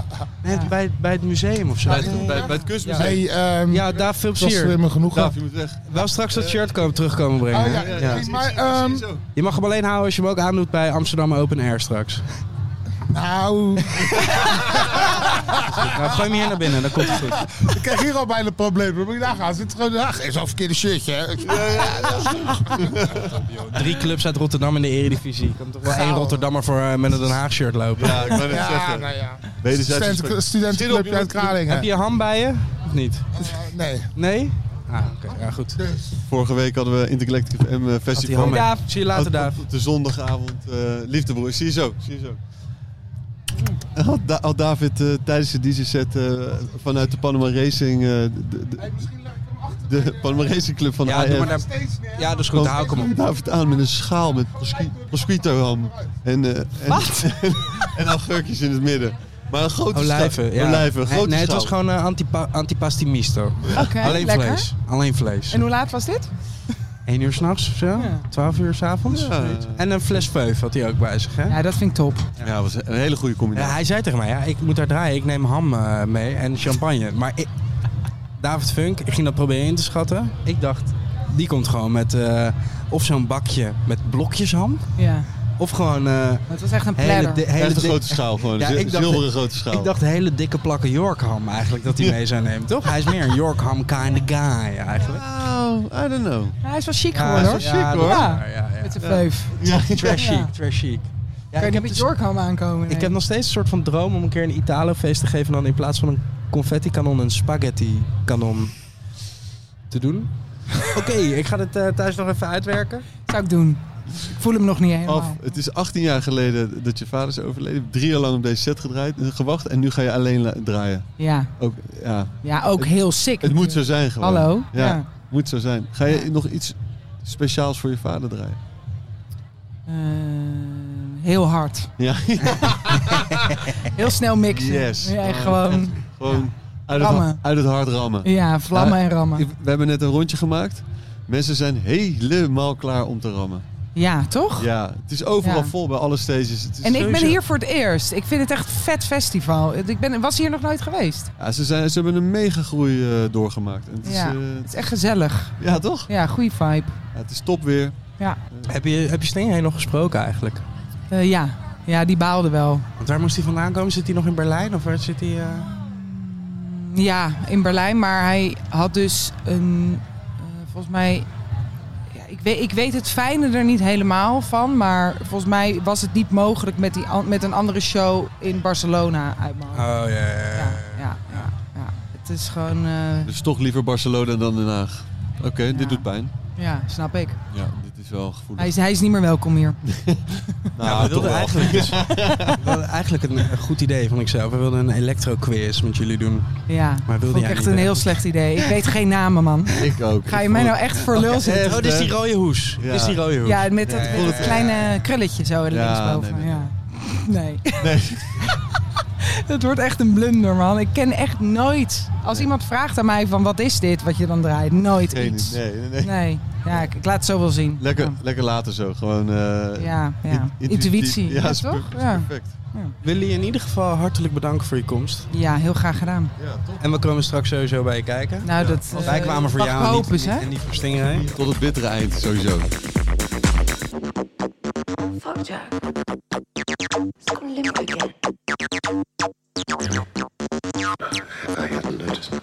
K: Nee, Ja.
A: bij, bij het museum of zo.
B: Bij, het- bij, bij het kunstmuseum.
L: Hey, ehm,
A: Ja, daar veel
L: dat is
A: plezier.
L: weer me genoeg.
B: Daaf, je moet weg.
A: Wel straks dat shirt komen, terugkomen brengen.
L: Oh,
A: hè?
L: ja,
A: Ja.
L: hey, maar, ehm,
B: Zo.
A: Je mag hem alleen houden als je hem ook aandoet bij Amsterdam Open Air straks.
L: nou,
A: Nou, gooi hem hier naar binnen, dan komt het goed.
L: ik krijg hier al bijna problemen. Moet je daar gaan? Zit gewoon, ah, is al verkeerde shirtje. hè.
A: Drie clubs uit Rotterdam in de Eredivisie. Je kan toch wel één
L: Gaal.
A: Rotterdammer voor, eh, met een Den Haag shirt lopen.
B: Ja, ik ben het
L: Ja,
B: zeggen.
L: nou ja.
B: Wederzijds
L: Student-
B: respect.
L: Studentenclubje uit
A: Heb
L: Kralingen.
A: je ham bij je? Of niet?
L: Eh, Nee. Dus-
A: Nee? Ah, oké. Ja, goed.
B: Vorige week hadden we Intergalactic FM eh, Festival.
A: ham mee.
K: Daaf.
A: Zie je later, Daaf.
B: Op de zondagavond, eh liefdebroer. Zie je zo, zie je zo. Had, Da- had David eh, tijdens de DJ-set eh, vanuit de Panama Racing, eh, de, de, de Panama Racing Club van
A: Ja, doe
B: IF,
A: maar daar... Ja, dat is goed. Hou ik hem op.
B: David aan met een schaal met prosci- prosciutto-ham en, eh, en, en, en augurkjes in het midden. Maar een grote
A: Olijven,
B: schaal.
A: Oh, ja.
B: Olijven, een
A: nee,
B: grote
A: nee, het
B: schaal.
A: was gewoon eh, antipa antipasti misto.
K: Oké,
A: Alleen
K: lekker.
A: vlees. Alleen vlees.
K: En hoe laat was dit?
A: 1 uur s'nachts of zo?
K: Ja.
A: 12 uur s'avonds?
B: Ja.
A: avonds. En een fles veuf had hij ook bij zich, hè?
K: Ja, dat vind ik top.
B: Ja, was een hele goede
A: Ja,
B: combinatie.
A: hij zei tegen mij, ja, ik moet daar draaien, ik neem ham eh, mee en champagne. Maar ik- David Funk, ik ging dat proberen in te schatten. Ik dacht, die komt gewoon met eh, of zo'n bakje met blokjes ham,
K: Ja,
A: of gewoon eh
K: het was echt een
A: hele,
K: planner.
A: di- hele
B: Echt een
A: di-
B: grote schaal gewoon.
A: Ja,
B: een
A: ik dacht-
B: zilveren grote schaal.
A: Ik dacht hele dikke plakken York ham eigenlijk dat hij mee zou nemen, toch? Hij is meer een York ham kind of guy eigenlijk.
B: Oh, I don't know.
K: Ja, hij is wel chic geworden hoor.
A: ja, dat is
K: hoor.
A: waar, Ja, ja.
K: Met de veuf.
B: Ja,
A: Trash
K: Ja.
A: chic, trash chic. Ja,
K: Kan je
A: ik
K: niet
A: heb
K: met
A: dus-
K: Jorkham aankomen? nee.
A: Ik heb nog steeds een soort van droom om een keer een Italo-feest te geven. En dan in plaats van een confetti-kanon een spaghetti-kanon te doen. Oké, ik ga dit eh, thuis nog even uitwerken.
K: Zou ik doen. Ik voel hem nog
A: eh,
K: niet helemaal.
B: Af, het is 18 jaar geleden dat je vader is overleden. Je hebt Drie jaar lang op deze set gedraaid, eh, gewacht en nu ga je alleen la- draaien.
K: Ja.
B: Ook, ja.
K: ja, ook heel sick.
B: Het moet zo zijn gewoon.
K: Hallo?
B: Ja,
K: Ja.
B: moet zo zijn. Ga je nog iets speciaals voor je vader draaien?
K: Eh, heel hard.
B: Ja,
K: Heel snel mixen.
B: Yes.
K: Ja, en gewoon
B: gewoon uit het,
K: Rammen.
B: ha- uit het hard rammen. Nou,
K: ja, vlammen en rammen.
B: Ik- We hebben net een rondje gemaakt. Mensen zijn helemaal klaar om te rammen.
K: Ja, toch?
B: Ja, het is overal
K: Ja.
B: vol bij alle stages. Het is
K: En ik ben
B: sowieso-
K: hier voor het eerst. Ik vind het echt een vet festival. Ik ben, was hier nog nooit geweest.
B: Ja, ze, zijn, ze hebben een mega groei eh, doorgemaakt. En het is, eh,
K: Ja. Het is echt gezellig.
B: ja, toch?
K: Ja, goede vibe.
B: Ja, het is top weer.
A: Heb je, heb je Stingray nog gesproken eigenlijk?
K: Eh, ja. ja, die baalde wel.
A: Want waar moest hij vandaan komen? Zit hij nog in Berlijn? Of waar zit hij... eh?
K: Ja, in Berlijn. Maar hij had dus een. eh, volgens mij. Ja, ik, weet, ik weet het fijne er niet helemaal van. Maar volgens mij was het niet mogelijk met, die, an- met een andere show in Barcelona uit mijn hoofd.
A: Oh, ja, ja,
K: Ja, ja, ja, ja. Het is gewoon. eh,
B: Dus toch liever Barcelona dan Den Haag. Oké,
K: Ja.
B: dit doet pijn.
K: ja, snap ik.
B: Ja, dit is wel gevoelig.
K: Hij is, hij is niet meer welkom hier.
B: Nou,
A: we
B: toch
A: wilden
B: wel.
A: eigenlijk, dus, we wilden eigenlijk een, een goed idee van ikzelf. We wilden een electro-quiz met jullie doen.
K: Ja,
A: Maar wilde
K: vond ik
A: jij
K: echt
A: niet,
K: een
A: hè?
K: heel slecht idee. Ik weet geen namen, man.
B: Ik ook.
K: Ga
B: Ik
K: je mij
B: vond
K: nou echt voor lul zetten?
B: Echt,
A: oh, dit is
B: hè?
A: die rode hoes.
B: Ja.
A: Dit is die rode hoes.
K: Ja, met dat,
A: Nee.
K: met dat kleine krulletje zo
B: Ja,
K: linksboven.
B: nee, nee,
K: ja. nee.
B: Nee.
K: dat wordt echt een blunder, man. Ik ken echt nooit... Als iemand vraagt aan mij van wat is dit wat je dan draait, nooit
B: het geen-
K: iets.
B: Nee, nee, nee.
K: Nee. Ja, ik, ik laat het zo wel zien.
B: Lekker, lekker later zo. Gewoon. eh,
K: Ja, ja. ja.
B: in-
K: Intuïtie.
B: Ja,
K: Ja,
B: is
K: toch?
B: per- is
K: Ja.
B: perfect.
A: Willen je in ieder geval hartelijk bedanken voor je komst.
K: ja, heel graag gedaan.
A: En we komen straks sowieso bij je kijken.
K: Nou, dat... eh,
A: Wij kwamen voor
K: mag
A: jou en
K: hopen,
A: niet,
K: hè?
A: en niet voor Stingray.
B: Tot het bittere eind, sowieso.
M: Fuck Jack. It's gonna limp again.
D: I hadn't noticed.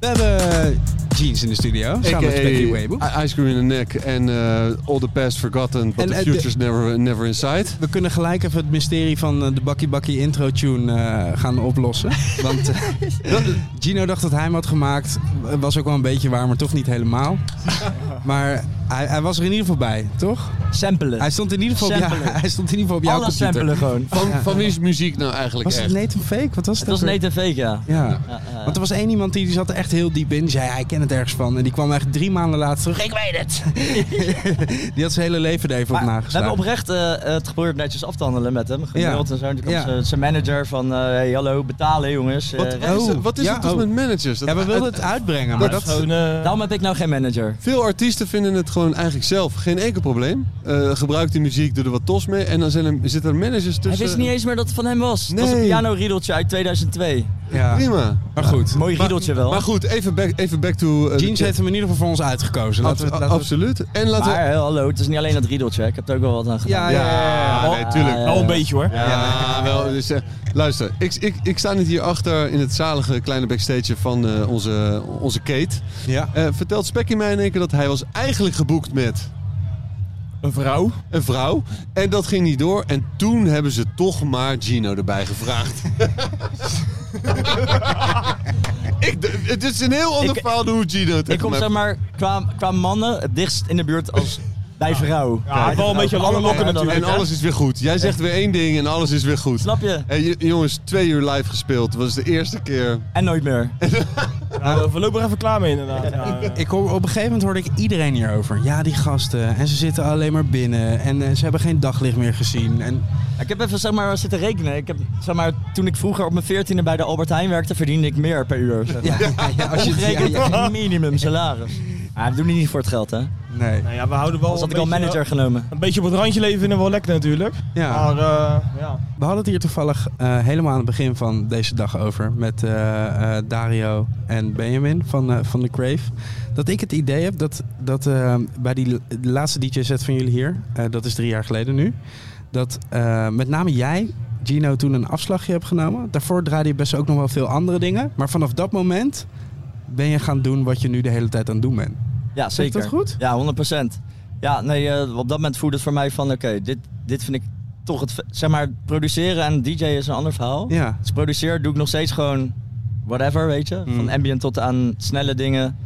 A: We hebben Jean Beans in de studio. Samen met Becky Weibo.
B: I- Ice Cream in the Neck en eh, All the Past Forgotten, But
A: En,
B: the
A: eh,
B: Future's never, never Inside.
A: We kunnen gelijk even het mysterie van eh, de Bakkie Bakkie intro tune eh, gaan oplossen. Want eh, dat- Gino dacht dat hij hem had gemaakt. Was ook wel een beetje waar, maar toch niet helemaal. Maar hij, hij was er in ieder geval bij, toch?
N: Samplen.
A: Hij stond in ieder geval op, jou-
N: Samplen.
A: hij stond in ieder geval op jouw
N: Alles
A: computer.
N: samplen gewoon.
B: Van, van wie is muziek nou eigenlijk
A: Was het
B: echt?
A: Nathan Fake? Wat was
N: Het
A: dat?
N: was
A: weer?
N: Nathan Fake, ja.
A: Ja.
N: Ja, ja, ja.
A: Want er was één iemand die, die zat er echt heel diep in. Die zei, hij kent het ergens van. En die kwam echt drie maanden later terug. Ik weet het! die had zijn hele leven er even op
N: Maar we hebben
A: nageslagen.
N: oprecht eh, het geprobeerd netjes af te handelen met hem. Gemaild
A: Ja.
N: en zo. En toen kwam
A: Ja.
N: zijn- zijn manager van, eh, hey, hallo, betalen jongens. Eh,
B: Wat, wat is, het-
A: Oh,
B: wat is
A: ja,
B: het toch
A: oh.
B: met managers? Dat-
A: Ja, we wilden het uitbrengen, maar
B: Maar
A: dat...
B: dat-
N: Daarom heb ik nou geen manager.
B: Veel artiesten vinden het gewoon eigenlijk zelf geen enkel probleem. Eh, gebruik die muziek, doe er wat tos mee. En dan zijn er, zitten er managers tussen.
N: Hij wist niet eens meer dat het van hem was. Het was
B: Nee.
N: een piano-riedeltje uit 2002.
A: Ja.
B: Prima.
A: Maar goed.
N: Mooi riedeltje wel.
B: Maar goed, even back, even back to... eh,
A: Jeans
B: de-
A: heeft hem in ieder geval voor ons uitgekozen. Laten we,
B: Ab-
A: laten we-
B: absoluut. En laten we...
N: Maar, eh, hallo, het is niet alleen dat riedeltje. hè. Ik heb er ook wel wat aan gedaan.
A: ja, ja, ja, ja.
B: Ja, nee, tuurlijk.
N: Wel een
A: beetje hoor.
B: Ja, wel. Dus, eh, luister, ik, ik, ik sta niet hierachter in het zalige kleine backstage van eh, onze, onze Kate.
A: Ja.
B: Eh, vertelt Spekkie mij in één keer dat hij was eigenlijk geboekt met
A: Een vrouw.
B: een vrouw. En dat ging niet door. En toen hebben ze toch maar Gino erbij gevraagd. ik, d- het is een heel ander
N: Ik-
B: verhaal dan hoe Gino het
N: Ik
B: heeft
N: kom zeg
B: gemaakt.
N: maar qua, qua mannen het dichtst in de buurt als bij vrouw.
B: Ja, wel een beetje
N: lange lokken
B: En
N: natuurlijk, hè?
B: alles is weer goed. Jij zegt weer één ding en alles is weer goed.
N: Snap je?
B: Hey, j- jongens, twee uur live gespeeld. was de eerste keer.
N: En nooit meer.
A: voorlopig even klaar mee inderdaad. ik hoor, op een gegeven moment hoorde ik iedereen hierover. Ja, die gasten. En ze zitten alleen maar binnen. En eh, ze hebben geen daglicht meer gezien. En
N: Ik heb even zeg maar, zitten rekenen. Ik heb, zeg maar, toen ik vroeger op mijn veertiende bij de Albert Heijn werkte, verdiende ik meer per uur. Zeg maar.
A: als je
N: Omgerekend een minimum salaris. Ah, dat doen die niet voor het geld, hè?
A: Nee.
O: Nou ja, we houden wel
N: Anders had
O: een
N: ik al
O: beetje,
N: manager genomen.
O: een beetje op het randje leven vinden we wel lekker natuurlijk.
A: Ja.
O: Maar eh, ja.
A: We hadden het hier toevallig eh, helemaal aan het begin van deze dag over. Met eh, eh, Dario en Benjamin van, eh, van The Crave. Dat ik het idee heb dat, dat eh, bij die l- de laatste DJ-set van jullie hier. eh, dat is drie jaar geleden nu. Dat eh, met name jij, Gino, toen een afslagje hebt genomen. Daarvoor draaide je best ook nog wel veel andere dingen. Maar vanaf dat moment ben je gaan doen wat je nu de hele tijd aan het doen bent.
N: Ja,
A: Zeg ik
N: zeker.
A: dat goed?
N: Ja, 100%. Ja, nee, eh, op dat moment voelde het voor mij van, oké, dit, dit vind ik toch het... Zeg maar, produceren en DJ is een ander verhaal.
A: Ja.
N: Dus produceer doe ik nog steeds gewoon whatever, weet je.
A: Mm.
N: Van ambient tot aan snelle dingen.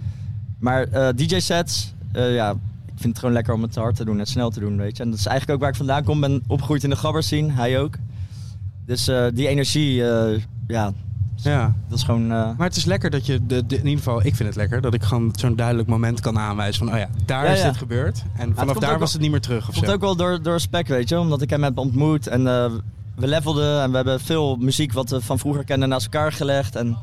N: Maar eh, DJ-sets, eh, ja, ik vind het gewoon lekker om het hard te doen en snel te doen, weet je. En dat is eigenlijk ook waar ik vandaan kom. ben opgegroeid in de gabbers scene, hij ook. Dus eh, die energie, eh, ja,
A: Ja.
N: dat is gewoon... eh,
A: Maar het is lekker dat je, de, de- in ieder geval, ik vind het lekker dat ik gewoon zo'n duidelijk moment kan aanwijzen van, oh ja, daar
N: Ja,
A: is
N: ja.
A: dit gebeurd. En vanaf
N: komt ook
A: daar
N: wel-
A: was het niet meer terug of
N: komt
A: zo.
N: ook wel door, door spec, weet je. Omdat ik hem heb ontmoet en eh, we levelden. En we hebben veel muziek wat we van vroeger kenden naast elkaar gelegd. En op een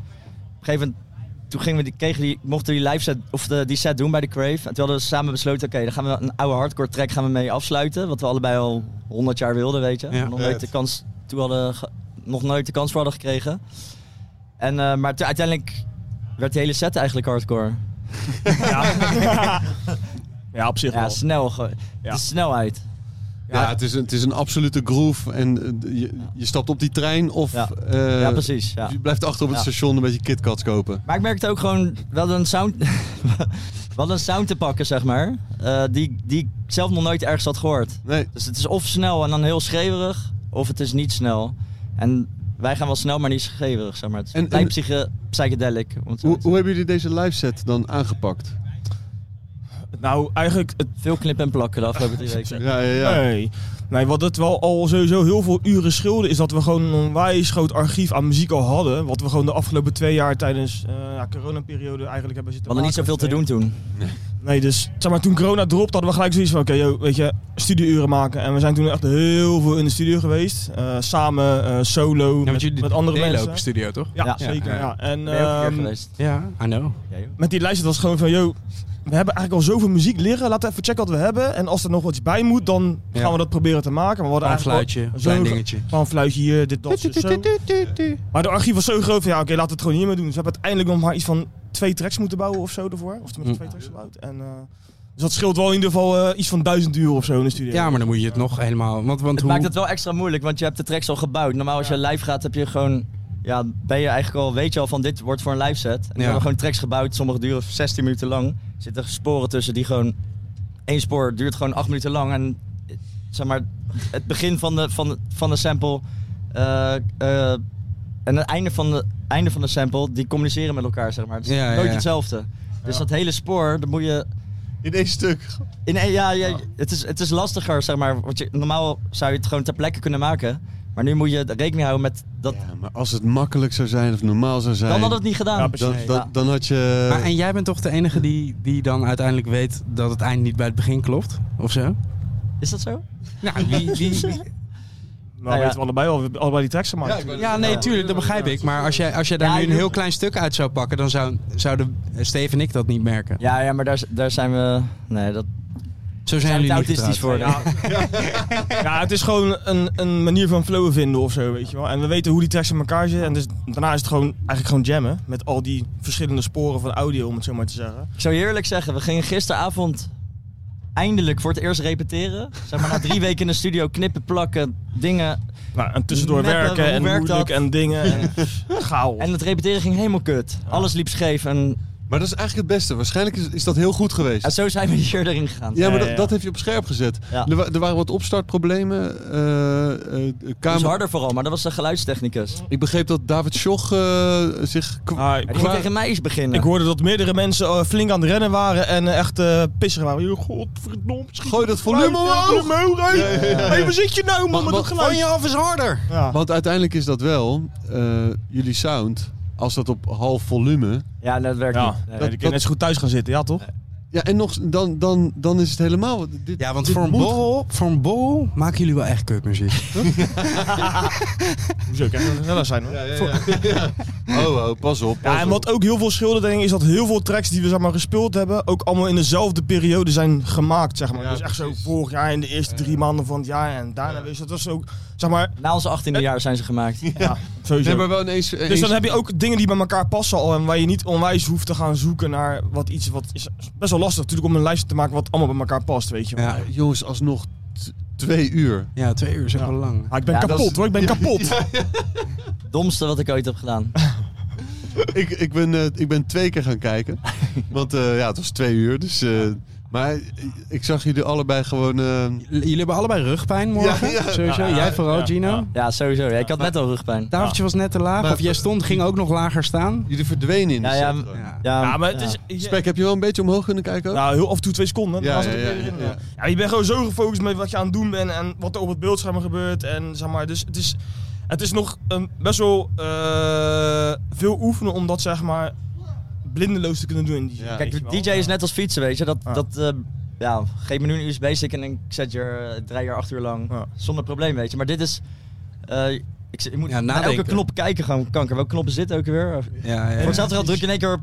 N: gegeven moment, toen gingen we die, kregen die, mochten we die live set, of de, die set doen bij de Crave. En toen hadden we samen besloten, oké, dan gaan we een oude hardcore track gaan we mee afsluiten. Wat we allebei al 100 jaar wilden, weet je.
A: Ja.
N: nog, nooit de kans, toen hadden, ge- nog nooit de kans voor hadden gekregen. En, eh, maar toen- uiteindelijk werd die hele set eigenlijk hardcore.
O: Ja. ja, op zich
N: Ja,
O: wel.
N: snel. ge-
O: Ja.
N: De snelheid.
B: Ja, het, is een, het is een absolute groove. En eh, je, je stapt op die trein of
N: Ja.
B: eh,
N: ja, precies. Ja.
B: je blijft achter op het
N: Ja.
B: station een beetje KitKats kopen.
N: Maar ik merkte ook gewoon wel een sound, wel een sound te pakken, zeg maar. eh, die, die ik zelf nog nooit ergens had gehoord.
B: Nee,
N: Dus het is of snel en dan heel schreeuwerig, of het is niet snel. En wij gaan wel snel, maar niet schreeuwerig, zeg maar. Het
B: En- en-
N: en, blijft psyche- psychedelic. om het zo
B: hoe, hoe
N: te zeggen.
B: hebben jullie deze live set dan aangepakt?
O: Nou, eigenlijk het
N: Veel knip en plakken de afgelopen drie weken.
B: Ja, ja, ja.
O: Nee. nee, wat het wel al sowieso heel veel uren scheelde, is dat we gewoon een onwijs groot archief aan muziek al hadden. Wat we gewoon de afgelopen twee jaar tijdens eh ja, coronaperiode eigenlijk hebben
N: We
O: zitten
N: hadden niet
O: maken.
N: zoveel te doen toen.
O: Nee, dus zeg maar, toen corona dropt hadden we gelijk zoiets van, oké, yo, weet je, studieuren maken. En we zijn toen echt heel veel in de studio geweest. Eh, samen, eh, solo,
A: Ja, want
O: met,
A: jullie
O: met andere
A: delen
O: mensen.
A: ook een studio, toch?
O: ja,
N: Ja.
O: zeker.
A: Ja.
O: Ja. En,
N: Ben je ook een keer
O: ehm,
N: geweest?
A: Ja, I know.
O: met die lijst was het gewoon van, yo, we hebben eigenlijk al zoveel muziek liggen. Laten we even checken wat we hebben. En als er nog wat bij moet, dan
A: Ja.
O: gaan we dat proberen te maken. Maar we hadden
A: Een
O: eigenlijk al-
A: fluitje, een
O: zo-
A: klein dingetje.
O: Gewoon een fluitje hier, dit, dat, zo, zo. Maar de archief was zo groot van, ja, oké, laten we het gewoon hiermee doen. Dus we hebben uiteindelijk nog maar iets van twee tracks moeten bouwen of zo ervoor. Of tenminste
A: Hm.
O: twee tracks gebouwd. En, eh, dus dat scheelt wel in ieder geval eh, iets van duizend uur of zo in de studio.
A: Ja, maar dan moet je het nog helemaal... Want, want
N: Het
A: hoe,
N: maakt het wel extra moeilijk, want je hebt de tracks al gebouwd. Normaal als je live gaat, heb je gewoon... ja, ben je eigenlijk al, weet je al van dit wordt voor een live set. En dan
A: Ja.
N: hebben we gewoon tracks gebouwd, sommige duren 16 minuten lang. Er zitten sporen tussen die gewoon, één spoor duurt gewoon 8 minuten lang. En eh, zeg maar, het begin van de, van de, van de sample eh, eh, en het einde van, de, einde van de sample, die communiceren met elkaar, zeg maar. Het is
A: Ja, ja,
N: nooit
A: ja.
N: hetzelfde. Dus dat hele spoor, dat moet je...
B: In één stuk.
N: In één, ja, ja,
A: Ah.
N: Het, is, het is lastiger, zeg maar. Want je, normaal zou je het gewoon ter plekke kunnen maken. Maar nu moet je rekening houden met dat...
B: Maar als het makkelijk zou zijn of normaal zou zijn...
N: Dan had het niet gedaan. Ja,
B: dan,
N: precies.
B: dan, dan had je...
A: Maar en jij bent toch de enige die, die dan uiteindelijk weet dat het eind niet bij het begin klopt? Of zo?
N: Is dat zo?
A: Nou, wie... wie, wie-
O: Nou, weten we allebei al, we hebben allebei die tracks gemaakt. natuurlijk.
A: Ja, nee, tuurlijk, dat begrijp ik. Maar als jij, als jij daar
N: Ja,
A: nu
N: ik
A: een heel
N: bedoel-
A: klein stuk uit zou pakken, dan zou- zouden Steve en ik dat niet merken.
N: Ja, ja maar daar, daar zijn we... Nee, dat...
A: Zo
N: zijn
A: jullie
N: we
A: niet
N: autistisch voor.
A: getrouwd.
N: nee.
O: Ja, het is gewoon een, een manier van flow vinden of zo, weet je wel. En we weten hoe die tracks in elkaar zitten. En dus daarna is het gewoon eigenlijk gewoon jammen. Met al die verschillende sporen van audio, om het zo maar te zeggen.
N: Ik zou je eerlijk zeggen, we gingen gisteravond eindelijk voor het eerst repeteren. Zeg maar na drie weken in de studio knippen, plakken, dingen.
O: Nou, en tussendoor
N: Meppen,
O: werken
N: hoe
O: en
N: werkt
O: moeilijk
N: dat?
O: en dingen. En chaos.
N: En het repeteren ging helemaal kut. Alles liep scheef en
B: Maar dat is eigenlijk het beste. Waarschijnlijk is, is dat heel goed geweest.
N: en zo zijn we hier erin gegaan.
B: Ja, maar
O: Ja,
B: dat,
O: ja.
B: dat heeft je op scherp gezet.
N: Ja.
B: Er, wa- er waren wat opstartproblemen. eh, eh,
N: Dat was
B: kamer...
N: harder vooral, maar dat was de geluidstechnicus.
B: Ik begreep dat David Schoch eh, zich... kwa-
O: Ah, ik,
N: Hij ging
B: Maar-
N: tegen mij eens beginnen.
O: ik hoorde dat meerdere mensen eh, flink aan het rennen waren en eh, echt eh pisser waren. Joh, godverdomme. schiet
B: Gooi dat volume omhoog!
O: me omhoog, hé. Hé, waar zit je nou, man,
B: Wat-
O: met dat
B: wat-
O: geluid?
A: je af is harder!
O: Ja.
B: Want uiteindelijk is dat wel, eh, jullie sound, als dat op half volume...
N: Ja, dat werkt
O: Ja,
N: niet. Nee.
O: dat, kun je net zo goed thuis gaan zitten, ja toch?
B: Ja, en nog, dan, dan, dan is het helemaal... Dit,
A: Ja, want
B: dit
A: voor een,
B: moet-
A: borrel, voor een borrel maken jullie wel echt kutmuziek.
O: Hoezo, kijk, dat wel zijn hoor. Ja,
B: Oh, oh, pas op. Pas
O: en wat ook heel veel schildert, denk ik, is dat heel veel tracks die we zeg maar, gespeeld hebben, ook allemaal in dezelfde periode zijn gemaakt, zeg maar.
B: Ja,
O: dus echt zo vorig jaar in de eerste drie maanden van het jaar en daarna weer. Dus dat was ook, zeg maar, Eh.
N: Na onze 18e jaar zijn ze gemaakt.
B: op.
O: sowieso.
B: Nee, maar wel ineens...
O: dus dan heb je ook dingen die bij elkaar passen al en waar je niet onwijs hoeft te gaan zoeken naar wat iets wat is best wel lastig natuurlijk om een lijst te maken wat allemaal bij elkaar past, weet je. wel.
A: Ja,
B: Jongens, alsnog t- twee uur.
A: ja twee uur is ook
O: Ja.
A: wel lang.
O: Ah, ik ben
N: Ja, dat
O: kapot
N: is-
O: hoor, ik ben kapot.
N: Domste wat ik ooit heb gedaan.
B: ik, ik, ben, eh, ik ben twee keer gaan kijken. Want eh, ja, het was twee uur. Dus, eh, maar ik zag jullie allebei gewoon. eh,
A: J- Jullie hebben allebei rugpijn morgen,
B: Ja, ja.
A: sowieso.
O: Ja,
A: Jij vooral,
O: ja,
A: Gino.
O: ja.
N: Ja, sowieso. Ja, ik had net al rugpijn.
A: Tafeltje was net te laag,
B: Maar-
A: of jij stond, ging ook nog lager staan.
B: jullie verdwenen in de
N: Ja, ja,
B: set gewoon.
A: Ja.
N: Ja,
O: Ja, maar het is... je-
B: Spek, heb je wel een beetje omhoog kunnen kijken? ook?
O: Nou, heel af en toe twee seconden.
B: Ja,
O: Ja,
B: ja, ja, ja, ja.
O: je bent gewoon zo gefocust met wat je aan het doen bent en wat er op het beeldscherm gebeurt. En zeg maar, dus het is, het is nog een, best wel eh, veel oefenen om dat zeg maar blindeloos te kunnen doen. in die zin,
B: Ja.
O: weet
N: Kijk,
O: je
N: de
O: wel.
N: DJ is net als fietsen, weet je. Dat,
O: Ja.
N: dat eh, ja, geef me nu een USB-stick en ik zet je er, eh, drie jaar, acht uur lang.
O: Ja.
N: Zonder probleem, weet je. Maar dit is... eh, ik, ik moet
A: Ja,
N: naar
A: nadenken.
N: elke knop kijken gewoon, kanker. Welke knoppen zitten ook weer? Voor
A: Ja, ja.
N: hetzelfde geld druk je in één keer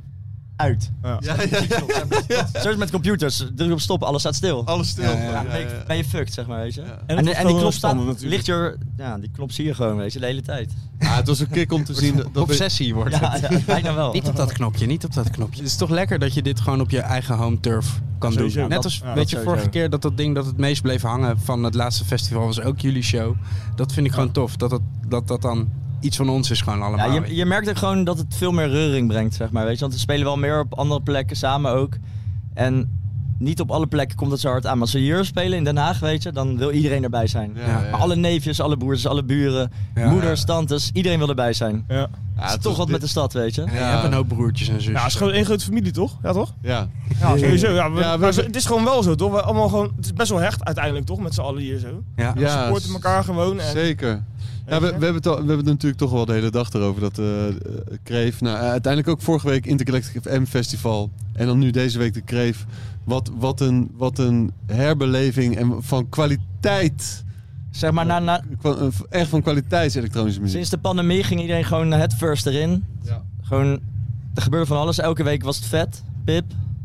N: uit.
B: ja, ja, ja.
N: Zo is het met computers. Druk op stop, alles staat stil.
B: Alles stil.
A: Ja, ja,
B: gewoon.
N: Ja,
B: Ja,
N: ben, je, ben je fucked, zeg maar, weet je.
B: Ja.
N: En, en die knop staat, ligt
O: licht.
N: je... Ja, die knop zie je gewoon, weet je, de hele tijd.
B: Ah, het was een kick om te zien. dat- Dat we-
A: Obsessie wordt het.
N: Ja, ja bijna wel.
A: Niet op dat knopje, niet op dat knopje. Het is toch lekker dat je dit gewoon op je eigen home turf kan
O: Sowieso.
A: doen. Net als,
O: Ja, dat
A: weet je,
N: sowieso.
A: vorige keer dat dat ding dat het meest bleef hangen van het laatste festival was ook jullie show. Dat vind ik gewoon tof. Dat het, dat, dat dan iets van ons is gewoon
N: Ja,
A: allemaal.
N: je, je merkt ook gewoon dat het veel meer reuring brengt, zeg maar. Weet je? Want we spelen wel meer op andere plekken samen ook. En niet op alle plekken komt dat zo hard aan. Maar als we hier spelen in Den Haag, weet je, dan wil iedereen erbij zijn.
B: Ja, ja, ja.
N: Maar alle neefjes, alle broers, alle buren,
A: Ja.
N: moeders, tantes, iedereen wil erbij zijn.
O: Ja.
B: Ja,
N: het
B: het
N: is toch
B: was
N: wat
B: dit-
N: met de stad, weet je.
A: En je hebt een hoop broertjes en zusjes.
O: Ja, het is gewoon één grote familie, toch? Ja, toch?
B: Ja.
O: Ja, sowieso. Ja, we-
B: Ja, we-
O: maar zo- het is gewoon wel zo, toch? We allemaal gewoon, het is best wel hecht uiteindelijk, toch? Met z'n allen hier zo.
A: Ja.
O: We
B: Ja,
O: supporten elkaar gewoon. En,
B: Zeker. Ja, we, we, hebben het al- we hebben het natuurlijk toch wel de hele dag erover. Dat eh, eh, Kreef. Nou, eh, uiteindelijk ook vorige week Intergalactic M Festival. En dan nu deze week de Kreef. Wat, wat, een, wat een herbeleving en van kwaliteit.
N: Zeg maar, na, na,
B: Kwa- eh, Echt van kwaliteit elektronische muziek.
N: sinds de pandemie ging iedereen gewoon het first erin.
B: Ja.
N: Gewoon, er gebeurde van alles. Elke week was het vet, pip,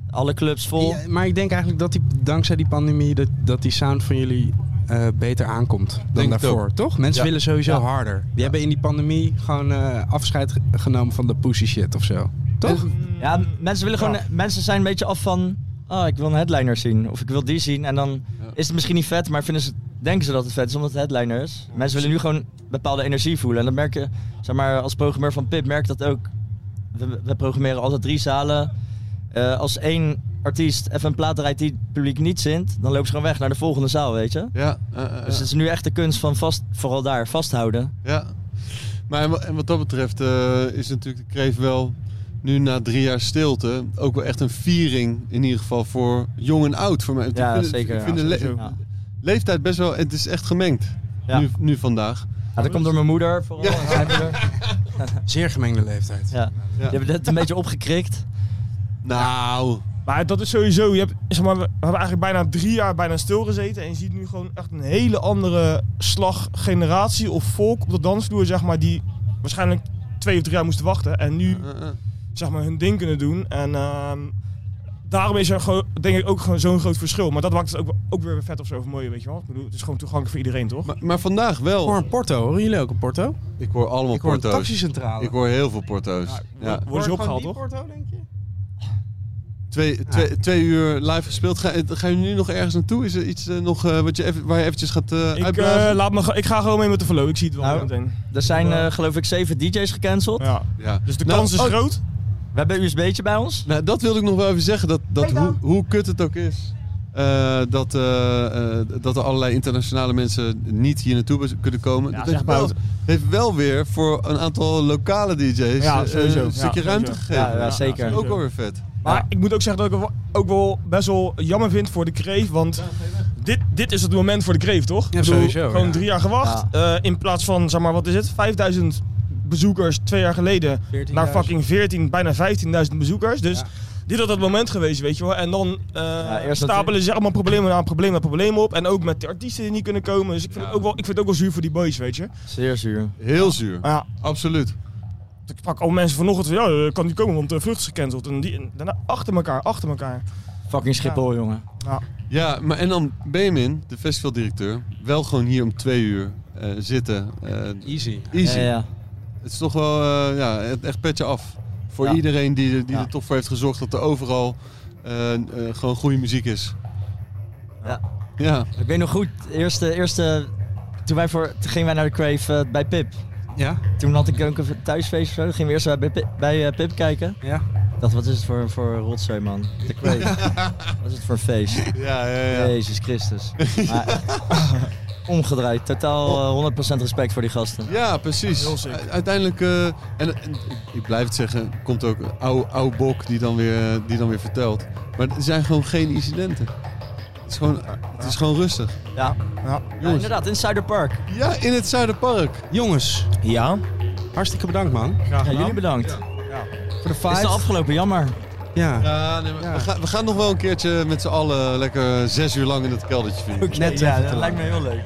N: alle clubs vol.
A: Ja, maar ik denk eigenlijk dat die, dankzij die pandemie dat, dat die sound van jullie eh, beter aankomt dan
B: Denk het
A: daarvoor, toch? Mensen
B: Ja.
A: willen sowieso harder. Die hebben in die pandemie gewoon eh, afscheid ge- genomen van de pussy shit of zo. Toch?
N: Ja, mensen willen gewoon.
O: Ja.
N: Mensen zijn een "Ah, beetje af van. Oh, ik wil een headliner zien. Of ik wil die zien. En dan is het misschien niet vet, maar vinden ze het denken ze dat het vet is, omdat het headliner is. Mensen willen nu gewoon bepaalde energie voelen. En dat merk je, zeg maar, als programmeur van Pip merk ik dat ook. We, we programmeren altijd drie zalen. Eh, als één artiest even een plaat draait die het publiek niet zint, dan lopen ze gewoon weg naar de volgende zaal, weet je?
B: Ja.
N: dus het is nu echt de kunst van vast, vooral daar, vasthouden.
B: Ja. Maar en wa- en wat dat betreft eh, is natuurlijk de Kreef wel nu na drie jaar stilte ook wel echt een viering in ieder geval voor jong en oud. Voor mij. Want
N: Ja,
B: ik vind,
N: zeker,
B: Ik vind
N: ja,
B: de le-
N: sowieso. Ja.
B: leeftijd best wel, het is echt gemengd
N: Ja.
B: nu, nu vandaag.
N: Ja, dat komt door mijn moeder vooral. en zijn moeder.
A: Zeer gemengde leeftijd.
N: Ja. Je hebt het een beetje opgekrikt.
B: Nou.
O: Maar dat is sowieso, je hebt, zeg maar, we we hebben eigenlijk bijna drie jaar bijna stilgezeten. En je ziet nu gewoon echt een hele andere slag generatie of volk op de dansvloer, zeg maar, die waarschijnlijk twee of drie jaar moesten wachten. En nu, zeg maar, hun ding kunnen doen. En ehm, daarom is er gewoon, denk ik ook gewoon zo'n groot verschil. Maar dat maakt het ook, ook weer vet of zo of mooi, weet je wel. Ik bedoel, het is gewoon toegankelijk voor iedereen, toch?
B: Maar vandaag wel.
E: Voor een Porto, horen jullie ook een Porto?
B: Ik hoor allemaal
E: Ik hoor een
B: porto's.
E: taxicentrale.
B: Ik hoor heel veel porto's. ja.
O: Worden ze opgehaald, toch?
B: Twee, twee, twee uur live gespeeld. Ga, ga je nu nog ergens naartoe? Is er iets eh, nog, eh, wat je even, waar je eventjes gaat eh
O: Ik,
B: uitblazen?
O: eh, laat me, ge- ik ga gewoon mee met de flow, ik zie het wel
N: Nou,
O: meteen.
N: Er zijn
O: Ja.
N: eh, geloof ik zeven DJ's gecanceld.
O: Ja.
B: Ja.
O: Dus de
B: Nou,
O: kans is
B: oh.
O: groot.
N: We hebben een USB'tje bij ons.
B: Nou, dat wilde ik nog wel even zeggen. Dat, dat hoe, hoe kut het ook is. eh, dat, eh, eh, dat er allerlei internationale mensen niet hier naartoe bez- kunnen komen. dat heeft
O: zeg maar
B: wel,
O: het.
B: heeft wel weer voor een aantal lokale DJ's
O: Ja,
B: eh,
O: sowieso.
B: een stukje
O: Ja,
B: ruimte
O: sowieso.
B: gegeven.
N: Ja, ja, zeker.
B: Dat is ook alweer vet.
O: Maar ik moet ook zeggen dat ik het wel- ook wel best wel jammer vind voor de kreef. Want dit, dit is het moment voor de kreef, toch? Ik bedoel,
E: sowieso,
O: Gewoon
E: ja.
O: drie jaar gewacht. eh, in plaats van, zeg maar, wat is het? 5000 bezoekers twee jaar geleden.
E: 14.000.
O: Naar fucking 14, bijna 15.000 bezoekers. Dus dit had het moment geweest, weet je wel. En dan eh,
N: eerst dat-
O: stapelen ze allemaal problemen na probleem na probleem op. En ook met de artiesten die niet kunnen komen. Dus ik vind, het, ook wel, ik vind het ook wel zuur voor die boys, weet je.
N: Zeer zuur.
B: Heel zuur.
O: Maar ja,
B: Absoluut.
O: ik pak al mensen vanochtend van, ja, eh, kan niet komen, want de vlucht is gecanceld. En, die, en daarna achter elkaar, achter elkaar.
N: Fucking Schiphol, jongen.
B: Ja, maar en dan Benjamin, de festivaldirecteur, wel gewoon hier om twee uur eh, zitten. Eh,
A: Easy.
B: easy.
N: Ja, ja.
B: Het is toch wel eh, ja, het- echt petje af. Voor
N: Ja.
B: iedereen die, die
N: Ja.
B: er toch voor heeft gezorgd dat er overal eh, eh, gewoon goede muziek is.
N: Ja.
B: Ja.
N: Ik weet nog goed, eerste, eerste, toen, wij voor, toen gingen wij naar de Crave eh, bij Pip.
A: Ja?
N: Toen had ik ook een thuisfeest of zo. Dan gingen we eerst bij, Pip, bij eh, Pip kijken.
A: Ja.
N: Ik dacht, wat is het voor, voor rotzooi, man? De Crave. wat is het voor een feest?
B: Ja, ja, ja.
N: Jezus Christus. Maar, omgedraaid. Totaal eh, 100% respect voor die gasten.
B: Ja, precies.
O: Heel sick.
B: U- Uiteindelijk, eh, en, en ik blijf het zeggen, komt ook een oude, oude bok die dan, weer, eh, die dan weer vertelt. Maar er zijn gewoon geen incidenten. Het is gewoon, het is gewoon rustig.
N: Ja, ja
B: Jongens.
N: inderdaad. In Zuiderpark.
B: Ja, in het Zuiderpark.
A: Jongens,
N: Ja.
A: hartstikke bedankt man.
O: Graag
N: Ja,
O: gedaan.
N: jullie bedankt.
A: Voor de
N: Het is de
A: vijf.
N: afgelopen, jammer.
A: Ja.
B: Ja, nee, maar We, gaan, we gaan nog wel een keertje met z'n allen lekker zes uur lang in het keldertje vinden.
N: Net ja, dat lijkt me heel leuk.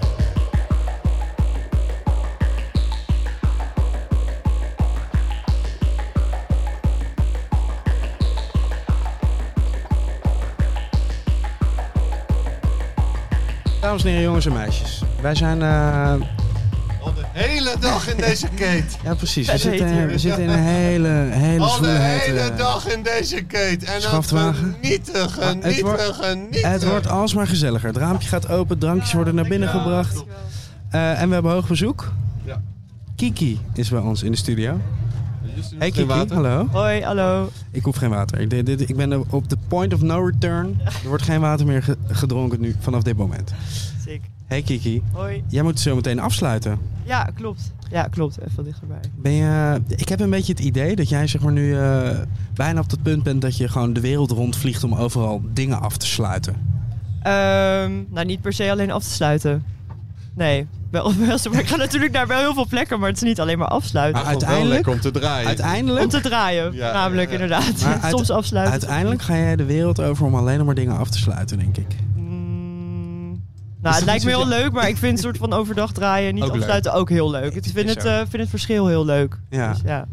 A: Dames en heren, jongens en meisjes. Wij zijn... eh,
B: Al de hele dag in deze keet.
A: ja, precies. We zitten, we zitten in een hele, hele
B: Al de
A: zwoele
B: hele
A: hete-
B: dag in deze keet. En dan
A: Schaftwagen. Ah,
B: genieten,
A: het wordt-
B: genieten, genieten.
A: Het wordt alsmaar gezelliger. Het raampje gaat open, drankjes worden naar binnen gebracht. Eh, en we hebben hoog bezoek.
B: Ja.
A: Kiki is bij ons in de studio.
B: Justin,
A: Hey
B: dus geen
A: Kiki,
B: water.
A: hallo.
N: Hoi, hallo.
A: Ik hoef geen water. Ik, dit- dit- ik ben er op de point of no return. Er wordt geen water meer ge- gedronken nu, vanaf dit moment.
P: Sick.
A: Hey Kiki,
P: Hoi.
A: jij moet zo meteen afsluiten.
P: Ja, klopt. Ja, klopt. Even dichterbij.
A: Ben je, ik heb een beetje het idee dat jij zeg maar, nu eh, bijna op het punt bent dat je gewoon de wereld rondvliegt om overal dingen af te sluiten.
P: Ehm, nou, niet per se alleen af te sluiten. Nee, wel, wel, maar ik ga natuurlijk naar wel heel veel plekken, maar het is niet alleen maar afsluiten.
A: Maar
B: Wel
A: uiteindelijk,
B: lekker om te draaien.
P: Om
A: uiteindelijk,
P: te draaien,
B: Ja,
P: namelijk
B: ja, ja.
P: inderdaad.
A: Maar uit-
P: Soms afsluiten.
A: uiteindelijk ga jij de wereld over om alleen maar dingen af te sluiten, denk ik.
P: Mm,
A: dat
P: nou, het lijkt me
A: niet
P: heel
A: zo-
P: leuk, maar ik vind een soort van overdag draaien, niet
A: Ook leuk.
P: afsluiten ook heel leuk.
A: het
P: Ik vind
A: is
P: het,
A: zo.
P: eh, vind het verschil heel leuk.
A: Ja.
P: Dus, ja.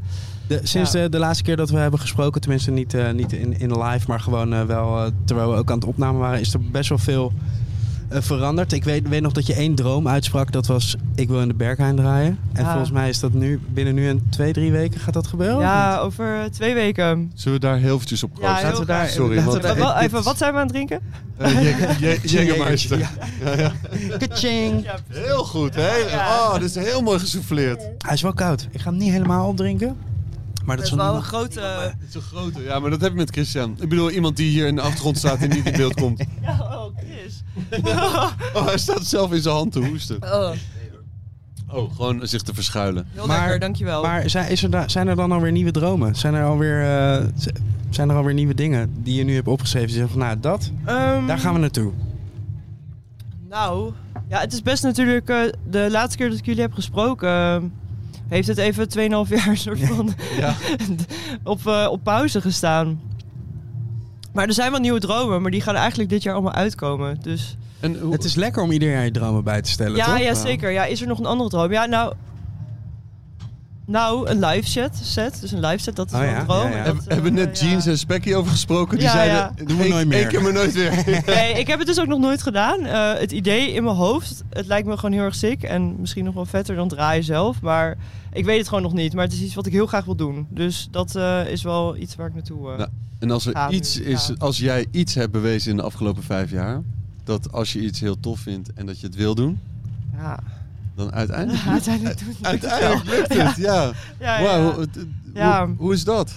A: De, sinds
P: Ja.
A: de, de laatste keer dat we hebben gesproken, tenminste niet, eh, niet in, in live, maar gewoon eh, wel eh, terwijl we ook aan het opnemen waren, is er best wel veel eh, veranderd. Ik weet, weet nog dat je één droom uitsprak. Dat was, ik wil in de Berghain draaien. En
P: Ja.
A: volgens mij is dat nu, binnen nu en twee, drie weken gaat dat gebeuren?
P: Ja, over eh, twee weken.
B: Zullen we daar heel eventjes op
P: Ja,
B: proosten?
P: heel graag.
B: Sorry,
P: Laten
B: want-
P: we wel even, wat zijn we aan het drinken?
B: Eh, Jäger- Jä- Jägermeister.
A: Ja.
B: Ja, ja.
A: Kaching.
B: Heel goed, hè? Oh, dit is heel mooi gesouffleerd.
A: Hij is wel koud. Ik ga hem niet helemaal opdrinken. Maar dat is wel een
P: grote...
B: Zo'n grote, ja, maar dat heb ik met Christian. Ik bedoel, iemand die hier in de achtergrond staat en niet in beeld komt.
P: Oh, Chris.
B: Oh, hij staat zelf in zijn hand te hoesten.
P: Oh,
B: Oh, gewoon zich te verschuilen.
P: heel lekker, dankjewel.
A: Maar zijn, is er da- zijn er dan alweer nieuwe dromen? Zijn er alweer, eh, z- zijn er alweer nieuwe dingen die je nu hebt opgeschreven? Die zeggen van, nou, dat,
P: Ehm,
A: daar gaan we naartoe.
P: Nou, ja, het is best natuurlijk... eh, de laatste keer dat ik jullie heb gesproken... eh, heeft het even 2,5 jaar soort van
B: Ja.
P: op, eh, op pauze gestaan. Maar er zijn wel nieuwe dromen, maar die gaan eigenlijk dit jaar allemaal uitkomen. Dus
A: Het is lekker om ieder jaar je dromen bij te stellen,
P: ja,
A: toch?
P: ja, zeker. Ja, is er nog een andere droom? Ja, nou... Nou, een live set, set. Dus een live set, dat is
B: Oh
P: wel
B: ja,
P: een droom.
B: ja, ja.
P: En
B: Heb-
P: dat, eh,
B: hebben we net Jeans en Specky over gesproken? Die
P: Ja,
B: zeiden,
P: ja.
B: doen we nooit meer. Ik heb me nooit weer.
P: Nee, ik heb het dus ook nog nooit gedaan. Eh, het idee in mijn hoofd, het lijkt me gewoon heel erg sick. En misschien nog wel vetter dan draaien zelf. Maar ik weet het gewoon nog niet. Maar het is iets wat ik heel graag wil doen. Dus dat eh, is wel iets waar ik naartoe eh,
B: Nou, en als, er
P: ga nu.
B: iets is, als jij iets hebt bewezen in de afgelopen vijf jaar, dat als je iets heel tof vindt en dat je het wil doen,
P: Ja.
B: dan uiteindelijk.
P: Ja, uiteindelijk doet het
B: Uiteindelijk
P: wel.
B: lukt het, ja.
P: Ja, ja.
B: Wauw, het- het-
P: Ja.
B: Hoe, hoe is dat?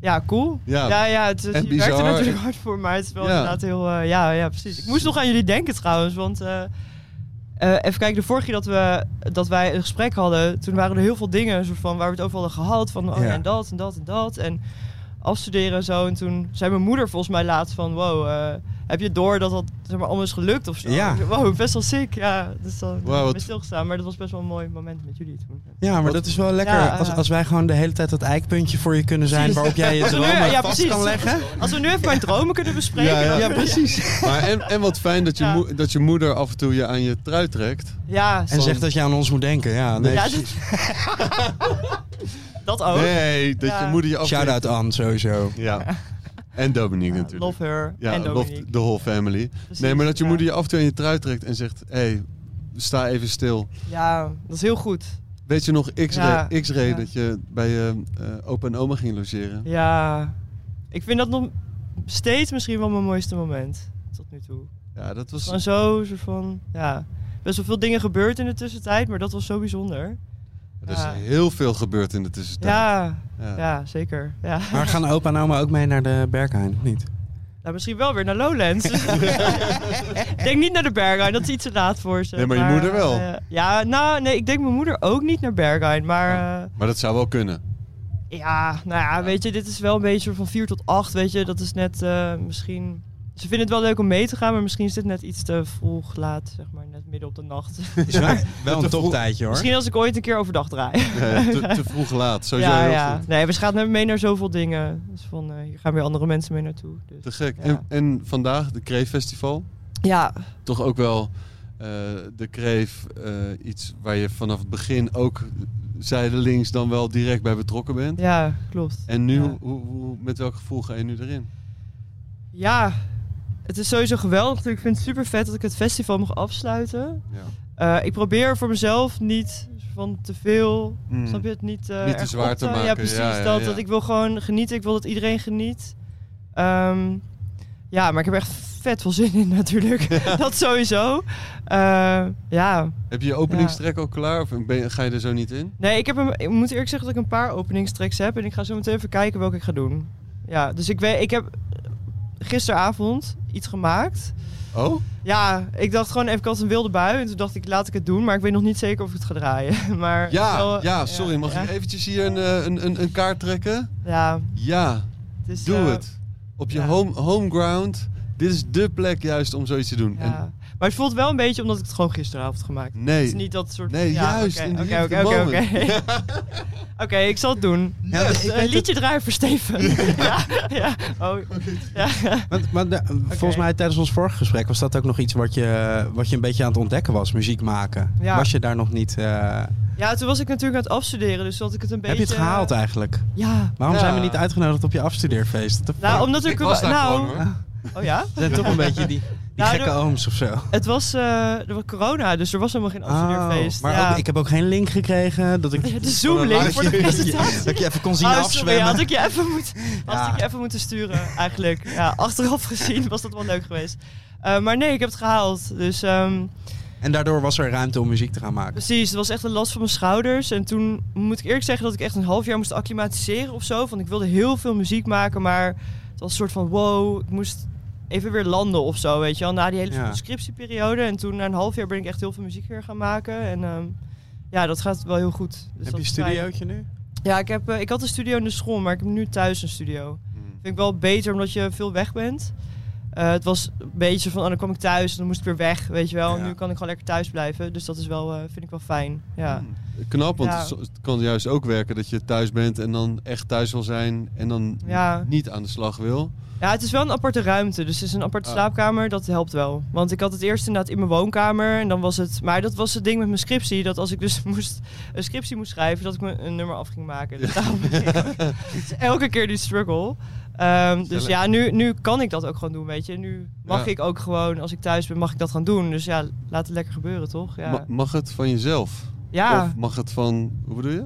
P: Ja, cool.
B: Ja.
P: ja, het,
B: En
P: het, je werkt
B: bizar.
P: er natuurlijk hard voor, maar het is wel
B: Ja.
P: inderdaad heel... eh, ja, ja, precies. Ik moest nog aan jullie denken trouwens, want... eh, eh, even kijken, de vorige keer dat, we, dat wij een gesprek hadden... toen waren er heel veel dingen soort van, waar we het over hadden gehad. Van oh,
A: Ja.
P: ja, en dat en dat en dat. En afstuderen en zo. En toen zei mijn moeder volgens mij laatst van... wow, eh, heb je door dat dat zeg maar, allemaal is gelukt of zo?
A: Ja.
P: Wow, best wel sick. Ja, dus dan
A: Wauw,
P: ben
A: wat-
P: ik stilgestaan. Maar dat was best wel een mooi moment met jullie toen.
A: Ja, maar dat eh. is wel lekker.
P: Ja,
A: als,
P: ja.
A: als wij gewoon de hele tijd dat eikpuntje voor je kunnen zijn... waarop jij je
P: Als we nu-
A: dromen
P: ja,
A: vast
P: precies.
A: kan leggen.
P: Als we nu even mijn dromen kunnen bespreken.
B: Ja, ja.
P: dan-
B: Ja, precies. Maar en, en wat fijn dat je,
P: Ja.
B: moe- dat je moeder af en toe je aan je trui trekt.
P: Ja,
A: En zegt dat je aan ons moet denken. Ja, nee,
P: Ja,
A: precies.
P: Dat ook.
B: Nee, dat je
P: Oh. Ja.
B: moeder je af.
A: Shout-out aan, sowieso.
B: Ja. En Dominique natuurlijk.
P: Love her.
B: Ja,
P: en
B: love
P: Dominique.
B: the whole family. nee, maar dat je
P: ja.
B: moeder je af en toe aan je trui trekt en zegt... Hé, hey, sta even stil.
P: Ja, dat is heel goed.
B: Weet je nog X-ray
P: Ja,
B: X-ray
P: ja.
B: dat je bij je eh, opa en oma ging logeren?
P: Ja, ik vind dat nog steeds misschien wel mijn mooiste moment tot nu toe.
B: Ja, dat was...
P: Gewoon zo, soort van, ja. Best wel veel dingen gebeurd in de tussentijd, maar dat was zo bijzonder.
B: Er is
P: Ja.
B: heel veel gebeurd in de tussentijd.
P: Ja,
B: Ja.
P: ja. zeker. Ja.
A: Maar gaan opa en oma ook mee naar de Berghain, of niet?
P: Nou, misschien wel weer naar Lowlands. ik denk niet naar de Berghain, dat is iets te laat voor ze.
B: Nee, maar je moeder wel.
P: eh, ja, nou, nee, ik denk mijn moeder ook niet naar Berghain, maar... eh,
B: Maar dat zou wel kunnen.
P: Ja, nou ja, weet je, dit is wel een beetje van 4 tot 8, weet je. Dat is net eh, misschien... Ze vinden het wel leuk om mee te gaan, maar misschien is dit net iets te vroeg, laat, zeg maar, net midden op de nacht.
A: Is wel, wel een toptijdje, hoor.
P: misschien als ik ooit een keer overdag draai.
B: Ja, te, te vroeg laat, sowieso
P: ja,
B: heel
P: ja.
B: goed.
P: Nee, we gaan net mee naar zoveel dingen. Dus van, eh, hier gaan weer andere mensen mee naartoe. Dus,
B: Te gek.
P: Ja.
B: En, en vandaag, de Kreef Festival.
P: ja,
B: toch ook wel eh, de kreef eh, iets waar je vanaf het begin ook zijdelings dan wel direct bij betrokken bent.
P: ja, klopt.
B: En nu,
P: Ja.
B: hoe, hoe, met welk gevoel ga je nu erin?
P: Ja, het is sowieso geweldig. Ik vind het super vet dat ik het festival mag afsluiten.
B: Ja.
P: Eh, ik probeer voor mezelf niet van te veel,
B: Mm.
P: snap je het, niet, eh,
B: Niet te
P: erg
B: zwaar
P: op
B: te maken,
P: Ja, precies.
B: ja, ja,
P: dat,
B: ja.
P: dat ik wil gewoon genieten. Ik wil dat iedereen geniet. Ehm, ja, maar ik heb er echt vet veel zin in natuurlijk. dat sowieso. Eh, ja.
B: Heb je je openingstrek al klaar of ben je- ga je er zo niet in?
P: Nee, ik, heb hem, ik moet eerlijk zeggen dat ik een paar openingstracks heb. En ik ga zo meteen even kijken welke ik ga doen. Ja, dus ik, weet, ik heb gisteravond iets gemaakt.
B: Oh?
P: Ja, ik dacht gewoon even, ik had een wilde bui. En toen dacht ik, laat ik het doen. Maar ik weet nog niet zeker of ik het ga draaien. Maar
B: Ja,
P: wel-
B: ja sorry. Mag
P: ja.
B: ik eventjes hier een, eh, een, een, een kaart trekken?
P: Ja,
B: Ja,
P: het is...
B: doe
P: eh,
B: het. Op je home, home ground. Dit is de plek juist om zoiets te doen.
P: Ja.
B: En
P: Maar het voelt wel een beetje omdat ik het gewoon gisteravond gemaakt heb.
B: Nee.
P: Het is niet dat soort...
B: Nee, juist, in
P: Oké,
B: the
P: oké,
B: heat of
P: oké,
B: the
P: oké,
B: moment.
P: oké. Oké, ik zal het doen.
A: Ja,
P: Dus,
A: ik
P: eh,
A: weet
P: liedje draaien voor Steven. ja, ja. Oh, ja.
A: Want, maar de- volgens mij tijdens ons vorige gesprek was dat ook nog iets wat je, wat je een beetje aan het ontdekken was. Muziek maken.
P: Ja.
A: Was je daar nog niet... eh,
P: ja, toen was ik natuurlijk aan het afstuderen. Dus had ik het een beetje... eh,
A: Heb je het gehaald eigenlijk?
P: Ja.
A: Waarom
P: Ja.
A: zijn we niet uitgenodigd op je afstudeerfeest? What the
P: Nou,
A: fuck?
P: omdat er...
B: Ik was daar
P: nou,
B: gewoon, hoor.
P: Oh ja?
A: Zijn toch een beetje die, die
P: Nou,
A: gekke
P: er-
A: ooms of zo.
P: Het was, eh, er was corona, dus er was helemaal geen afstudeerfeest.
A: Oh, maar
P: ja.
A: ook, ik heb ook geen link gekregen. Dat ik,
P: Ja, de Zoom-link
A: dat
P: voor
A: je-
P: de presentatie.
A: Dat je even kon zien
P: Oh, sorry,
A: afzwemmen.
P: had ik je even, moet, had ik je even moeten sturen, eigenlijk. Ja, achteraf gezien was dat wel leuk geweest. Eh, maar nee, ik heb het gehaald. Dus ehm,
A: En daardoor was er ruimte om muziek te gaan maken.
P: precies, het was echt een last van mijn schouders. En toen moet ik eerlijk zeggen dat ik echt een half jaar moest acclimatiseren of zo. Want ik wilde heel veel muziek maken, maar het was een soort van wow, ik moest even weer landen of zo, weet je wel. Na die hele
A: Ja.
P: scriptieperiode. En toen na een half jaar ben ik echt heel veel muziek weer gaan maken. En ehm, ja, dat gaat wel heel goed. Dus dat
A: heb je een
P: is fijn.
A: studiootje nu?
P: Ja, ik, heb, eh, ik had een studio in de school, maar ik heb nu thuis een studio.
A: Hmm.
P: Vind ik wel beter omdat je veel weg bent. Eh, het was een beetje van, oh, dan kwam ik thuis en dan moest ik weer weg, weet je wel. Nu kan ik gewoon lekker thuis blijven, dus dat is wel, eh, vind ik wel fijn. Ja.
A: Hmm.
B: Knap, want
P: Ja.
B: het zo- het kan juist ook werken dat je thuis bent en dan echt thuis wil zijn en dan
P: Ja.
B: niet aan de slag wil.
P: Ja, het is wel een aparte ruimte. Dus het is een aparte
B: Ah.
P: slaapkamer. Dat helpt wel. Want ik had het eerst inderdaad in mijn woonkamer. En dan was het. Maar dat was het ding met mijn scriptie. Dat als ik dus moest, een scriptie moest schrijven, dat ik me een nummer af ging maken. Dus daarom- Dus elke keer die struggle. Ehm, dus
A: Zelf.
P: ja, nu, nu kan ik dat ook gewoon doen, weet je. Nu mag
B: Ja.
P: ik ook gewoon, als ik thuis ben, mag ik dat gaan doen. Dus ja, laat het lekker gebeuren, toch? Ja.
B: Ma- mag het van jezelf?
P: Ja.
B: Of mag het van... Hoe bedoel je?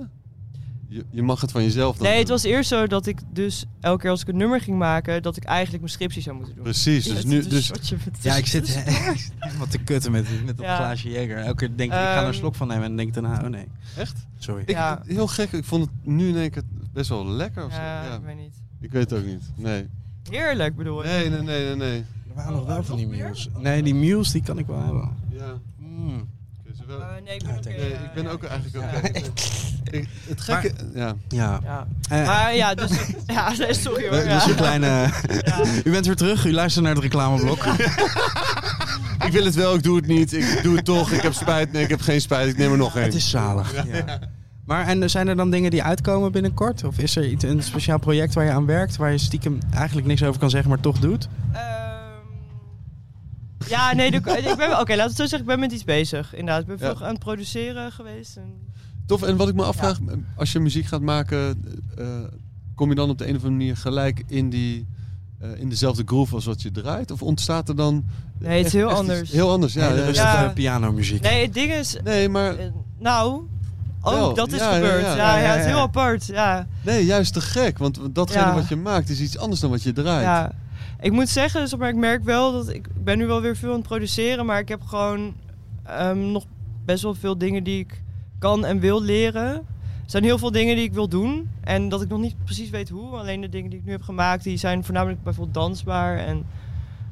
B: Je, je mag het van jezelf dan
P: Nee, het was eerst zo dat ik dus elke keer als ik een nummer ging maken, dat ik eigenlijk mijn scriptie zou moeten doen.
B: Precies, dus
P: Het
B: nu-
P: is
B: dus-
P: wat je met-
A: Ja, ik zit
P: het is-
A: echt wat te kutten met, met dat
P: Ja.
A: glaasje Jäger. Elke keer denk ik, ik ga er
P: Ehm.
A: een slok van nemen en denk ik daarna, oh nee.
B: Echt?
A: Sorry.
B: Ik-
P: Ja.
B: Heel gek, ik vond het nu in één keer best wel lekker of zo.
P: Ja,
B: Ja.
P: ik weet niet.
B: Ik weet het ook niet, nee.
P: Heerlijk bedoel ik.
B: Nee, nee, nee, nee, nee.
A: Er waren nog wel van die mules. Nee, die mules die kan ik wel hebben.
B: Oh,
A: Mm.
B: Ja. Oké, ze wel-
P: nee, ik ben,
B: nee, ik ben ook eigenlijk oké. Ik- Het
A: Maar-
B: gekke... ja.
A: Ja.
P: Ja.
A: Eh.
P: maar ja, dus... Ja, nee, sorry hoor.
A: Dat
P: ja.
A: is een kleine... U bent weer terug, u luistert naar het reclameblok.
B: Ik wil het wel, ik doe het niet. Ik doe het toch. Ik heb spijt. Nee, ik heb geen spijt. Ik neem er nog één.
A: Het is zalig. Ja. Maar en eh, zijn er dan dingen die uitkomen binnenkort? Of is er iets, een speciaal project waar je aan werkt, waar je stiekem eigenlijk niks over kan zeggen, maar toch doet?
P: Ja, nee, de- ik ben... Oké, laten we het zo zeggen. Ik ben met iets bezig, inderdaad. Ik ben
B: Ja.
P: veel aan het produceren geweest. En...
B: Tof, en wat ik me afvraag, als je muziek gaat maken, eh, kom je dan op de een of andere manier gelijk in, die, eh, in dezelfde groove als wat je draait? Of ontstaat er dan.
P: Nee, het is
B: echt-
P: heel
B: echt iets
P: anders.
B: Heel anders, ja.
A: Hele
B: ja,
A: rustige
B: ja.
P: Ja.
A: pianomuziek.
P: Nee, het ding is...
B: Nee, maar.
P: eh, Nou... Ook
B: Wel,
P: dat is
B: ja, ja,
P: gebeurd. Ja,
B: ja.
P: ja,
B: Ja, ja,
P: het is heel
B: ja.
P: apart. Ja.
B: Nee, juist te gek, want datgene
P: Ja.
B: wat je maakt is iets anders dan wat je draait.
P: Ja, ik moet zeggen, zeg maar ik merk wel dat ik, ik ben nu wel weer veel aan het produceren, maar ik heb gewoon ehm, nog best wel veel dingen die ik kan en wil leren. Er zijn heel veel dingen die ik wil doen en dat ik nog niet precies weet hoe. Alleen de dingen die ik nu heb gemaakt, die zijn voornamelijk bijvoorbeeld dansbaar en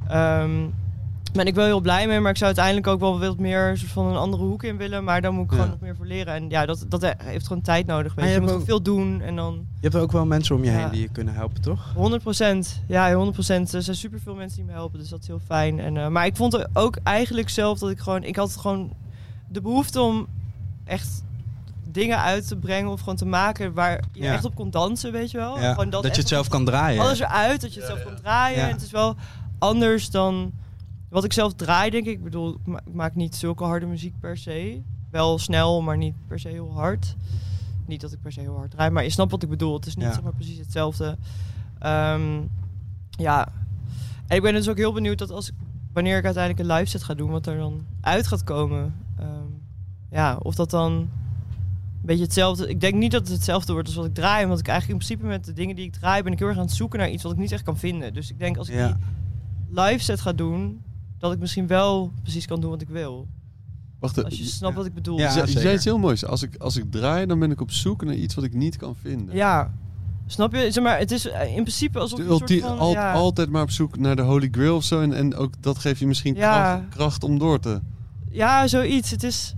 P: ehm ben ik wel heel blij mee, maar ik zou uiteindelijk ook wel wat meer soort van een andere hoek in willen. Maar dan moet ik gewoon
A: Ja.
P: nog meer voor leren. En ja, dat, dat heeft gewoon tijd nodig.
A: Maar
P: Weet je. je
A: je
P: moet
A: hebt
P: veel doen en dan...
A: Je hebt ook wel mensen om je
P: Ja.
A: heen die je kunnen helpen, toch?
P: 100 procent. Ja, 100 procent. Er zijn superveel mensen die me helpen, dus dat is heel fijn. En, eh, maar ik vond ook eigenlijk zelf dat ik gewoon... Ik had gewoon de behoefte om echt dingen uit te brengen of gewoon te maken waar je
A: Ja.
P: echt op kon dansen, weet je wel.
A: Ja,
P: Gewoon
A: dat je het
P: echt
A: zelf kan draaien.
P: Alles eruit, dat je het zelf kan draaien.
A: Ja.
P: En het is wel anders dan wat ik zelf draai, denk ik. Ik bedoel, ik ma- ik maak niet zulke harde muziek per se. Wel snel, maar niet per se heel hard. Niet dat ik per se heel hard draai, maar je snapt wat ik bedoel. Het is niet
A: Ja.
P: zeg maar precies hetzelfde. Ehm, ja. En ik ben dus ook heel benieuwd dat als ik, wanneer ik uiteindelijk een live set ga doen, wat er dan uit gaat komen. Ehm, ja, of dat dan een beetje hetzelfde. Ik denk niet dat het hetzelfde wordt als wat ik draai, want ik eigenlijk in principe met de dingen die ik draai ben ik heel erg aan het zoeken naar iets wat ik niet echt kan vinden. Dus ik denk als ik
A: Ja.
P: die live set ga doen, dat ik misschien wel precies kan doen wat ik wil.
B: Wacht, eh,
P: Als je snapt wat ik bedoel.
B: Ja,
P: Ja,
B: je zei
P: zeker.
B: iets heel moois. Als ik, als ik draai, dan ben ik op zoek naar iets wat ik niet kan vinden.
P: Ja. Snap je? Zeg maar, het is eh, in principe alsof
B: De
P: je een soort
B: ulti-
P: van,
B: al-
P: ja.
B: Altijd maar op zoek naar de Holy Grail of zo. En, en ook dat geeft je misschien
P: Ja.
B: kracht, kracht om door te.
P: Ja, zoiets. Het is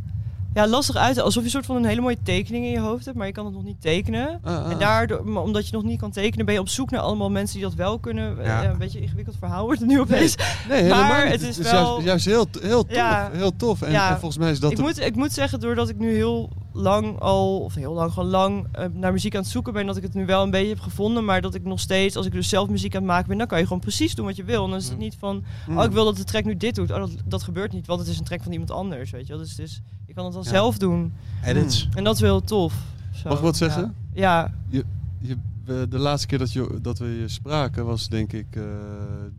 P: ja, lastig uit. Alsof je een soort van een hele mooie tekening in je hoofd hebt, maar je kan het nog niet tekenen.
B: Ah, ah.
P: En daardoor, maar omdat je nog niet kan tekenen, ben je op zoek naar allemaal mensen die dat wel kunnen. Eh,
B: Ja.
P: Ja. een beetje een ingewikkeld verhaal wordt het nu opeens.
B: Nee, helemaal
P: maar
B: niet.
P: het is
B: juist-
P: wel...
B: juist, heel, heel tof.
P: Ja.
B: heel tof. En,
P: Ja.
B: en volgens mij is dat...
P: ik,
B: de-
P: moet, ik moet zeggen, doordat ik nu heel lang al, of heel lang, gewoon lang eh, naar muziek aan het zoeken ben, dat ik het nu wel een beetje heb gevonden. Maar dat ik nog steeds, als ik dus zelf muziek aan het maken ben, dan kan je gewoon precies doen wat je wil. En dan is het niet van,
B: Mm.
P: oh ik wil dat de track nu dit doet. Oh, dat, dat gebeurt niet, want het is een track van iemand anders, weet je wel. Dus het is, je kan het dan
A: Ja.
P: zelf doen. Mm.
A: Edits.
P: En dat is wel heel tof. Zo,
B: Mag ik wat
P: ja.
B: zeggen?
P: Ja.
B: Je, je, we we- de laatste keer dat, je, dat we je spraken was denk ik eh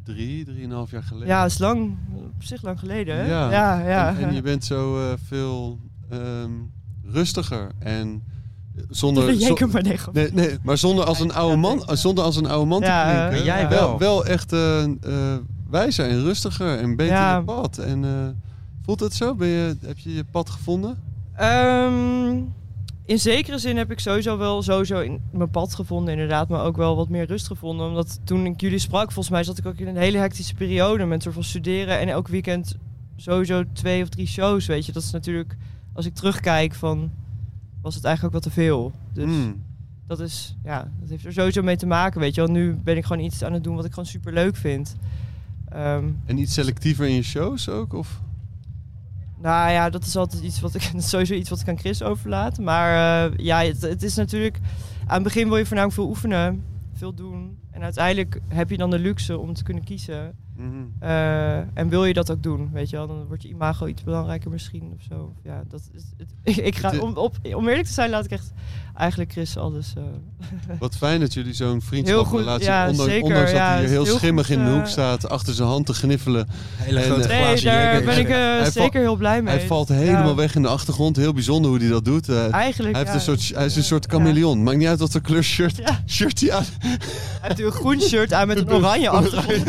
B: drie, drieënhalf jaar geleden.
P: Ja, is lang, op zich lang geleden. hè?
B: Ja,
P: ja. ja.
B: En, en je bent zo eh, veel ehm, rustiger en
P: Dat
B: zonder...
P: ben jij,
B: zo-
P: maar nee, grap.
B: nee, nee, maar zonder als een oude man, eh, zonder als een oude man
P: Ja,
B: te
P: eh,
B: klinken.
P: jij
B: Wel,
P: wel.
B: wel echt eh eh, wijzer en rustiger en beter
P: Ja.
B: je pad. En, eh, voelt het zo? Ben je, heb je je pad gevonden?
P: Ehm, in zekere zin heb ik sowieso wel sowieso in mijn pad gevonden, inderdaad. Maar ook wel wat meer rust gevonden. Omdat toen ik jullie sprak, volgens mij zat ik ook in een hele hectische periode. Met soort van studeren en elk weekend sowieso twee of drie shows, weet je. Dat is natuurlijk, als ik terugkijk, van, was het eigenlijk ook wel te veel. Dus
B: Hmm.
P: dat is, ja, dat heeft er sowieso mee te maken, weet je wel. Nu ben ik gewoon iets aan het doen wat ik gewoon super leuk vind. Ehm,
B: En iets selectiever in je shows ook? Of?
P: nou ja, dat is altijd iets wat ik dat is sowieso iets wat ik aan Chris overlaat. Maar eh, ja, het, het is natuurlijk. Aan het begin wil je voornamelijk veel oefenen, veel doen. En uiteindelijk heb je dan de luxe om te kunnen kiezen.
B: Mhm.
P: Eh, en wil je dat ook doen, weet je wel? Dan wordt je imago iets belangrijker misschien of zo. Ja, dat is, het, ik ga, om, op, om eerlijk te zijn, laat ik echt eigenlijk Chris alles. eh,
B: Wat fijn dat jullie zo'n
P: Heel goed,
B: vriendschapsrelatie
P: ja,
B: hebben. ondanks,
P: zeker,
B: ondanks dat
P: ja,
B: hij hier
P: het is
B: heel
P: heel
B: schimmig
P: goed,
B: in de
P: eh,
B: hoek staat, achter zijn hand te gniffelen.
E: Hele
B: eh,
E: grote
P: glazen Nee, daar jeker. ben ik, eh,
B: Hij
P: zeker
B: val-
P: heel blij mee.
B: Hij valt helemaal
P: Ja.
B: weg in de achtergrond. Heel bijzonder hoe hij dat doet. Eh,
P: Eigenlijk,
B: Hij, heeft
P: ja.
B: een soort, hij is een soort chameleon. Maakt niet uit wat voor kleur shirt, shirt hij aan
P: Hij heeft een groen shirt aan met een oranje achtergrond.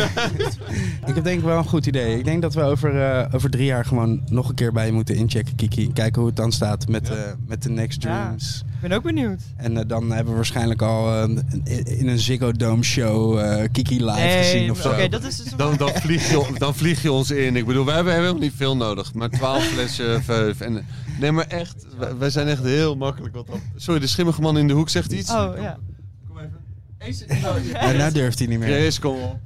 A: Ik heb denk ik wel een goed idee. Ik denk dat we over, eh, over drie jaar gewoon nog een keer bij je moeten inchecken, Kiki. En kijken hoe het dan staat met, eh, met de Next
P: Ja.
A: Dreams.
P: Ik ben ook benieuwd.
A: En eh, dan hebben we waarschijnlijk al eh, in- in een Ziggo Dome show eh, Kiki live
P: Nee,
A: gezien of
P: oké,
A: zo.
P: dat is dus
B: dan, dan, vlieg je, dan vlieg je ons in. Ik bedoel, wij hebben helemaal niet veel nodig. Maar 12 flessen veuf. En, nee, maar echt, wij, wij zijn echt heel makkelijk. Wat dat- Sorry, de schimmige man in de hoek zegt iets.
P: Oh ja.
B: Kom even.
A: Ja, nou durft hij niet meer.
B: Chris, kom op.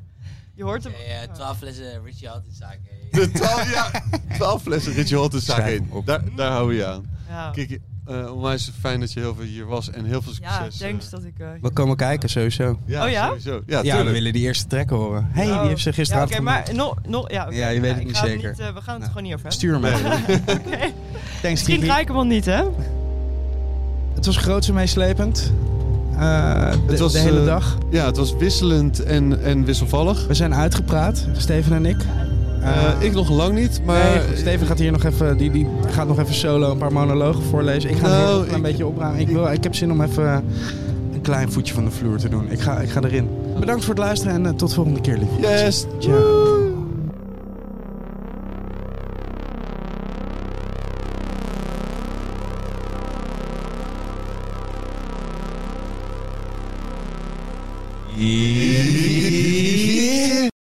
P: Je hoort hem.
J: Ja, twaalf flessen Richie had in zaak.
B: De 12, ja, 12 flessen Ritje Hot is zaak
A: Schrijf
B: heen. Daar, daar houden we je aan.
P: Ja.
B: Kiki, eh onwijs fijn dat je heel veel hier was en heel veel
P: Ja,
B: succes.
P: thanks dat ik. eh,
A: We komen kijken sowieso.
B: Ja, Oh ja? sowieso. Ja,
A: we
B: tuurlijk.
A: willen die eerste track horen. Hé, hey, die heeft ze gisteravond
P: Oh. Ja, Oké, maar nog, nog, ja, oké.
A: Ja, je weet het
P: ik
A: niet
P: ga
A: zeker. Nou,
P: eh, we gaan het gewoon niet over hebben.
A: Stuur hem even.
P: Oké.
A: Thanks,
P: Misschien
A: Kiki.
P: draai ik hem al niet, hè?
A: Het was groots en meeslepend. Eh, de,
B: Het was,
A: de hele
B: eh,
A: dag.
B: Ja, het was wisselend en, en wisselvallig.
A: We zijn uitgepraat, Steven en ik.
B: Eh, ik nog lang niet, maar...
A: Nee, goed, Steven gaat hier nog even, die, die gaat nog even solo een paar monologen voorlezen. Ik ga
B: Nou,
A: hem hier nog een
B: ik-
A: klein beetje opruimen. Ik, wil, ik heb zin om even eh, een klein voetje van de vloer te doen. Ik ga, ik ga erin. Bedankt voor het luisteren en eh, tot volgende keer, lief.
B: Yes!
A: Ciao.